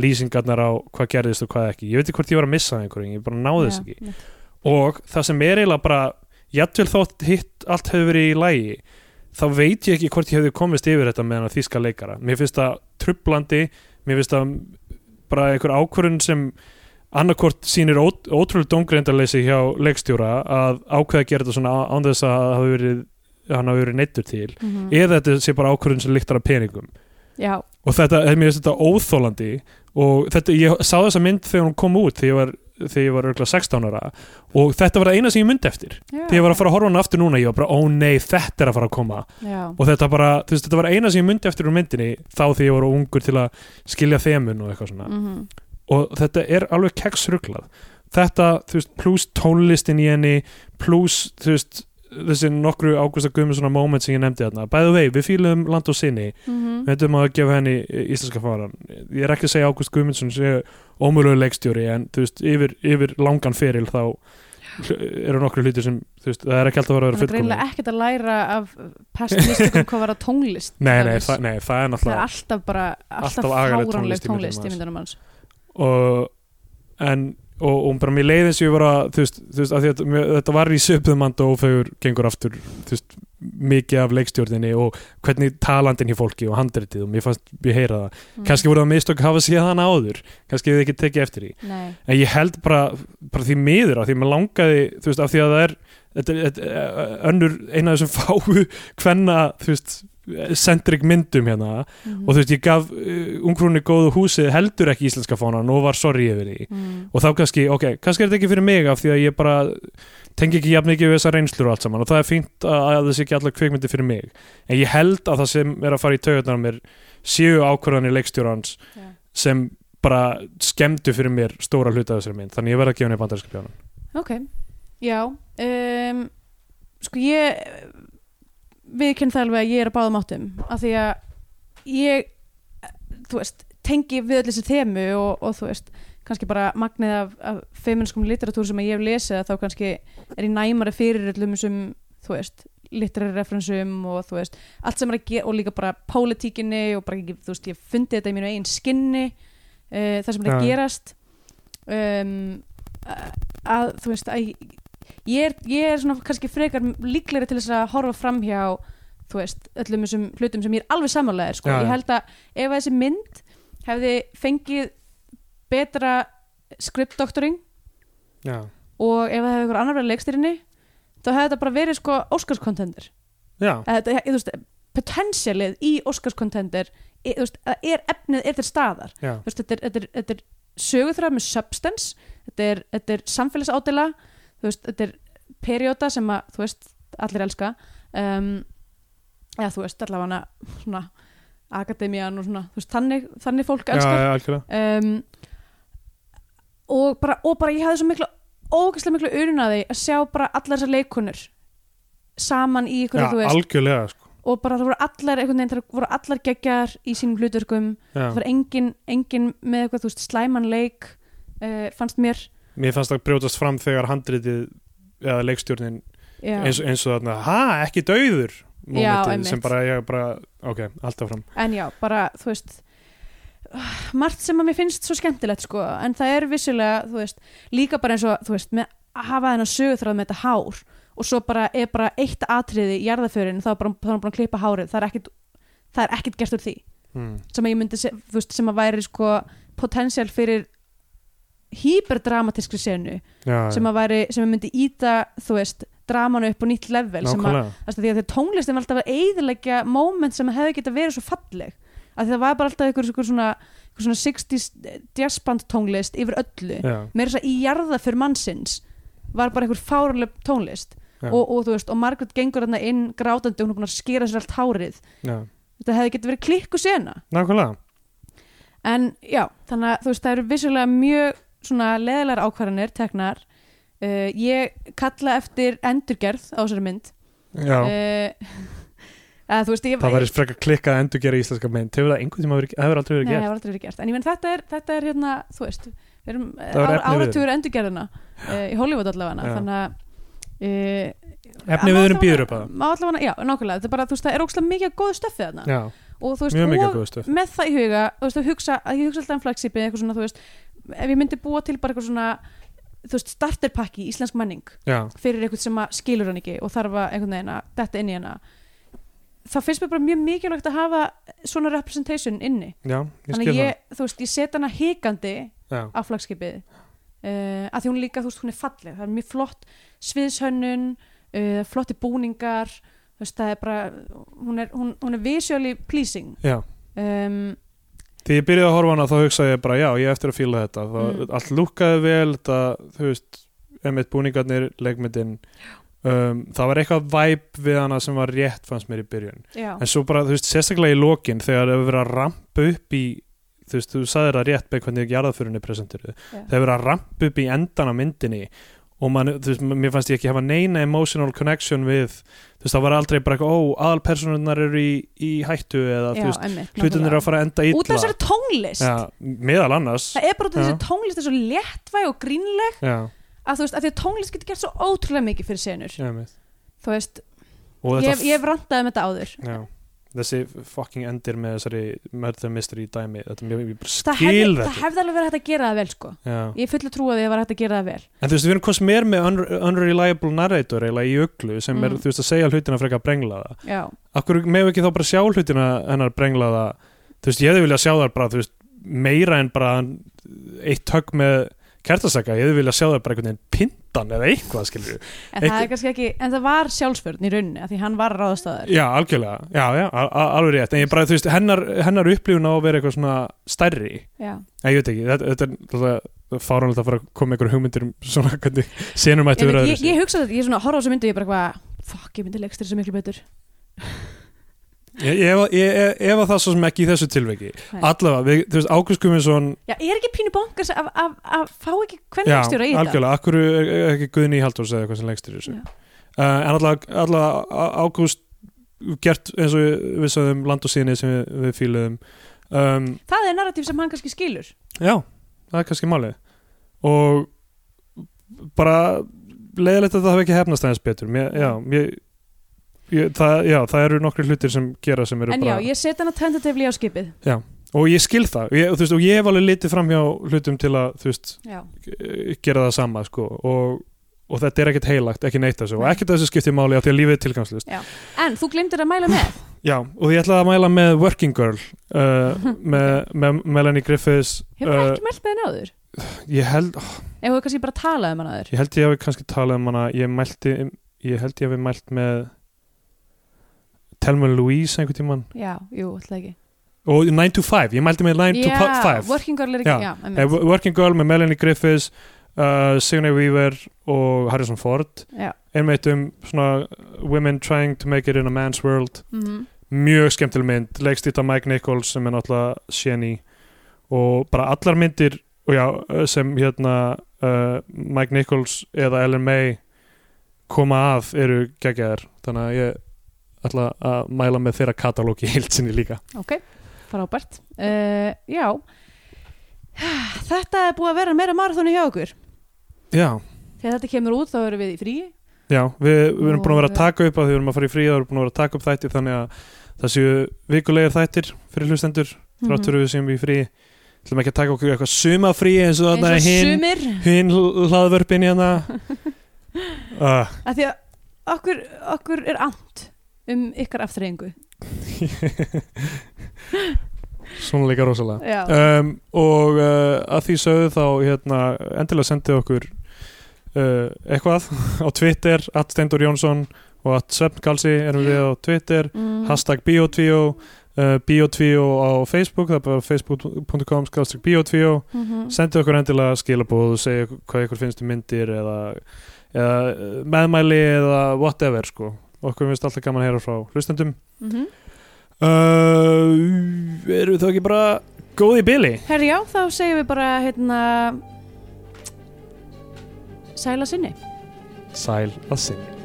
[SPEAKER 2] lýsingarnar á hvað gerðist og hvað ekki ég veit ekki hvort ég var að missa af einhverju, ég bara náði þess
[SPEAKER 3] Já,
[SPEAKER 2] ekki
[SPEAKER 3] mitt.
[SPEAKER 2] og það sem er eiginlega bara jafnvel þótt hitt allt hefur verið í lægi þá veit ég ekki hvort ég hefði komist yfir þetta með hana þýska leikara mér finnst það trublandi mér finnst það bara einhver ákvörðun sem annarkvort sýnir ót- ótrúlega dómgreindarleysi hjá leikstjóra að ákveða að gera þetta svona á- án þess að það hafi verið, hann hafi verið neittur til
[SPEAKER 3] Mhm.
[SPEAKER 2] eða þetta sé bara ákvörðun sem líktar af peningum
[SPEAKER 3] Já,
[SPEAKER 2] og þetta, mér finnst þetta óþólandi og þetta, ég sá þessa mynd þegar hún kom út þegar ég var, þegar ég var örgulega 16 ára og þetta var það eina sem ég myndi eftir
[SPEAKER 3] já.
[SPEAKER 2] þegar ég var að fara að horfa á hana aftur núna ég var bara, ó nei, þetta er að fara að koma
[SPEAKER 3] Já,
[SPEAKER 2] og þetta bara, þú veist, þetta var eina sem ég myndi eftir úr myndinni þá þegar ég var ungur til að skilja þemun og eitthvað svona
[SPEAKER 3] Mhm.
[SPEAKER 2] og þetta er alveg keksruglað þetta, þú veist, pluss tónlistin í henni, pluss, þú veist þessi nokkru Ágústa Guðmundssonar moment sem ég nefndi þarna, by the way, við fýlum land og sinni
[SPEAKER 3] Mhm.
[SPEAKER 2] við höfum að gefa henni íslenska faran ég er ekki að segja að Ágúst Guðmundsson sé ómögulegu leikstjóri en þú veist yfir, yfir langan feril þá eru nokkru hlutir sem þú veist, það er ekki alltaf að vera að
[SPEAKER 3] Það er
[SPEAKER 2] vera fullkomlega
[SPEAKER 3] greinilega ekkert að læra af past mistökum hvað var að tónlist
[SPEAKER 2] nei,
[SPEAKER 3] til
[SPEAKER 2] nei,
[SPEAKER 3] dæmis.
[SPEAKER 2] það, nei, það er
[SPEAKER 3] Það er
[SPEAKER 2] náttúrulega
[SPEAKER 3] alltaf bara alltaf,
[SPEAKER 2] Alltaf agaleg
[SPEAKER 3] fáránleg
[SPEAKER 2] tónlist í myndunum
[SPEAKER 3] tónlist í
[SPEAKER 2] hans.
[SPEAKER 3] myndunum hans
[SPEAKER 2] og, en, og, og bara mér leiðin sem ég var að þú veist, þú veist, að þetta, mér, þetta var í söpðumand og ófegur gengur aftur þú veist, mikið af leikstjórninni og hvernig talandin í fólki og handritið og mér fannst, ég heyra það
[SPEAKER 3] Mm.
[SPEAKER 2] kannski voru það mistök að hafa séð hana áður kannski hefði ekki tekið eftir því
[SPEAKER 3] Nei,
[SPEAKER 2] en ég held bara, bara því miður af því að mér langaði, þú veist, af því að það er þetta, er- þetta, er önnur eina af þessum fáu hvenna, þú veist sendrik myndum hérna
[SPEAKER 3] Mhm.
[SPEAKER 2] og þú veist, ég gaf uh, ungrúni góðu húsi heldur ekki íslenska fánan og var sorry yfir því
[SPEAKER 3] Mm.
[SPEAKER 2] og þá kannski, ok, kannski er þetta ekki fyrir mig af því að ég bara tengi ekki jafn mikið við þessar reynslur og allt saman og það er fínt að, að þessi ekki allar kvikmyndi fyrir mig en ég held að það sem er að fara í taugarnar á mér séu ákvörðanir leikstjórans
[SPEAKER 3] Já.
[SPEAKER 2] sem bara skemmtu fyrir mér stóra hluta af þessari mynd þannig ég verð að gefa henni bandarinska bjánan
[SPEAKER 3] Ok, já um, Sko ég viðkynna það alveg að ég er að báðum áttum af því að ég þú veist, tengi við öll þessi þemu og, og þú veist, kannski bara magnið af, af feminskum literatúr sem ég hef lesið að þá kannski er ég næmari fyrir öllum sem, þú veist literary referensum og þú veist allt sem er að gera og líka bara pólitíkinni og bara ekki, þú veist, ég hef fundið þetta í mínu eigin skinni uh, það sem er að
[SPEAKER 2] Já.
[SPEAKER 3] gerast um, að, að þú veist að ég- ég er, ég er svona kannski frekar líklegri til þess að horfa framhjá þú veist, öllum þessum hlutum sem ég er alveg samanlega er sko.
[SPEAKER 2] Já, já.
[SPEAKER 3] ég held að ef að þessi mynd hefði fengið betra skriptdoktoring
[SPEAKER 2] já,
[SPEAKER 3] og ef það hefði ykkur annar verið leikstyrinni þá hefði þetta bara verið sko Óskarskontender
[SPEAKER 2] já,
[SPEAKER 3] þetta, ég, þú veist, potentialið í Óskarskontender e- þú veist, að er efnið er til staðar
[SPEAKER 2] já,
[SPEAKER 3] þú veist, þetta er, þetta er, þetta er söguþræð með substance, þetta er, þetta er samfélagsádela, þú veist, þetta er perióda sem að, þú veist, allir elska um, eða þú veist, allavega svona akademían og svona, þú veist, þannig, þannig fólk
[SPEAKER 2] já,
[SPEAKER 3] elskar
[SPEAKER 2] já, algjörlega
[SPEAKER 3] um, og, bara, og bara ég hafði svo miklu ógæslega miklu urunaði að sjá bara allar þessar leikunur saman í ykkur,
[SPEAKER 2] já,
[SPEAKER 3] þú veist,
[SPEAKER 2] algjörlega, sko
[SPEAKER 3] og bara það voru allar einhvern veginn, það voru allar geggjar í sínum hlutverkum það
[SPEAKER 2] já.
[SPEAKER 3] var engin, engin með eitthvað þú veist, slæman leik uh, fannst mér
[SPEAKER 2] mér fannst það brjótast fram þegar handritið eða leikstjórnin
[SPEAKER 3] já,
[SPEAKER 2] eins, eins og þarna, ha, ekki dauður momentið
[SPEAKER 3] einmitt.
[SPEAKER 2] sem bara, ég bara, ok, alltaf fram
[SPEAKER 3] en já, bara þú veist ah, margt sem að mér finnst svo skemmtilegt sko, en það er vissulega þú veist, líka bara eins og þú veist, með að hafa þennan sögutráð með þetta hár og svo bara er bara eitt atriði í jarðaförin, þá er bara, þá er hann búin að klippa hárið það er ekkit, það er ekkit gert úr því
[SPEAKER 2] mm.
[SPEAKER 3] sem að ég myndi, se- þú veist, sem að væri sko potensial fyrir hyperdramatískri senu
[SPEAKER 2] já,
[SPEAKER 3] sem að væri, sem að myndi íta þú veist, dramanu upp á nýtt level sem að,
[SPEAKER 2] nákvæmlega
[SPEAKER 3] að því að því að tónlistin var alltaf að eiðilegja moment sem hefði geta verið svo falleg að því það var bara alltaf einhver, einhver, svona, einhver svona 60s jazzband tónlist yfir öllu,
[SPEAKER 2] já,
[SPEAKER 3] meira þess að í jarða fyrir mannsins var bara einhver fáraleg tónlist
[SPEAKER 2] Já.
[SPEAKER 3] og, og þú veist, og Margaret gengur þarna inn grátandi og hún er búin að skera sér allt hárið
[SPEAKER 2] já,
[SPEAKER 3] þetta hefði geta verið klikku sena
[SPEAKER 2] nákvæmlega
[SPEAKER 3] En já, þannig að þú veist, það eru vissulega mjög svona leðilegar ákvarðanir teknar. Uh, ég kalla eftir endurgerð á þessari mynd.
[SPEAKER 2] já,
[SPEAKER 3] Uh, að, þú veist, ég...
[SPEAKER 2] það væri frekar klikkað að endur gera íslenska mynd, hefur það einhvern tíma verið, það hefur aldrei verið
[SPEAKER 3] Nei, það
[SPEAKER 2] gert
[SPEAKER 3] var aldrei verið gert. En ég menn, þetta er, þetta er hérna, þú veist, við erum
[SPEAKER 2] var
[SPEAKER 3] ára,
[SPEAKER 2] efni við.
[SPEAKER 3] áratugur endurgerðina uh, í Hollywood allavega.
[SPEAKER 2] Já.
[SPEAKER 3] Þannig að... Uh,
[SPEAKER 2] efni við erum býður upp að
[SPEAKER 3] Má allavega, já, nákvæmlega. Þetta er bara, þú veist, það er ókslega mikið góð stöffið þarna.
[SPEAKER 2] það já,
[SPEAKER 3] og þú veist,
[SPEAKER 2] mjög mikið
[SPEAKER 3] og
[SPEAKER 2] góð stöf
[SPEAKER 3] með það í huga þú veist, að hugsa, að ég hugsa alltaf um flagshipið eitthvað svona, þú veist, ef ég myndi búa til bara eitthvað svona, þú veist, starterpakki í íslensk menning
[SPEAKER 2] já,
[SPEAKER 3] fyrir eitthvað sem að skilur hann ekki og þarf að einhvern veginn að detta inn í hana þá finnst mér bara mjög mikilvægt að hafa svona representation inni
[SPEAKER 2] já, ég
[SPEAKER 3] þannig
[SPEAKER 2] skil
[SPEAKER 3] að ég, þú veist, ég set hana hikandi
[SPEAKER 2] það já,
[SPEAKER 3] á flagskipið uh, að því hún líka, þú veist, hún er falleg það er mjög flott sviðshönnun uh, flotti búningar þú veist, það er bara, hún er, hún, hún er visually pleasing
[SPEAKER 2] já
[SPEAKER 3] um,
[SPEAKER 2] Þegar ég byrjaði að horfa á hana þá hugsaði ég bara já, ég á eftir að fíla þetta það,
[SPEAKER 3] Mm.
[SPEAKER 2] allt lúkkaði vel, þetta, þú veist emitt búningarnir, leikmyndin um, það var eitthvað væp við hana sem var rétt fannst mér í byrjun
[SPEAKER 3] Já,
[SPEAKER 2] en svo bara, þú veist, sérstaklega í lokin þegar það hefur verið að rampa upp í þú veist, þú sagðir það rétt beð hvernig jarðaförunni presenteruð,
[SPEAKER 3] Já.
[SPEAKER 2] það hefur verið að rampa upp í endan á myndinni og man, þú veist, mér fannst ég ekki hafa neina emotional connection við, þú veist, það var aldrei bara eitthvað, ó, aðalpersonurnar eru í, í hættu eða,
[SPEAKER 3] já,
[SPEAKER 2] þú veist,
[SPEAKER 3] einmitt
[SPEAKER 2] hlutin eru að fara að enda
[SPEAKER 3] illa Út af
[SPEAKER 2] illa
[SPEAKER 3] þessari tónlist
[SPEAKER 2] Já, meðal annars
[SPEAKER 3] Það er bara út af
[SPEAKER 2] Já.
[SPEAKER 3] þessari tónlist er svo léttvæg og grínleg
[SPEAKER 2] já,
[SPEAKER 3] að þú veist, að því að tónlist getur gert svo ótrúlega mikið fyrir senur
[SPEAKER 2] já, mitt.
[SPEAKER 3] Þú veist,
[SPEAKER 2] og
[SPEAKER 3] ég,
[SPEAKER 2] þetta
[SPEAKER 3] hef- ég hef randaði um þetta áður
[SPEAKER 2] já, þessi fucking endir með þessari murder mystery dæmi þetta mér, ég bara
[SPEAKER 3] Það
[SPEAKER 2] skil
[SPEAKER 3] hefði, það
[SPEAKER 2] þetta
[SPEAKER 3] hefði alveg verið hægt að gera það vel sko
[SPEAKER 2] já.
[SPEAKER 3] Ég er fullu trú að því að var hægt að gera það vel
[SPEAKER 2] en þú veist, við erum hvort sem er með un unreliable narrator eiginlega í uglu sem er,
[SPEAKER 3] Mm.
[SPEAKER 2] þú veist, að segja hlutina frekar brenglaða
[SPEAKER 3] Já,
[SPEAKER 2] akkur meðu ekki þá bara sjá hlutina hennar brenglaða þú veist, ég hefði viljað sjá þar bara, þú veist, meira en bara eitt högg með kertasaka, ég hefði viljað sjá þar bara einhvern veginn pindan eða eitthvað, skilur
[SPEAKER 3] en það
[SPEAKER 2] Einhver-
[SPEAKER 3] er kannski ekki En það var sjálfsförn í rauninni að því hann var að ráðast á þær
[SPEAKER 2] Já, algjörlega, já, já, al- al- alveg rétt en ég bara, þú veist, hennar, hennar upplifun á að vera eitthvað svona stærri,
[SPEAKER 3] Já,
[SPEAKER 2] en ég veit ekki þetta, þetta er náttúrulega fáránlegt að fara að koma með einhverjum hugmyndir um svona hvernig senum
[SPEAKER 3] ég,
[SPEAKER 2] ættu
[SPEAKER 3] veit,
[SPEAKER 2] vera
[SPEAKER 3] ég, ég hugsa þetta, ég er svona að horfa á þessu myndu Ég er bara hvað, fuck, ég myndi leikstri svo miklu betur
[SPEAKER 2] ég, ég, efa- ég, ég, ég var það svo sem ekki í þessu tilveiki
[SPEAKER 3] Nei.
[SPEAKER 2] allavega, við, þú veist, Ágúst Guðmundsson
[SPEAKER 3] Já, er ekki pínu bankars að, að, að fá ekki hvernig
[SPEAKER 2] já,
[SPEAKER 3] leikstjóra í þetta?
[SPEAKER 2] algjörlega, akkur er er ekki Guðni Halldórs eða eitthvað sem leggst í þessu uh,
[SPEAKER 3] Já.
[SPEAKER 2] en allavega, allavega Á- Ágúst gert eins og við- við sagðum land og síni sem við, við fíluðum um,
[SPEAKER 3] það er narratíf sem hann kannski skilur
[SPEAKER 2] já, það er kannski málið og bara leiðilegt að það hafi ekki hefnast aðeins betur mér, já,
[SPEAKER 3] Mm.
[SPEAKER 2] mér, ég, það, já, það eru nokkri hlutir sem gera sem eru
[SPEAKER 3] en já,
[SPEAKER 2] bara
[SPEAKER 3] ég set hana tentatively á skipið
[SPEAKER 2] og ég skil það ég, og þú veist, og ég hef alveg litið fram hjá hlutum til að þú veist,
[SPEAKER 3] já,
[SPEAKER 2] eh, gera það sama sko, og, og þetta er ekkert heilagt ekki neitt af þessu, og ekkert af þessu skiptir máli af því að lífið er tilgangslust
[SPEAKER 3] en þú glemdir að mæla með
[SPEAKER 2] já, og ég ætlaði að mæla með Working Girl uh, með, með Melanie Griffiths
[SPEAKER 3] hefur uh,
[SPEAKER 2] uh,
[SPEAKER 3] ekki mælt með henni áður
[SPEAKER 2] ég held oh,
[SPEAKER 3] ef þú hefur kannski bara talað um hann áður
[SPEAKER 2] ég held ég hafi kannski talað um hana ég, mælti, ég held ég hafi mælt með Telma Louise einhvern tímann
[SPEAKER 3] já, jú, alltaf ekki
[SPEAKER 2] og 9 to 5, ég mælti með 9
[SPEAKER 3] já,
[SPEAKER 2] to 5
[SPEAKER 3] working girl er ekki,
[SPEAKER 2] Já,
[SPEAKER 3] já, já
[SPEAKER 2] Eh, Working Girl með Melanie Griffiths uh, Signe Weaver og Harrison Ford
[SPEAKER 3] Já.
[SPEAKER 2] einmitt um svona Women Trying to Make It in a Man's World
[SPEAKER 3] mm -hmm.
[SPEAKER 2] mjög skemmtileg mynd, leikstýta Mike Nichols sem er náttúrulega séni og bara allar myndir og já, eh, sem hérna uh, Mike Nichols eða Ellen May koma af eru geggjaðar þannig að ég ætla að mæla með þeirra katalógi í heild sinni líka
[SPEAKER 3] ok, frábært uh, já þetta er búið að vera meira marathónu hjá okkur
[SPEAKER 2] Já,
[SPEAKER 3] þegar þetta kemur út þá erum við í fríi
[SPEAKER 2] Já, við, við erum búin að vera að
[SPEAKER 3] Og-
[SPEAKER 2] taka upp að því við erum að fara í frí og við erum búin að vera að taka upp þætti þannig að það séu vikulegir þættir fyrir hlustendur
[SPEAKER 3] Mhm.
[SPEAKER 2] þrátt fyrir við séum í frí ætlum ekki að taka okkur eitthvað suma frí eins og
[SPEAKER 3] eins
[SPEAKER 2] þarna
[SPEAKER 3] og
[SPEAKER 2] er hinn
[SPEAKER 3] sumir
[SPEAKER 2] hin hlaðvörpin hérna uh,
[SPEAKER 3] af því að okkur, okkur er and um ykkar aftreyingu
[SPEAKER 2] Svona líka rosalega
[SPEAKER 3] já,
[SPEAKER 2] um, og uh, að því sögðu þá hérna, endilega sendið okkur uh, eitthvað á Twitter at Steindur Jónsson og at Svefnkalsi erum við á Twitter
[SPEAKER 3] mm,
[SPEAKER 2] hashtag biotvíó uh, biotvíó á Facebook það er bara facebook.com skjástrík biotvíó
[SPEAKER 3] mm
[SPEAKER 2] sendið okkur endilega skilabóð og segja hvað ykkur finnst um myndir eða, eða eh, meðmæli eða whatever sko okkur finnst alltaf gaman að heyra frá hlustendum
[SPEAKER 3] Mhm.
[SPEAKER 2] uh, erum við þá ekki bara góð í bili
[SPEAKER 3] herri já, þá segjum við bara hérna sæla sinni
[SPEAKER 2] sæl að sinni